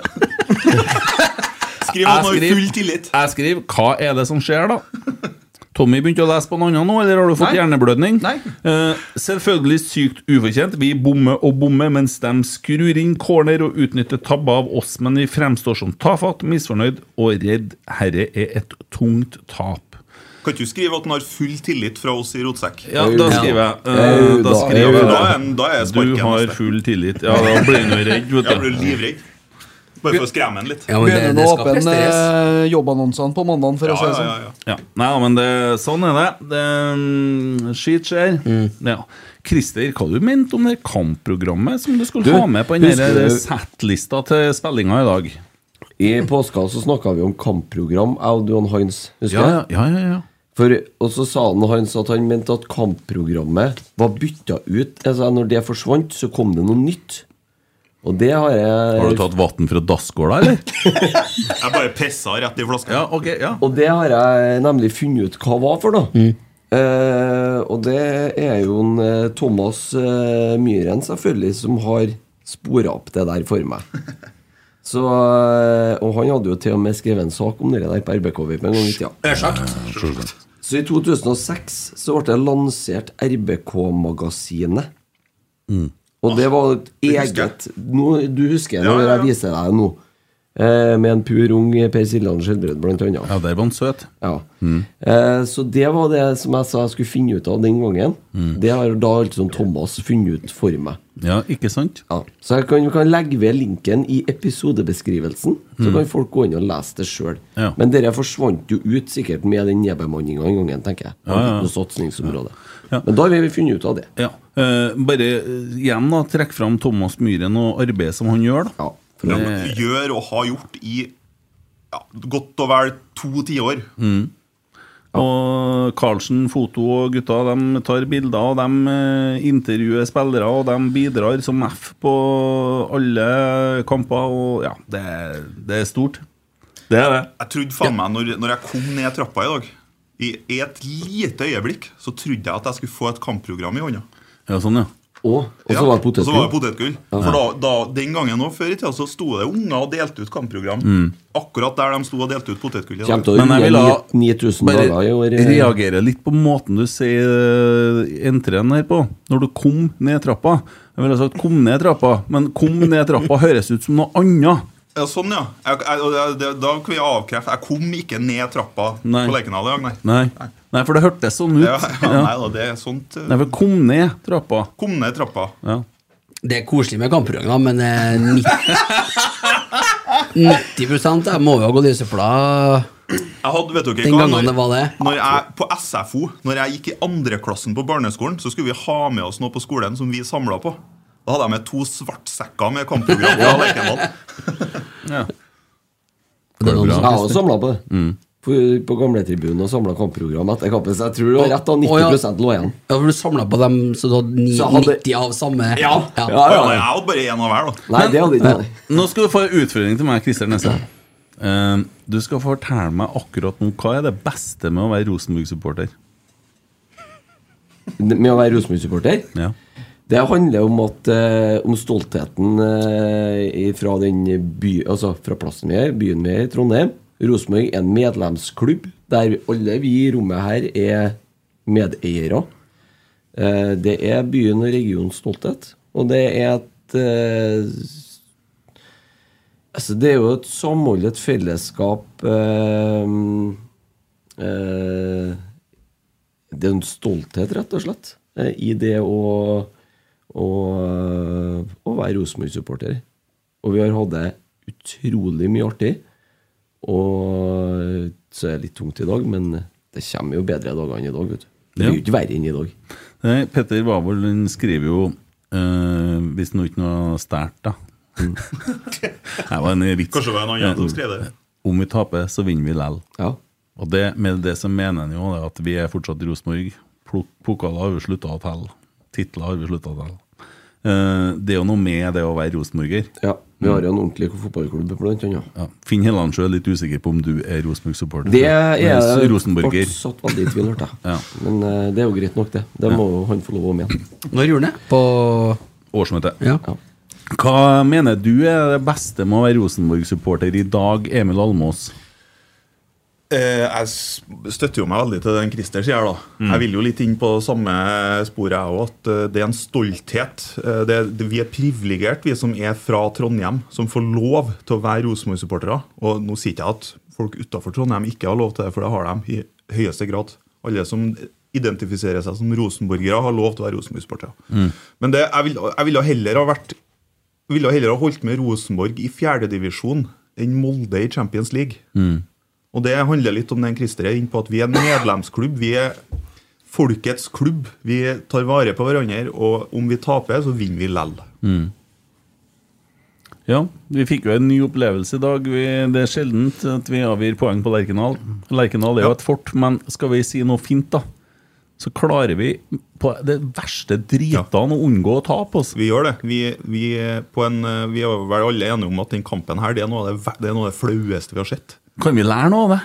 S7: Skriv at man har
S3: skriver-
S7: full tillit.
S3: Jeg skriver 'Hva er det som skjer', da? Tommy begynte å lese på noe annet nå, eller har du fått
S4: Nei.
S3: hjerneblødning?
S4: Nei.
S3: Eh, selvfølgelig sykt ufortjent. Vi bommer og bommer, mens de skrur inn corner og utnytter tabber av oss, men vi fremstår som tafatt, misfornøyd og redd. Herre er et tungt tap.
S7: Kan ikke du skrive at man har full tillit fra oss i Rotsekk?
S3: Ja, da skriver jeg.
S6: Au
S3: eh, da
S6: da,
S3: skriver
S6: au
S3: jeg.
S7: Da er, da er
S3: Du
S7: sparken
S3: har
S7: neste.
S3: full tillit. Ja, da blir han jo redd, vet
S7: Jeg blir
S3: du.
S7: livredd. Bare for å skremme han litt.
S5: Ja, men det,
S4: Begynner
S5: det
S4: å
S5: skal
S4: åpne
S5: presteres.
S4: eh, jobbannonsene på mandagen, for
S7: Ja,
S4: å si det
S7: ja,
S4: sånn.
S7: ja, ja.
S3: Ja. Nei, ja, men det, sånn er det. det mm, Skit skjer. Ja. Christer, hva du mente om det kampprogrammet som du skulle
S6: Du,
S3: ha med på den
S6: husker
S3: der
S6: du-
S3: set-lista til spillinga i dag?
S6: I påska så snakka vi om kampprogram, jeg og du og Hans. Husker
S3: Ja,
S6: du?
S3: ja, ja. ja, ja.
S6: For, og så sa han Hans at han mente at kampprogrammet var bytta ut. Altså, når det forsvant, så kom det noe nytt. Og det har jeg
S3: Har du tatt vann fra dasskåla, eller?
S7: Jeg bare pissa rett i flaska.
S3: Ja, ok, ja.
S6: Og det har jeg nemlig funnet ut hva var for noe. Eh, og det er jo en, eh, Thomas eh, Myhren selvfølgelig som har spora opp det der for meg. Så, eh, og han hadde jo til og med skrevet en sak om det der på RBK-VIP en gang i tida. Så i 2006 så ble det lansert RBK-magasinet. Og det var et
S7: husker jeg.
S6: eget nå, Du husker det
S7: Ja,
S6: når
S7: ja, ja.
S6: jeg viser deg det nå. Eh, med en pur ung Per Siljan Skjelbred, blant annet.
S3: Ja, der var han søt.
S6: Ja. Eh, så det var det som jeg sa jeg skulle finne ut av den gangen. Det har da altså Thomas funnet ut for meg.
S3: Ja, ikke sant?
S6: Ja. Så jeg kan, vi kan legge ved linken i episodebeskrivelsen, så kan folk gå inn og lese det sjøl.
S3: Ja.
S6: Men dere forsvant jo ut sikkert med den nedbemanninga den gangen, tenker jeg. Ja,
S3: ja.
S6: Noe satsingsområde. Men da har vi funnet ut av det.
S3: Ja. Eh, bare eh, igjen da, trekk fram Thomas Myhren og arbeidet som han gjør. da
S6: Ja. For
S7: Ja, men Gjør og har gjort i ja, godt og vel to tiår.
S3: Eh, mm. Og Karlsen, Foto og gutta de tar bilder, og de eh, intervjuer spillere, og de bidrar som F på alle kamper. Og ja, det, er- det er stort. Det er det.
S7: Jeg trodde faen meg når, når jeg kom ned trappa i dag i i et lite øyeblikk så trodde jeg at jeg skulle få et kampprogram i hånda.
S3: Ja, sånn, ja.
S6: Og, og
S7: Ja,
S6: så var det
S7: og så var det
S6: potetgull.
S7: potetgull. For da, da, Den gangen nå, før i tida så sto det unger og delte ut kampprogram. Akkurat der de sto og delte ut potetgull. i dag.
S6: Mm. Kjem til å
S3: Men jeg vil
S6: runde
S3: ha-
S6: 9000
S3: Bare
S6: dager i år. eh.
S3: reagerer litt på måten du sier eh, entreen her på. Når du kom ned trappa. Jeg ville sagt 'kom ned trappa', men 'kom ned trappa' høres ut som noe annet.
S7: Ja, sånn, ja. Jeg, jeg, og det- det- da kan vi avkrefte Jeg kom ikke ned trappa
S3: Nei.
S7: på Lerkendal i dag, nei.
S3: Nei, Nei for det hørtes sånn ut.
S7: Ja, ja,
S3: Ja.
S7: nei da, det er sånt eh,
S3: Nei, for 'kom ned trappa'.
S7: Kom ned trappa.
S3: Ja.
S5: Det er koselig med kampprogram, men eh, 90, 90 jeg må jo ha gått i søpla.
S7: Jeg Jeg hadde, vet dere
S5: Den
S7: hva,
S5: gangen det var det.
S7: når jeg, på SFO, når jeg gikk i andreklassen på barneskolen, så skulle vi ha med oss noe på skolen som vi samla på. Da hadde jeg med to svartsekker med kampprogram. fra Lerkendal.
S6: Det er
S7: bra.
S6: Jeg har samla på det.
S5: Mm.
S6: På, på gamletribunen og samla kampprogram etter kampen. Så jeg tror det var rett da 90 lå igjen.
S5: Ja, for du samla på dem, så du hadde, ni,
S6: Så hadde-
S5: 90 av samme?
S7: Jeg hadde bare én av hver, da.
S3: Men, eh, Nå skal du få en utfordring til meg, Christer Nesse. Eh, du skal fortelle meg akkurat nå hva er det beste med å være Rosenborg-supporter.
S6: Med å være Rosenborg-supporter? Det handler om, at, eh, om stoltheten eh, fra, den by, altså fra plassen vi er, byen vi er i, Trondheim. Rosenborg er en medlemsklubb der alle vi i rommet her er medeiere. Eh, det er byen og regionens stolthet. Og det er et eh, Altså, det er jo et samhold, et fellesskap eh, eh, Det er en stolthet, rett og slett, eh, i det å, å, eh, å være Rosenborg-supporter. Og vi har hatt det utrolig mye artig. Og eh, så er det litt tungt i dag, men det kommer jo bedre dager enn i dag. vet du. Det blir jo ikke verre enn i dag.
S3: Nei, Petter Wavold han skriver jo eh, Hvis nå ikke noe stært, da.
S6: Mm.
S3: det var en vits. Eh,
S7: Kanskje det var en annen som skrev det.
S3: Om vi taper, så vinner vi lell. Og det, med det så mener han jo det at vi er fortsatt Rosenborg. Plok- Pokaler har vi slutta å telle. Titler har vi slutta å telle. Eh, det er jo noe med det å være rosenborger. Mm.
S6: Ja, Vi har jo en ordentlig fotballklubb, blant annet.
S3: Ja. Finn Hellandsjø er litt usikker på om du er Rosenborg-supporter.
S6: Det er
S3: Men
S6: jeg
S3: Rosenborger.
S6: ble satt veldig i tvil, hørte jeg. Men eh, det er jo greit nok, det. Det må jo han få lov å mene.
S5: Når gjorde han det? På
S3: årsmøtet. Hva mener du er det beste med å være Rosenborg-supporter i dag, Emil Almås?
S7: Eh, jeg s- støtter jo meg veldig til den Christer sier. da Jeg vil jo litt inn på samme sporet, jeg òg. At eh, det er en stolthet. Eh, Det, det, vi er privilegert, vi som er fra Trondheim, som får lov til å være Rosenborg-supportere. Og nå sier ikke jeg at folk utafor Trondheim ikke har lov til det, for det har de i høyeste grad. Alle som identifiserer seg som rosenborgere, har lov til å være Rosenborg-supportere.
S11: Mm.
S7: Men det, jeg ville jeg ville heller ha vært ville heller ha holdt med Rosenborg i fjerdedivisjon enn Molde i Champions League. Og det handler litt om den Christer er inne på, at vi er en medlemsklubb. Vi er folkets klubb. Vi tar vare på hverandre, og om vi taper, så vinner vi lell.
S3: Ja, vi fikk jo en ny opplevelse i dag. Vi, det er sjeldent at vi avgir poeng på Lerkendal. Lerkendal er jo et fort, men skal vi si noe fint, da, så klarer vi på det verste dritene å unngå å tape altså. oss.
S7: Vi gjør det. Vi, vi, er på en, eh, vi er vel alle enige om at den kampen her, det er noe av det, ver- det, er noe av det flaueste vi har sett.
S3: Kan vi lære noe av det?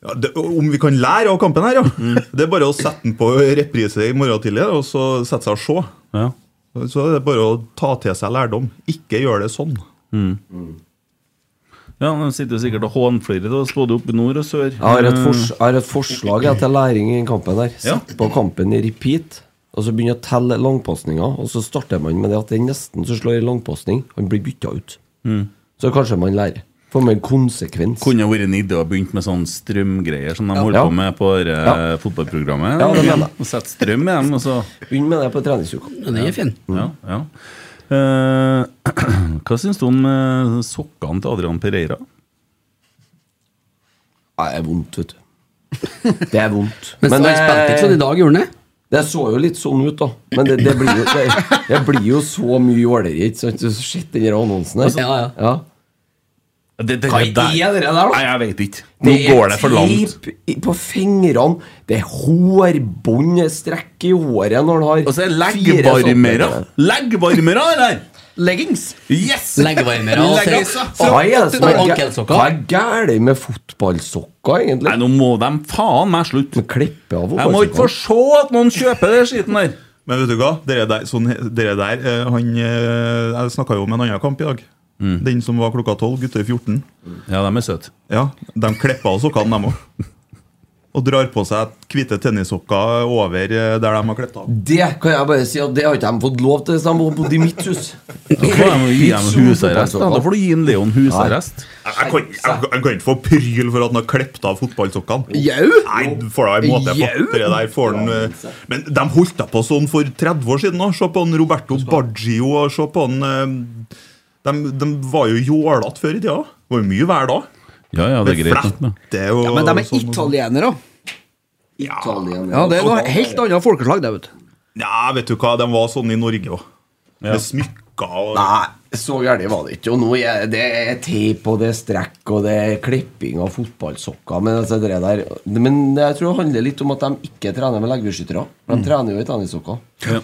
S7: Ja, det, om vi kan lære av kampen her, ja!
S3: Mm.
S7: Det er bare å sette den på reprise i morgen tidlig, og så sette seg og se.
S3: Ja.
S7: Så er det bare å ta til seg lærdom. Ikke gjør det sånn.
S3: Mm.
S5: Mm.
S3: Ja, De sitter jo sikkert og hånflirer til oss både oppe i nord og sør.
S6: Jeg har et,
S3: Mm.
S6: fors jeg har et forslag jeg, til læring i den kampen der. Sett på kampen i repeat, og så begynne å telle langpasninger. Og så starter man med det at det er nesten som slår en langpasning. Han blir bytta ut.
S3: Mm.
S6: Så kanskje man lærer. Får man en konsekvens.
S3: Kunne vært en idé å begynne med sånn strømgreier som de
S6: Ja.
S3: holder
S6: Ja.
S3: på med på det
S6: Ja.
S3: fotballprogrammet.
S6: Ja, det mener
S3: Og Sette strøm i dem, og så
S6: Begynn med det på treningsuka.
S5: Ja, den er fin.
S3: Ja, ja. Eh, hva syns du om eh, sokkene til Adrian Pereira?
S6: Nei, det er vondt, vet du. Det er vondt. eh,
S5: Men han spilte ikke sånn i dag, gjorde han det?
S6: Det så jo litt sånn ut, da. Men det, det, blir, jo, det, det blir jo så mye ålere, ikke sant? Så Sett den der annonsen der.
S5: Ja, ja.
S3: Det,
S6: Hva er det der, da?
S3: Nei, jeg vet ikke. Nå går det for langt.
S6: Det er teip i- på fingrene, det er hårbånd, det er strekk i håret når han har
S3: Og så er
S6: fire
S3: leggvarmere.
S6: sånne-
S3: Leggvarmere, eller?
S12: Leggings.
S3: Yes!
S5: Leggevarmere og
S3: Leggings.
S5: tøys.
S6: Hva er det som er
S5: Og
S6: gæ-
S5: ankelsokker.
S6: Hva er gærent med fotballsokker, egentlig?
S3: Nei, nå må de faen meg slutte.
S6: Klippe av
S3: Jeg må ikke få se at noen kjøper den skiten der.
S7: Men vet du hva? Dere der, sånn, dere der eh, han, eh, Jeg snakka jo om en annen kamp i dag. Den som var klokka tolv. Gutter 14.
S3: Mm. Ja, de er søte.
S7: Ja, De klippa av sokkene, dem òg. Og drar på seg hvite tennissokker over eh, der de har klippet av.
S6: Det kan jeg bare si at det har ikke de fått lov til hvis de har bodd i mitt hus. altså.
S3: Da får de gi dem husarrest. Da Da får du gi en Leon husarrest.
S7: Jeg kan, jeg, jeg kan ikke få pryl for at han har klippet av fotballsokkene.
S12: Jau!
S7: Nei, får da en måte på.
S12: Jau!
S7: Dere der får den, eh, men de holdt da på sånn for 30 år siden òg. Se på han Roberto Baggio. og Se på han eh, De, de var jo jålete før i tida. Det var jo mye vær da. sånn.
S3: Ja, ja, det er greit. nok, men-
S4: Ja, men de er italienere. Italienere. Ja, det er noe helt annet folkeslag, det, vet du.
S7: Ja, vet du hva, de var sånn i Norge òg. Med smykker og
S6: Nei, så gærent var det ikke. Og nå er det er teip, og det er strekk, og det er klipping av fotballsokker. Men, altså, det der, men jeg tror det handler litt om at de ikke trener med leggbeskyttere. De
S3: Mm.
S6: trener jo i tennissokker.
S3: Ja.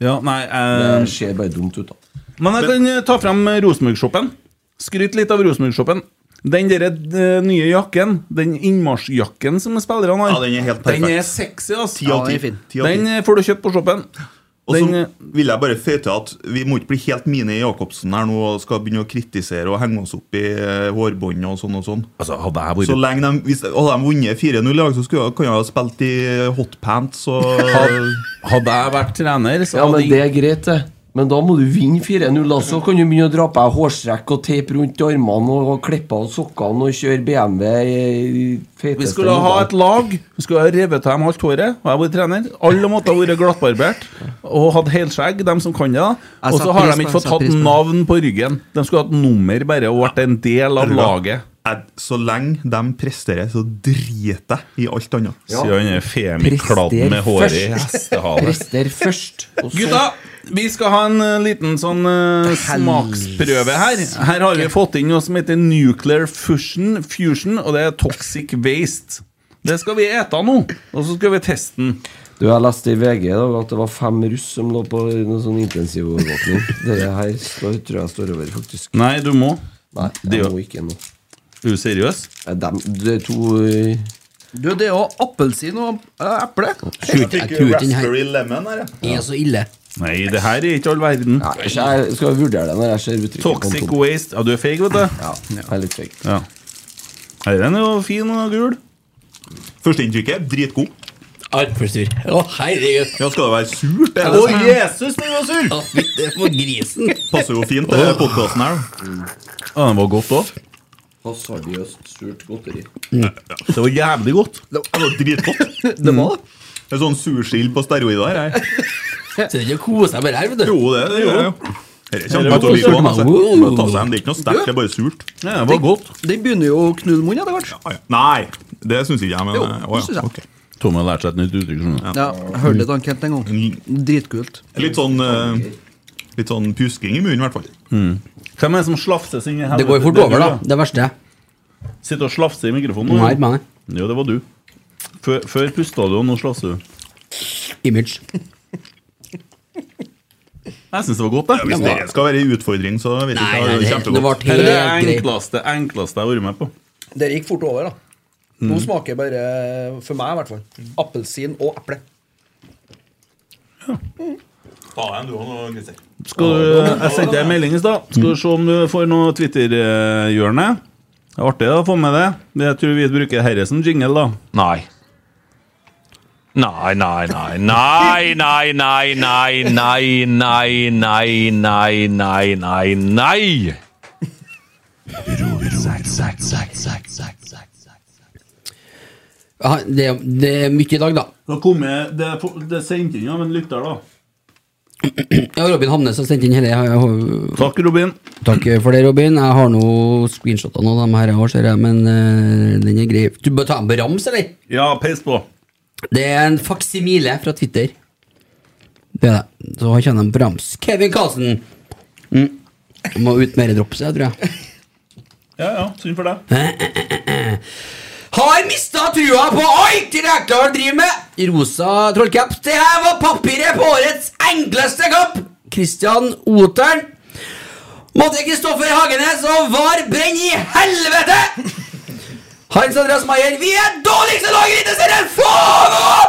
S3: Ja, nei eh,
S6: Det ser bare dumt ut, da.
S3: Men jeg kan eh, ta frem Rosenborg-shoppen. Skryt litt av Rosenborg-shoppen. Den der eh, nye jakken, den innmarsjjakken som spillerne har
S7: Ja, den er helt perfekt.
S3: Den er sexy, ass.
S7: Ti av ti. Ti av ti.
S3: Den eh, får du kjøpt på shoppen.
S7: Og så
S3: Den- eh,
S7: vil jeg bare føye til at vi må ikke bli helt mine Jacobsen her nå og skal begynne å kritisere og henge oss opp i eh, hårbånd og sånn og sånn.
S3: Altså, hadde jeg vært-
S7: Så lenge de, hvis, Hadde de vunnet 4-0 i dag, så skulle jeg, kunne jeg ha spilt i hotpants og
S3: Hadde jeg vært trener, så
S6: Ja, men det er greit, det. Men da må du vinne 4-0, da. Så kan du begynne å dra på deg hårstrekk og teip rundt armene og, og klippe av sokkene og kjøre BMW i i feteste
S3: Vi skulle ha
S6: modellen.
S3: et lag, vi skulle ha revet av dem alt håret. Og jeg vært trener. Alle måtte ha vært glattbarbert og hatt helskjegg, dem som kan det. da
S7: Jeg
S3: Og
S7: setter
S3: så har
S7: pris
S3: de
S7: på-
S3: ikke fått
S7: jeg setter
S3: hatt
S7: pris på.
S3: navn på ryggen. De skulle hatt nummer bare og vært en del av laget.
S7: Jeg, så lenge de presterer, så driter jeg i alt annet.
S3: Ja. Sier han er femikladd med håret i hestehale.
S6: Prester først. og så-
S3: Gutta, vi skal ha en eh, liten sånn eh, smaksprøve her. Her har vi fått inn noe som heter Nuclear Fusion, fusion og det er Toxic Waste. Det skal vi ete nå, og så skal vi teste den.
S6: Du, Jeg leste i VG i dag at det var fem russ som lå på noen sånn intensivovervåkning. Dette her står, tror jeg står over, faktisk.
S3: Nei, du må.
S6: Nei,
S3: Det
S6: jeg
S3: gjør-
S6: må ikke nå.
S3: Er du seriøs?
S6: Dem, det er to eh,
S4: Du, det er jo appelsin og eh, eple.
S3: Jeg tror ikke- jeg tror ikke den her-
S7: Raspberry lemon her, ja.
S4: Er så ille.
S3: Nei, det her er ikke all verden.
S6: Jeg skal vurdere det når jeg ser uttrykket.
S3: Toxic waste. Ja, du er feig, vet du.
S6: Ja, jeg er litt feig.
S3: Ja. Her er den jo fin og gul.
S7: Førsteinntrykket dritgod.
S5: Altfor sur. Å, herregud.
S7: Ja, skal det være surt? det er
S5: Å,
S7: det som er-
S3: Jesus, den var sur!
S5: Å, fytte for grisen.
S7: Passer jo fint til podkasten her.
S3: Ja, den var godt òg.
S6: Hasardiøst surt godteri.
S3: Det var jævlig godt.
S7: Det var dritgodt.
S4: Det var det.
S7: Det er sånn sursild på steroider her. jeg.
S5: Så det er ikke å kose seg bare her, vet du.
S7: Jo, det det gjør jeg jo. Dette
S3: Her er
S7: kommer til å bli
S3: det
S7: god.
S3: godt.
S7: altså. Men ta seg en, Det er ikke noe sterkt, det er bare surt.
S3: Ja, det var godt.
S4: Den begynner jo å knulle munnen etter hvert.
S7: Nei, det syns ikke jeg, men
S4: Jo,
S7: eh, å,
S4: det synes
S7: ja.
S4: jeg.
S7: ok.
S3: Tommy har lært seg et nytt uttrykk. skjønner du.
S4: Ja, jeg hørte det ankent en gang. Dritkult.
S7: Mm. Litt sånn eh, Litt sånn pjusking i munnen, i hvert fall.
S3: Mm.
S5: Hmm.
S3: Hvem er det som slafses inn i helvete?
S5: Det går jo fort
S3: Det er
S5: over,
S3: du,
S5: da. Det verste.
S3: Sitter og slafser i mikrofonen
S5: Nei,
S3: nå.
S5: nei.
S3: Jo, det var du. Før, før pusta du, og nå slafser du.
S5: Image.
S3: Jeg syns det var godt,
S7: Hvis
S3: det.
S7: det skal være en utfordring, så vet jeg
S5: Nei,
S7: ikke.
S5: nei,
S7: Det
S5: det-
S7: er
S5: det var
S7: kjempegodt.
S3: Her er det
S5: helt greit.
S3: enkleste, enkleste jeg har vært med på.
S4: Det gikk fort over, da.
S5: Mm.
S4: Nå smaker bare, eh, for meg i hvert fall, appelsin og eple.
S7: Faen, du også nå, Christer.
S3: Skal du, jeg sendte deg en melding i stad. Skal du se om du får noe Twitter-hjørne? Det er artig å få med det. Men Jeg tror vi bruker herre som jingle, da.
S8: Nei. Nei, nei, nei, nei, nei, nei, nei, nei, nei, nei, nei, nei, nei, nei.
S5: Ja, det, det er mye i dag, da.
S3: Det har kommet Det, er på- det er sendt inn av en lytter, da.
S5: Ja, Robin Hamnes har sendt inn hele jeg har-
S3: Takk, Robin.
S5: Takk for det, Robin. Jeg har nå screenshotter av de her, jeg har, ser jeg, men eh, den er grei. Du bør ta den på rams, eller?
S3: Ja, peis på.
S5: Det er en faksimile fra Twitter. Det er det. Så han kjenner han på rams. Kevin Karlsen! Mm. Må ut mer drops, jeg tror jeg.
S3: Ja, ja. Synd for deg.
S5: Har mista trua på alt Rekdal driver med! Rosa trollcap. Det her var papiret på årets enkleste kamp! Christian Oteren. Måtte Kristoffer Hagenes og VAR brenne i helvete! Hans Andreas Maier, vi er dårligste lag i Eliteserien! Faen òg!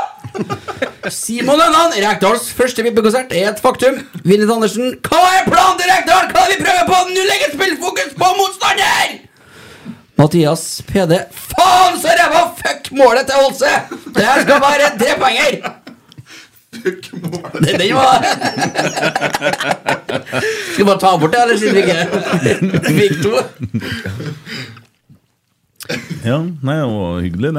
S5: Simon Lønnan, Rekdals første VIP-konsert er et faktum. Vinnit Andersen, hva er planen til Rekdal? Hva er det vi prøver på? Nå legger spillfokus på motstander! Mathias PD, faen så ræva! Fuck målet til Holse! Det her skal være en trepoenger! Fuck målet Den var Skal vi bare ta bort det, eller siden vi ikke vi fikk to?
S3: Ja, nei, det var hyggelig, det.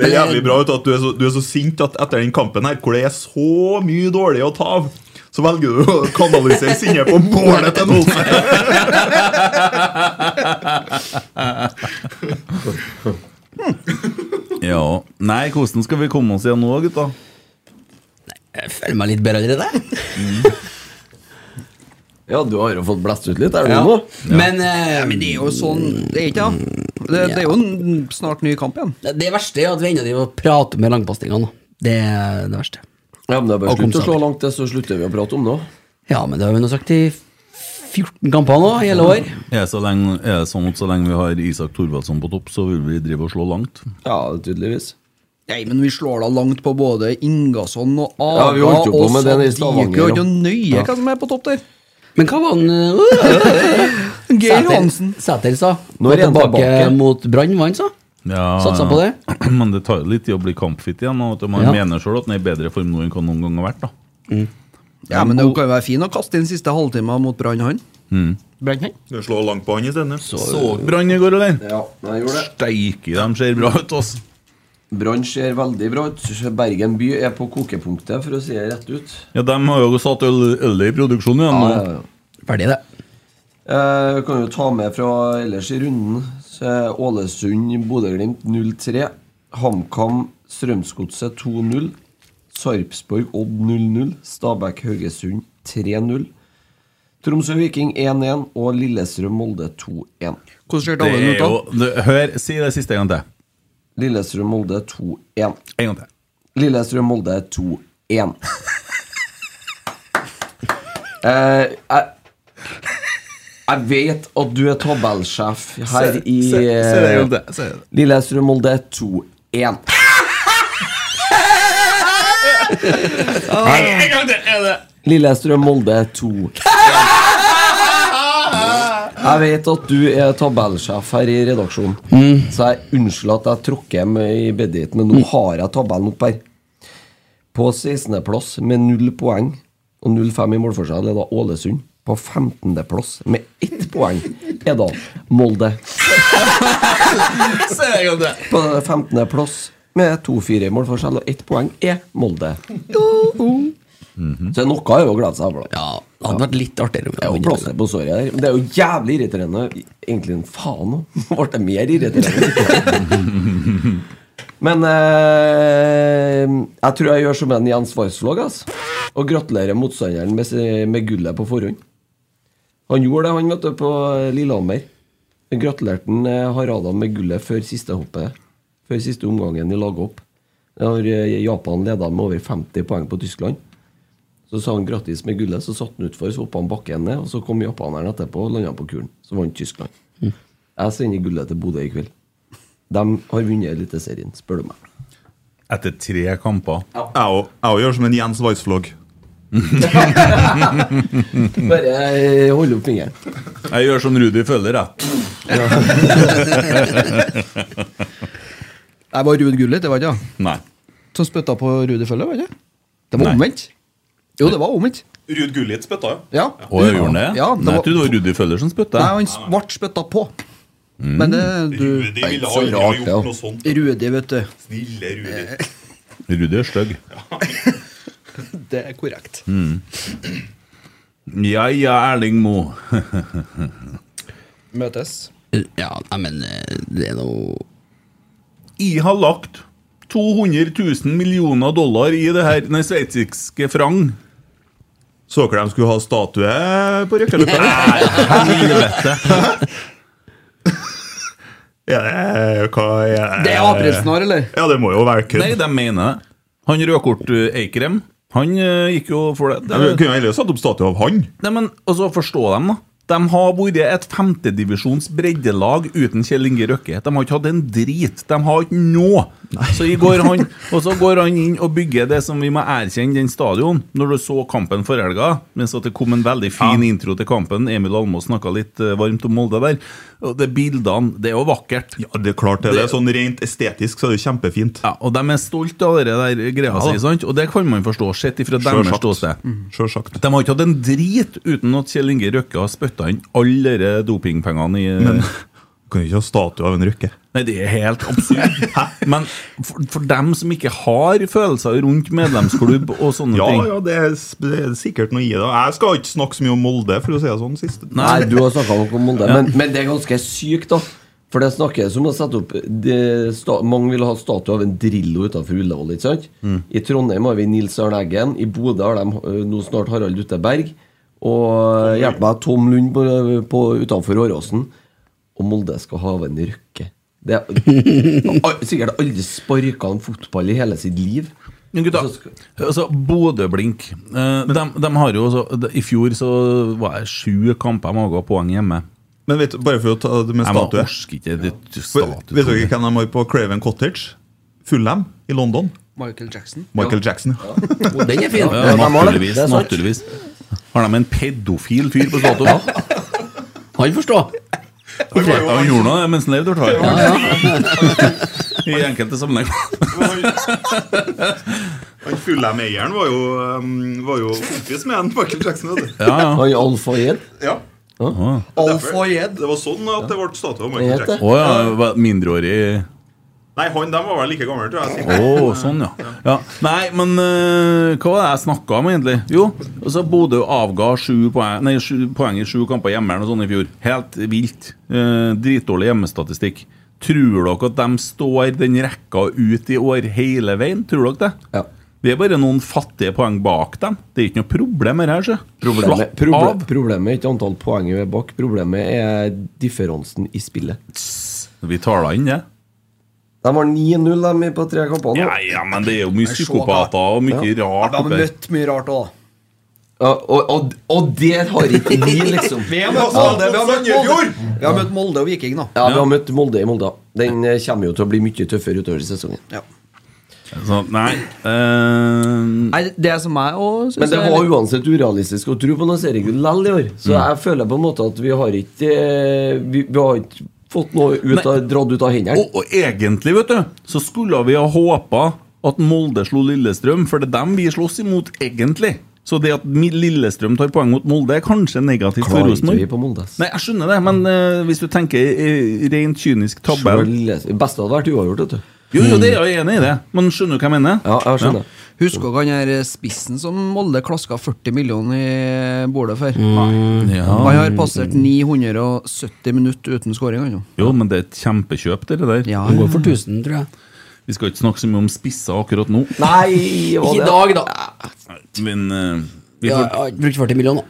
S7: Det er jævlig bra ut at du er, så, du er så sint at etter den kampen her, hvor det er så mye dårlig å ta av, så velger du å kanalisere sinnet på målet til noen.
S3: ja. Nei, hvordan skal vi komme oss igjen nå, gutta?
S5: Jeg føler meg litt bedre allerede.
S6: Ja, du har jo fått blæst ut litt, er du eh,
S5: Ja.
S6: nå?
S5: Men,
S4: men det er jo sånn Det er ikke det. Det, det er jo en snart ny kamp igjen.
S5: Det, det verste er at vi ennå driver og prater med langpasningene. Det er det verste.
S6: Ja, men det er
S5: Og
S6: bare slutt å
S5: kompisene.
S6: slå langt til, så slutter vi å prate om det òg.
S5: Ja, men det har vi nå sagt i 14 kamper nå, i hele år.
S3: Er det, så lenge, er det sånn at så lenge vi har Isak Thorvaldsson på topp, så vil vi drive og slå langt?
S6: Ja, tydeligvis.
S4: Nei, men vi slår da langt på både Ingasson og Aga
S6: Ja, vi holdt jo på
S4: og
S6: med det i
S4: Sadiq.
S6: Stavanger,
S4: Det er jo
S6: ja.
S4: nøye
S6: Ja. eh,
S4: hva som er på topp der.
S5: Men hva var han
S4: Geir Hansen.
S5: Sæter sa.
S3: Nå er
S5: At han
S3: han tilbake.
S5: mot Brann, var han sa?
S3: Ja,
S5: Satsa på det?
S3: Men det tar jo litt tid å bli kampfit igjen. Og at man
S5: Ja. Mm.
S3: mener sjøl at den er i bedre form nå enn hva noen gang har vært. da
S4: Ja, men det kan jo være fin å kaste inn siste halvtime mot Brann han.
S3: Mm.
S4: Brann
S13: Du slår langt på han isteden. ja.
S3: Så Brann i går, eller?
S6: Ja, jeg gjorde det.
S3: Steike, de ser bra ut, ass.
S6: Brann ser veldig bra ut. Bergen by er på kokepunktet, for å si det rett ut.
S3: Ja, De har jo satt øl, ølet i produksjon igjen nå.
S6: Ja, ja, ja.
S5: Ferdig, det.
S6: Eh, Vi kan jo ta med fra ellers i runden. Så er Ålesund, Bodø-Glimt 0-3. HamKam, Strømsgodset 2-0. Sarpsborg, Odd 0-0. Stabæk, Haugesund 3-0. Tromsø Viking 1-1 og Lillestrøm Molde 2-1.
S4: Hvordan ser
S3: Det er jo, det, hør, si det siste en gang til.
S6: Lillestrøm Molde 2-1.
S3: En gang til.
S6: Lillestrøm Molde 2-1. eh, jeg, jeg vet at du er tabellsjef her
S3: Se-
S6: i
S3: se- se det en gang til, se det.
S6: eh, Lillestrøm Molde 2-1.
S3: En gang til! Er det
S6: Lillestrøm Molde 2. Jeg vet at du er tabellsjef her i redaksjonen, så jeg unnskyld at jeg tråkker hjem i bediten, men nå har jeg tabellen opp her. På 16.-plass med null poeng og 0-5 i målforskjell er da Ålesund. På 15.-plass med ett poeng er da Molde.
S3: Se det en gang til.
S6: På 15.-plass med 2-4 i målforskjell og ett poeng er Molde. Så noe er jo å glede seg over, da.
S5: Mhm. Ja, det hadde vært litt artigere. om
S6: Det er jo
S5: han
S6: plass på såret der. Men det er jo jævlig irriterende. Egentlig en faen òg. Ble det mer irriterende? Men eh, jeg tror jeg gjør som en Jens Varsvåg, altså. Og gratulerer motstanderen med, se- med gullet på forhånd. Han gjorde det, han, vet du, på Lillehammer. Gratulerte han, eh, Harada med gullet før siste hoppet. Før siste omgangen i laghopp. Når eh, Japan leda med over 50 poeng på Tyskland. Så sa han gratis med gullet, så satte han utfor, så hoppa han bakken ned, og så kom japaneren etterpå og landa på kulen. Så vant Tyskland.
S5: Mm.
S6: Jeg sender gullet til Bodø i kveld. De har vunnet Eliteserien, spør du meg.
S3: Etter tre kamper.
S13: Jeg òg- jeg òg gjør som en Jens Weissflog.
S6: Bare eh, hold opp fingeren.
S3: Jeg gjør som Rudi føler, jeg.
S4: Det var Ruud Gullit, det var ikke det?
S3: Nei.
S4: Som spytta på Rudi Følle, var det ikke? Det var omvendt. Jo, det var omvendt.
S13: Ruud Gullit spytta, jo.
S4: Ja.
S3: Å, gjorde han det?
S4: Ja, det
S3: Nei,
S4: var-
S3: jeg trodde det var Rudi Føller som spytta.
S4: Nei, han s- ble spytta på.
S6: Mm.
S4: Men det
S3: Mm.
S4: du,
S3: Rudi ville aldri ha gjort noe sånt.
S4: Rudi, vet du.
S13: Snille Rudi.
S3: Rudi er stygg.
S4: Eh, Det er korrekt.
S3: Mm. Ja ja, Erling Moe.
S4: Møtes.
S5: Ja, nei, men eh, det er noe
S3: Jeg har lagt 200 000 millioner dollar i det her Nei, sveitsiske frang.
S13: Så dere de skulle ha statue på Røkkeløkka?
S3: Helvete!
S13: Ja, det er- hva er
S3: Det er Aprilsen har,
S4: eller?
S13: Ja, det må jo være kødd.
S3: Nei, de mener det. Han rødkort eh, Eikrem, han eh, gikk jo for det.
S13: Ja, men kunne heller satt opp statue av han.
S3: Nei, men altså, forstå dem, da. De har vært et femtedivisjons breddelag uten Kjell Inge Røkke. De har ikke hatt en drit. De har ikke noe. Så i går han, og så går han inn og bygger det som vi må erkjenne, den stadion. Når du så kampen for helga, mens at det kom en veldig fin intro til kampen Emil Almås snakka litt eh, varmt om Molde der. Og det Bildene Det er jo vakkert.
S13: Ja, det er klart det. er det sånn Rent estetisk så er det jo kjempefint.
S3: Ja, Og de er stolte av det der greia
S13: Ja, da.
S3: si, sant? Og det kan man forstå, sett ifra deres
S13: Sjølsagt.
S3: ståsted.
S13: Sjølsagt.
S3: De har ikke hatt en drit uten at Kjell Inge Røkke har spytta inn alle de dopingpengene i
S13: Men Kan jo ikke ha statue av en Røkke.
S3: Nei, det er helt absurd. Hæ? Men for, for dem som ikke har følelser rundt medlemsklubb og sånne
S13: Ja,
S3: ting
S13: ja, det er, s- det er sikkert noe i det. Jeg skal ikke snakke så mye om Molde, for å si det sånn. sist
S6: Nei, du har snakka nok om Molde, men, men det er ganske sykt, da. For det snakkes om å sette opp det, sta, Mange vil ha statue av en Drillo utenfor Ullevål. ikke sant?
S2: Mm.
S6: I Trondheim har vi Nils Arne Eggen. I Bodø har de eh, nå snart Harald Dutte Berg. Og hjelp meg, Tom Lund på, på, utenfor Åråsen. Og Molde skal ha en Røkke. Det er al- sikkert aldri sparka en fotball i hele sitt liv.
S3: Men gutta, altså Bodø-Blink eh, de, de har jo så, de, I fjor så var det sju kamper de ga poeng hjemme.
S13: Men vet, bare for å ta det med
S3: Jeg må
S13: statue
S3: orske ikke det, det,
S13: Vet vet dere hvem de har på Craven Cottage? Fulham i London.
S4: Michael Jackson.
S13: Michael Jackson.
S4: Ja. Den er fin.
S3: Ja,
S4: Ja, de har det.
S3: naturligvis.
S4: Det er sant.
S3: naturligvis. Har de en pedofil fyr på statuen? Han forstår. Han gjorde noe mens han levde, i hvert fall. I enkelte sammenhenger.
S13: Han Fulham-eieren var, jo, um, var jo kompis med en Michael Jackson. Vet du.
S3: Ja, ja.
S6: Oi, Alf og Jed?
S13: Ja.
S3: Å
S13: Derfor, det var sånn at det ble statue av Michael Jackson.
S3: Å ja, var mindreårig
S13: Nei, han de var vel like gammel, tror jeg.
S3: Å, sånn, ja. ja. Nei, men eh, hva var det jeg snakka om, egentlig? Jo, altså Bodø avga sju poeng, nei, sju poeng i sju kamper hjemme eller noe sånt i fjor. Helt vilt. Eh, dritdårlig hjemmestatistikk. Tror dere at de står den rekka ut i år hele veien? Tror dere det?
S6: Ja.
S3: Vi er bare noen fattige poeng bak dem. Det er ikke noe problem her, sjø.
S6: Problemet,
S3: Slapp
S6: proble
S3: av.
S6: problemet er ikke antall poeng vi er bak, problemet er differansen i spillet.
S3: Vi tar da inn det.
S6: De har 9-0 de er på tre kamper nå.
S3: Ja, ja, men det er jo mye
S6: Jeg så
S3: psykopater og mye rart.
S6: Ja. Ja, de har
S3: oppi her.
S6: møtt mye rart òg, Ja, og, og, og der har ikke vi, liksom.
S4: Vi har møtt Molde, vi har møtt Molde. Vi har møtt Molde og Viking, da.
S6: Ja, vi har møtt Molde i Molde. Den eh, kommer jo til å bli mye tøffere utover i sesongen.
S3: Så, Altså, nei eh,
S4: Nei, det som jeg òg
S6: Men det var uansett urealistisk å tro på noe seriegull likevel i år. Så jeg føler på en måte at vi har ikke eh, Vi, vi har ikke fått noe ut av, dratt ut av hendene.
S3: Og, og egentlig, vet du, så skulle vi ha håpa at Molde slo Lillestrøm, for det er dem vi slåss imot, egentlig. Så det at Mi- Lillestrøm tar poeng mot Molde, er kanskje negativt for
S6: Klarer ikke
S3: Rosenborg.
S6: vi på Molde. ass.
S3: Nei, jeg skjønner det, men eh, hvis du tenker eh, rent kynisk
S6: Selv
S3: tabell
S6: Lille- Det beste hadde vært uavgjort, vet du.
S3: Jo, jo, det er jeg enig i det, men skjønner du hva jeg mener?
S6: Ja, jeg skjønner.
S4: Husker dere han her spissen som Molde klaska 40 millioner i bordet for?
S6: Mm.
S3: Nei. Ja.
S4: Han har passert 970 minutter uten skåring ennå.
S3: Jo, men det er et kjempekjøp, det der. Ja,
S4: Det går for
S5: 1000, tror jeg.
S3: Vi skal ikke snakke så mye om spisser akkurat nå.
S6: Nei,
S5: Ikke i dag, da.
S3: Men eh, vi
S5: Ja,
S3: får
S5: jeg har ikke brukt 40 millioner.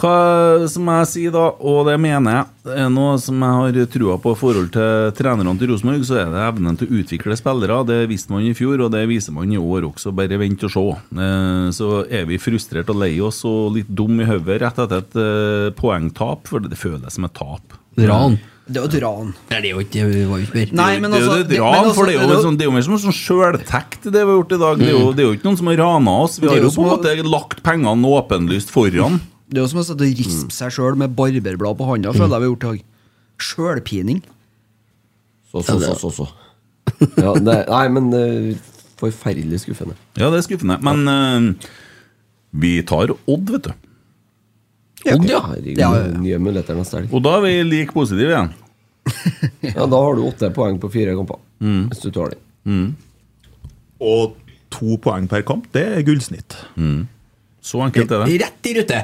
S3: Hva som jeg sier da, og det mener jeg, er noe som jeg har trua på i forhold til trenerne til Rosenborg, så er det evnen til å utvikle spillere. Det visste man i fjor, og det viser man i år også. Bare vent og se. Eh, Så er vi frustrert og lei oss og litt dum i hodet rett etter et eh, poengtap, for det føles som et tap.
S5: Ran.
S4: Det er jo et ran.
S5: Nei, det er jo ikke det var jo ikke mer.
S4: Nei, men
S3: det, er jo
S4: altså-
S3: et
S4: det-
S3: ran,
S4: men altså-
S3: for det er jo
S4: det er
S3: litt
S4: jo-
S3: sånn- det er jo mer som en sånn sjøltekt, det vi har gjort i dag. Det er jo, det er jo ikke noen som har rana oss. Vi
S4: Det er
S3: har
S4: jo
S3: jo på en
S4: som å-
S3: måte lagt pengene åpenlyst foran.
S4: Det er jo som å sitte og rispe seg sjøl med barberblad på handa, føler jeg vi har gjort i dag. Sjølpining.
S6: Så, så, så, så, så. Ja, det, nei, men eh, forferdelig skuffende.
S3: Ja, det er skuffende. Men eh, vi tar Odd, vet du.
S6: Odd, ja. Herregud, nye muligheter neste helg.
S3: Og da er vi like positive igjen.
S6: Ja, da har du åtte poeng på fire kamper.
S3: Mm.
S6: Hvis du tar den.
S13: Og to poeng per kamp, det er gullsnitt.
S3: Mm. Så enkelt er det.
S5: Rett i rute!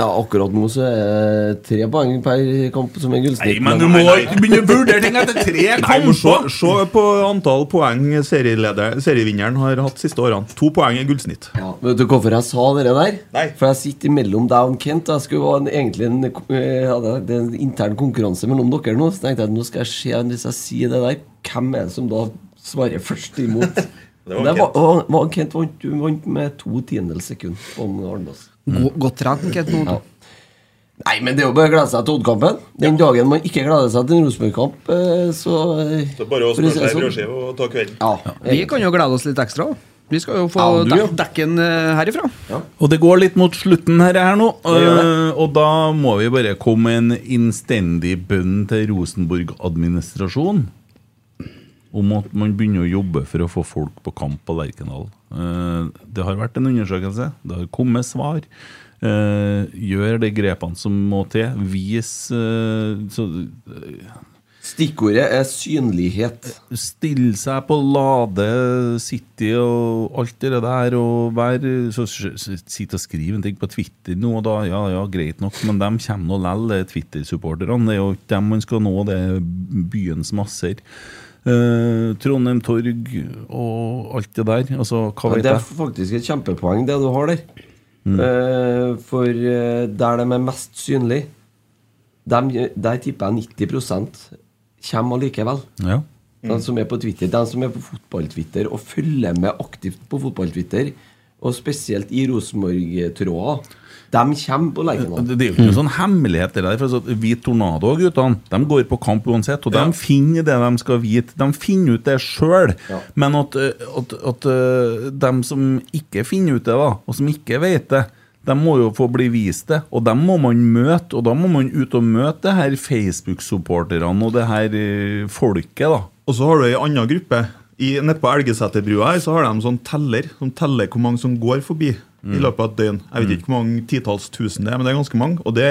S6: Ja, akkurat nå så er det tre poeng per kamp som er gullsnitt.
S3: Nei, men du må ikke begynne å vurdere ting etter tre
S13: Nei,
S3: kamper!
S13: men se, se på antall poeng serieleder- serievinneren har hatt siste årene. To poeng er gullsnitt.
S6: Ja, Vet du hvorfor jeg sa det der? For jeg sitter mellom deg og Kent. Jeg skulle ha en, egentlig en, eh, ja, det det er en intern konkurranse mellom dere nå. Så tenkte jeg nå skal jeg se hvis jeg sier det der, hvem er det som da svarer først imot?
S13: Det
S6: var
S13: var
S6: det var, og, og Kent vant, du vant med to tiendels sekund. på Arnås.
S4: Go- Godt trent, Kent Nord.
S6: Nei, men det er jo bare å glede seg til Odd-kampen. Den dagen man ikke gleder seg til en Rosenborg-kamp, eh, så eh, for å si det sånn.
S13: og ta kvelden.
S6: Ja.
S4: Vi kan jo glede oss litt ekstra. Vi skal jo få
S3: Ja, du, ja.
S4: dek dekken eh, herifra.
S3: Og det går litt mot slutten her, her nå,
S4: Det gjør
S3: eh, og da må vi bare komme med en innstendig bønn til Rosenborg-administrasjonen om at man begynner å jobbe for å få folk på kamp på Lerkendal. Eh, Det har vært en undersøkelse, det har kommet svar. Eh, Gjør de grepene som må til. Vis eh, så, eh,
S6: Stikkordet er synlighet.
S3: Stille seg på Lade City og alt det der, og være så, så, så, Sitte og skrive en ting på Twitter nå, og da ja, ja, greit nok, men de kommer nå lell, det er Twitter-supporterne. Det er jo ikke dem man skal nå, det er byens masser. Eh, Trondheim Torg og alt det der. Altså, hva
S6: Ja,
S3: vet
S6: det er
S3: jeg? Mm.
S6: faktisk et kjempepoeng, det du har der. Eh, for eh, der de er mest synlige, dem, der tipper jeg 90 kommer allikevel.
S3: Ja.
S6: De som er på Twitter, de som er på fotballtwitter og følger med aktivt på fotballtwitter, og spesielt i Rosenborg-tråder, de kommer på Lerkendal.
S3: Det det er jo ikke noen sånn hemmelighet det der. For altså, vi Tornado og guttene de går på kamp uansett, og de finner det de skal vite. De finner ut det sjøl. Men at, ø, at, at ø, dem som ikke finner ut det, da, og som ikke vet det, de må jo få bli vist det, og dem må man møte. Og da må man ut og møte det her Facebook-supporterne og det her ø, folket, da.
S13: Og så har du ei anna gruppe. I, nede på Elgeseterbrua her så har de sånn teller som teller hvor mange som går forbi i
S3: Mm.
S13: løpet av et døgn. Jeg vet
S3: Mm.
S13: ikke hvor mange titalls tusen det er, men det er ganske mange. Og det,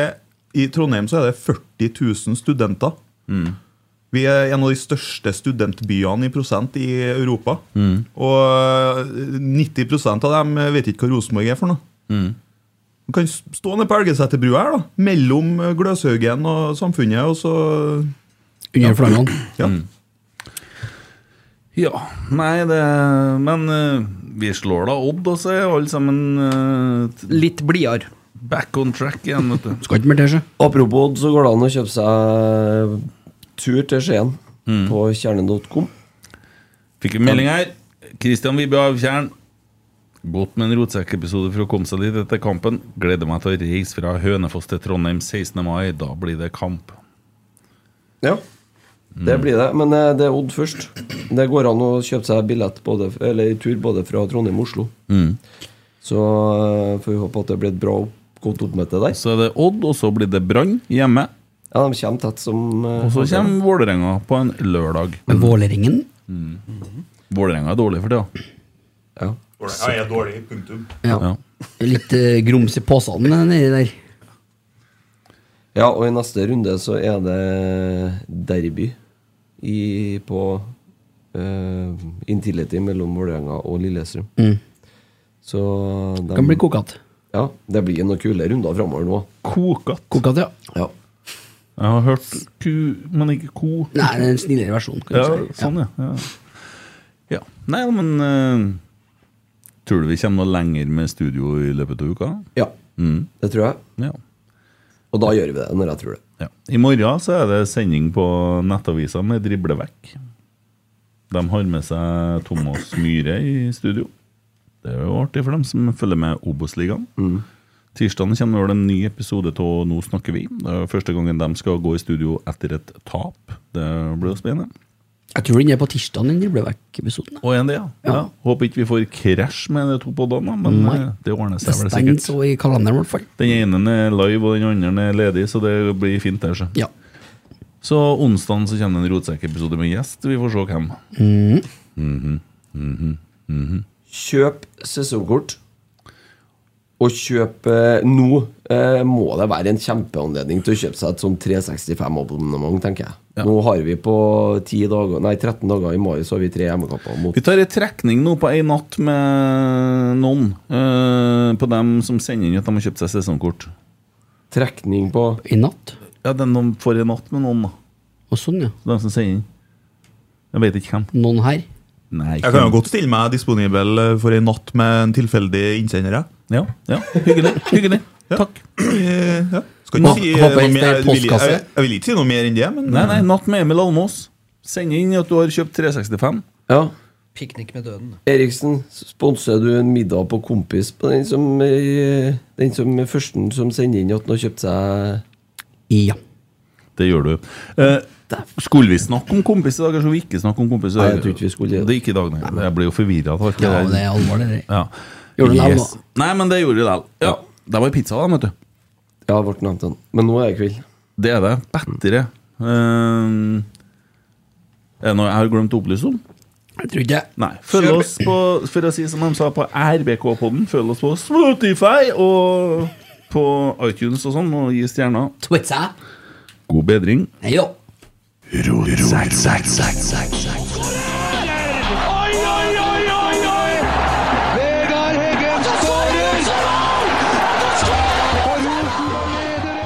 S13: i Trondheim så er det 40 000 studenter.
S3: Mm.
S13: Vi er en av de største studentbyene i prosent i Europa.
S3: Mm.
S13: Og eh, 90 av dem vet ikke hva Rosenborg er for noe.
S3: Mm.
S13: Du kan s- stå nede på Elgeseterbrua her, da. Mellom eh, Gløshaugen og Samfunnet, og så
S5: Under flammene.
S13: Ja.
S3: Ja, nei, det Men ø, vi slår da Odd, og så er alle sammen eh,
S4: Litt blidere.
S3: Back on track igjen, vet du.
S5: Skal ikke mer til seg.
S6: Apropos Odd, så går det an å kjøpe seg tur til Skien
S3: Mm.
S6: på kjernen.com.
S3: Fikk en melding her. Kristian Vibbe Avtjern. Godt med en rotsekkepisode for å komme seg dit etter kampen. Gleder meg til å reise fra Hønefoss til Trondheim 16. mai. Da blir det kamp.
S6: Ja, det
S5: Mm.
S6: blir det. Men eh, det er Odd først. Det går an å kjøpe seg billett både, eller tur både fra Trondheim og Oslo.
S3: Mm.
S6: Så eh, får vi håpe at det blir et bra opp- godt oppmøte der.
S3: Så er det Odd, og så blir det Brann hjemme.
S6: Ja, de kommer tett som eh,
S3: Og så kommer Vålerenga på en lørdag. Mm.
S5: Men Vålerengen
S3: Vålerenga er dårlig for tida.
S6: Ja.
S13: Jeg er dårlig, punktum.
S5: Ja. Litt eh, grums i posene nedi der.
S6: Ja, og i neste runde så er det derby i, på eh, Intility mellom Vålerenga og Lillestrøm.
S5: Mm.
S6: Så de,
S5: Kan bli kokete.
S6: Ja, det blir noen kule runder framover nå.
S3: Kokat?
S5: Kokete, ja.
S6: Ja.
S3: Jeg har hørt ku, men ikke ko.
S5: Nei, det er en snillere versjon. Kan
S3: Ja,
S5: du si.
S3: sånn, ja. ja. ja. Nei, men eh, Tror du vi kommer noe lenger med studio i løpet av uka?
S6: Ja,
S3: Mm.
S6: det tror jeg.
S3: Ja.
S6: Og da gjør vi det, når jeg tror det.
S3: I morgen så er det sending på nettavisa med Driblevekk. De har med seg Thomas Myhre i studio. Det er jo artig for dem som følger med Obos-ligaen.
S6: Mm.
S3: Tirsdagen kommer vel en ny episode av Nå snakker vi. Det er første gangen de skal gå i studio etter et tap. Det blir jo spennende.
S5: Jeg tror den er på tirsdag, den Driblevekk-episoden.
S3: Og en det, ja. ja. Håper ikke vi får krasj med de to podene, men
S5: Nei.
S3: eh, det ordner
S5: Det
S3: seg vel
S5: stenger
S3: sikkert.
S5: så i kalenderen, i hvert fall.
S3: Den ene er live, og den andre er ledig, så det blir fint der. Så,
S5: Ja.
S3: så onsdagen så kommer det en rotsekkepisode med gjest. Vi får se hvem.
S5: Mm.
S3: Mhm, mhm, mhm.
S6: Kjøp sesongkort. Og kjøp eh, nå eh, må det være en kjempeanledning til å kjøpe seg et sånn 365-abonnement, tenker jeg. Nå har vi på 10 dager, nei, 13 dager i mai så har vi tre hjemmekamper mot
S3: Vi tar en trekning nå på ei natt med noen. eh, på dem som sender inn at de har kjøpt seg sesongkort.
S6: trekning på
S5: I natt?
S3: Ja, den de får en natt med noen, da.
S5: Og sånn, ja.
S3: De som sender inn. Jeg vet ikke hvem.
S5: Noen Sånn her.
S3: Nei,
S13: Jeg kan jo godt stille meg disponibel eh, for en natt med en tilfeldig innsender.
S3: Ja, ja. Hyggelig. hyggelig. Takk.
S13: Ja. Skal ikke
S3: Nå
S13: si eh,
S3: hopper
S13: noe
S3: jeg
S13: mer.
S3: til
S13: Jeg vil,
S3: postkasse.
S13: jeg, jeg vil ikke si noe mer enn det, men
S3: Nei, nei, Natt med Emil Almås. Send inn at du har kjøpt 365.
S6: Ja.
S4: Piknik med døden.
S6: Eriksen, sponser du en middag på kompis på den som, eh, den som er førsten som sender inn at han har kjøpt seg
S5: Ja.
S3: Det gjør du. Eh, skulle vi snakke om kompis i dag, eller skulle vi ikke snakke om kompis? i dag?
S6: Nei, jeg tror ikke vi skulle.
S3: Det er ikke i dag, nei. Jeg blir jo forvirra. av alt
S5: Ja,
S3: der.
S5: men det er alvor, det der.
S3: Ja.
S5: Gjorde du det
S3: Yes.
S5: da?
S3: Nei, men det gjorde vi likevel. Ja. Det var pizza, da, vet du.
S6: Ja, ble nevnt den. Men nå er det kveld.
S3: Det er det. Bedre. Eh, er det noe jeg har glemt å opplyse om?
S5: Jeg tror ikke det.
S3: Nei. Følg oss på, for å si som de sa på RBK-podden, følg oss på Spotify og på iTunes og sånn, og gi stjerner.
S5: Twitsa.
S3: God bedring.
S5: Hei, jo.
S2: Vegard Heggen skårer! Og Rosenborg leder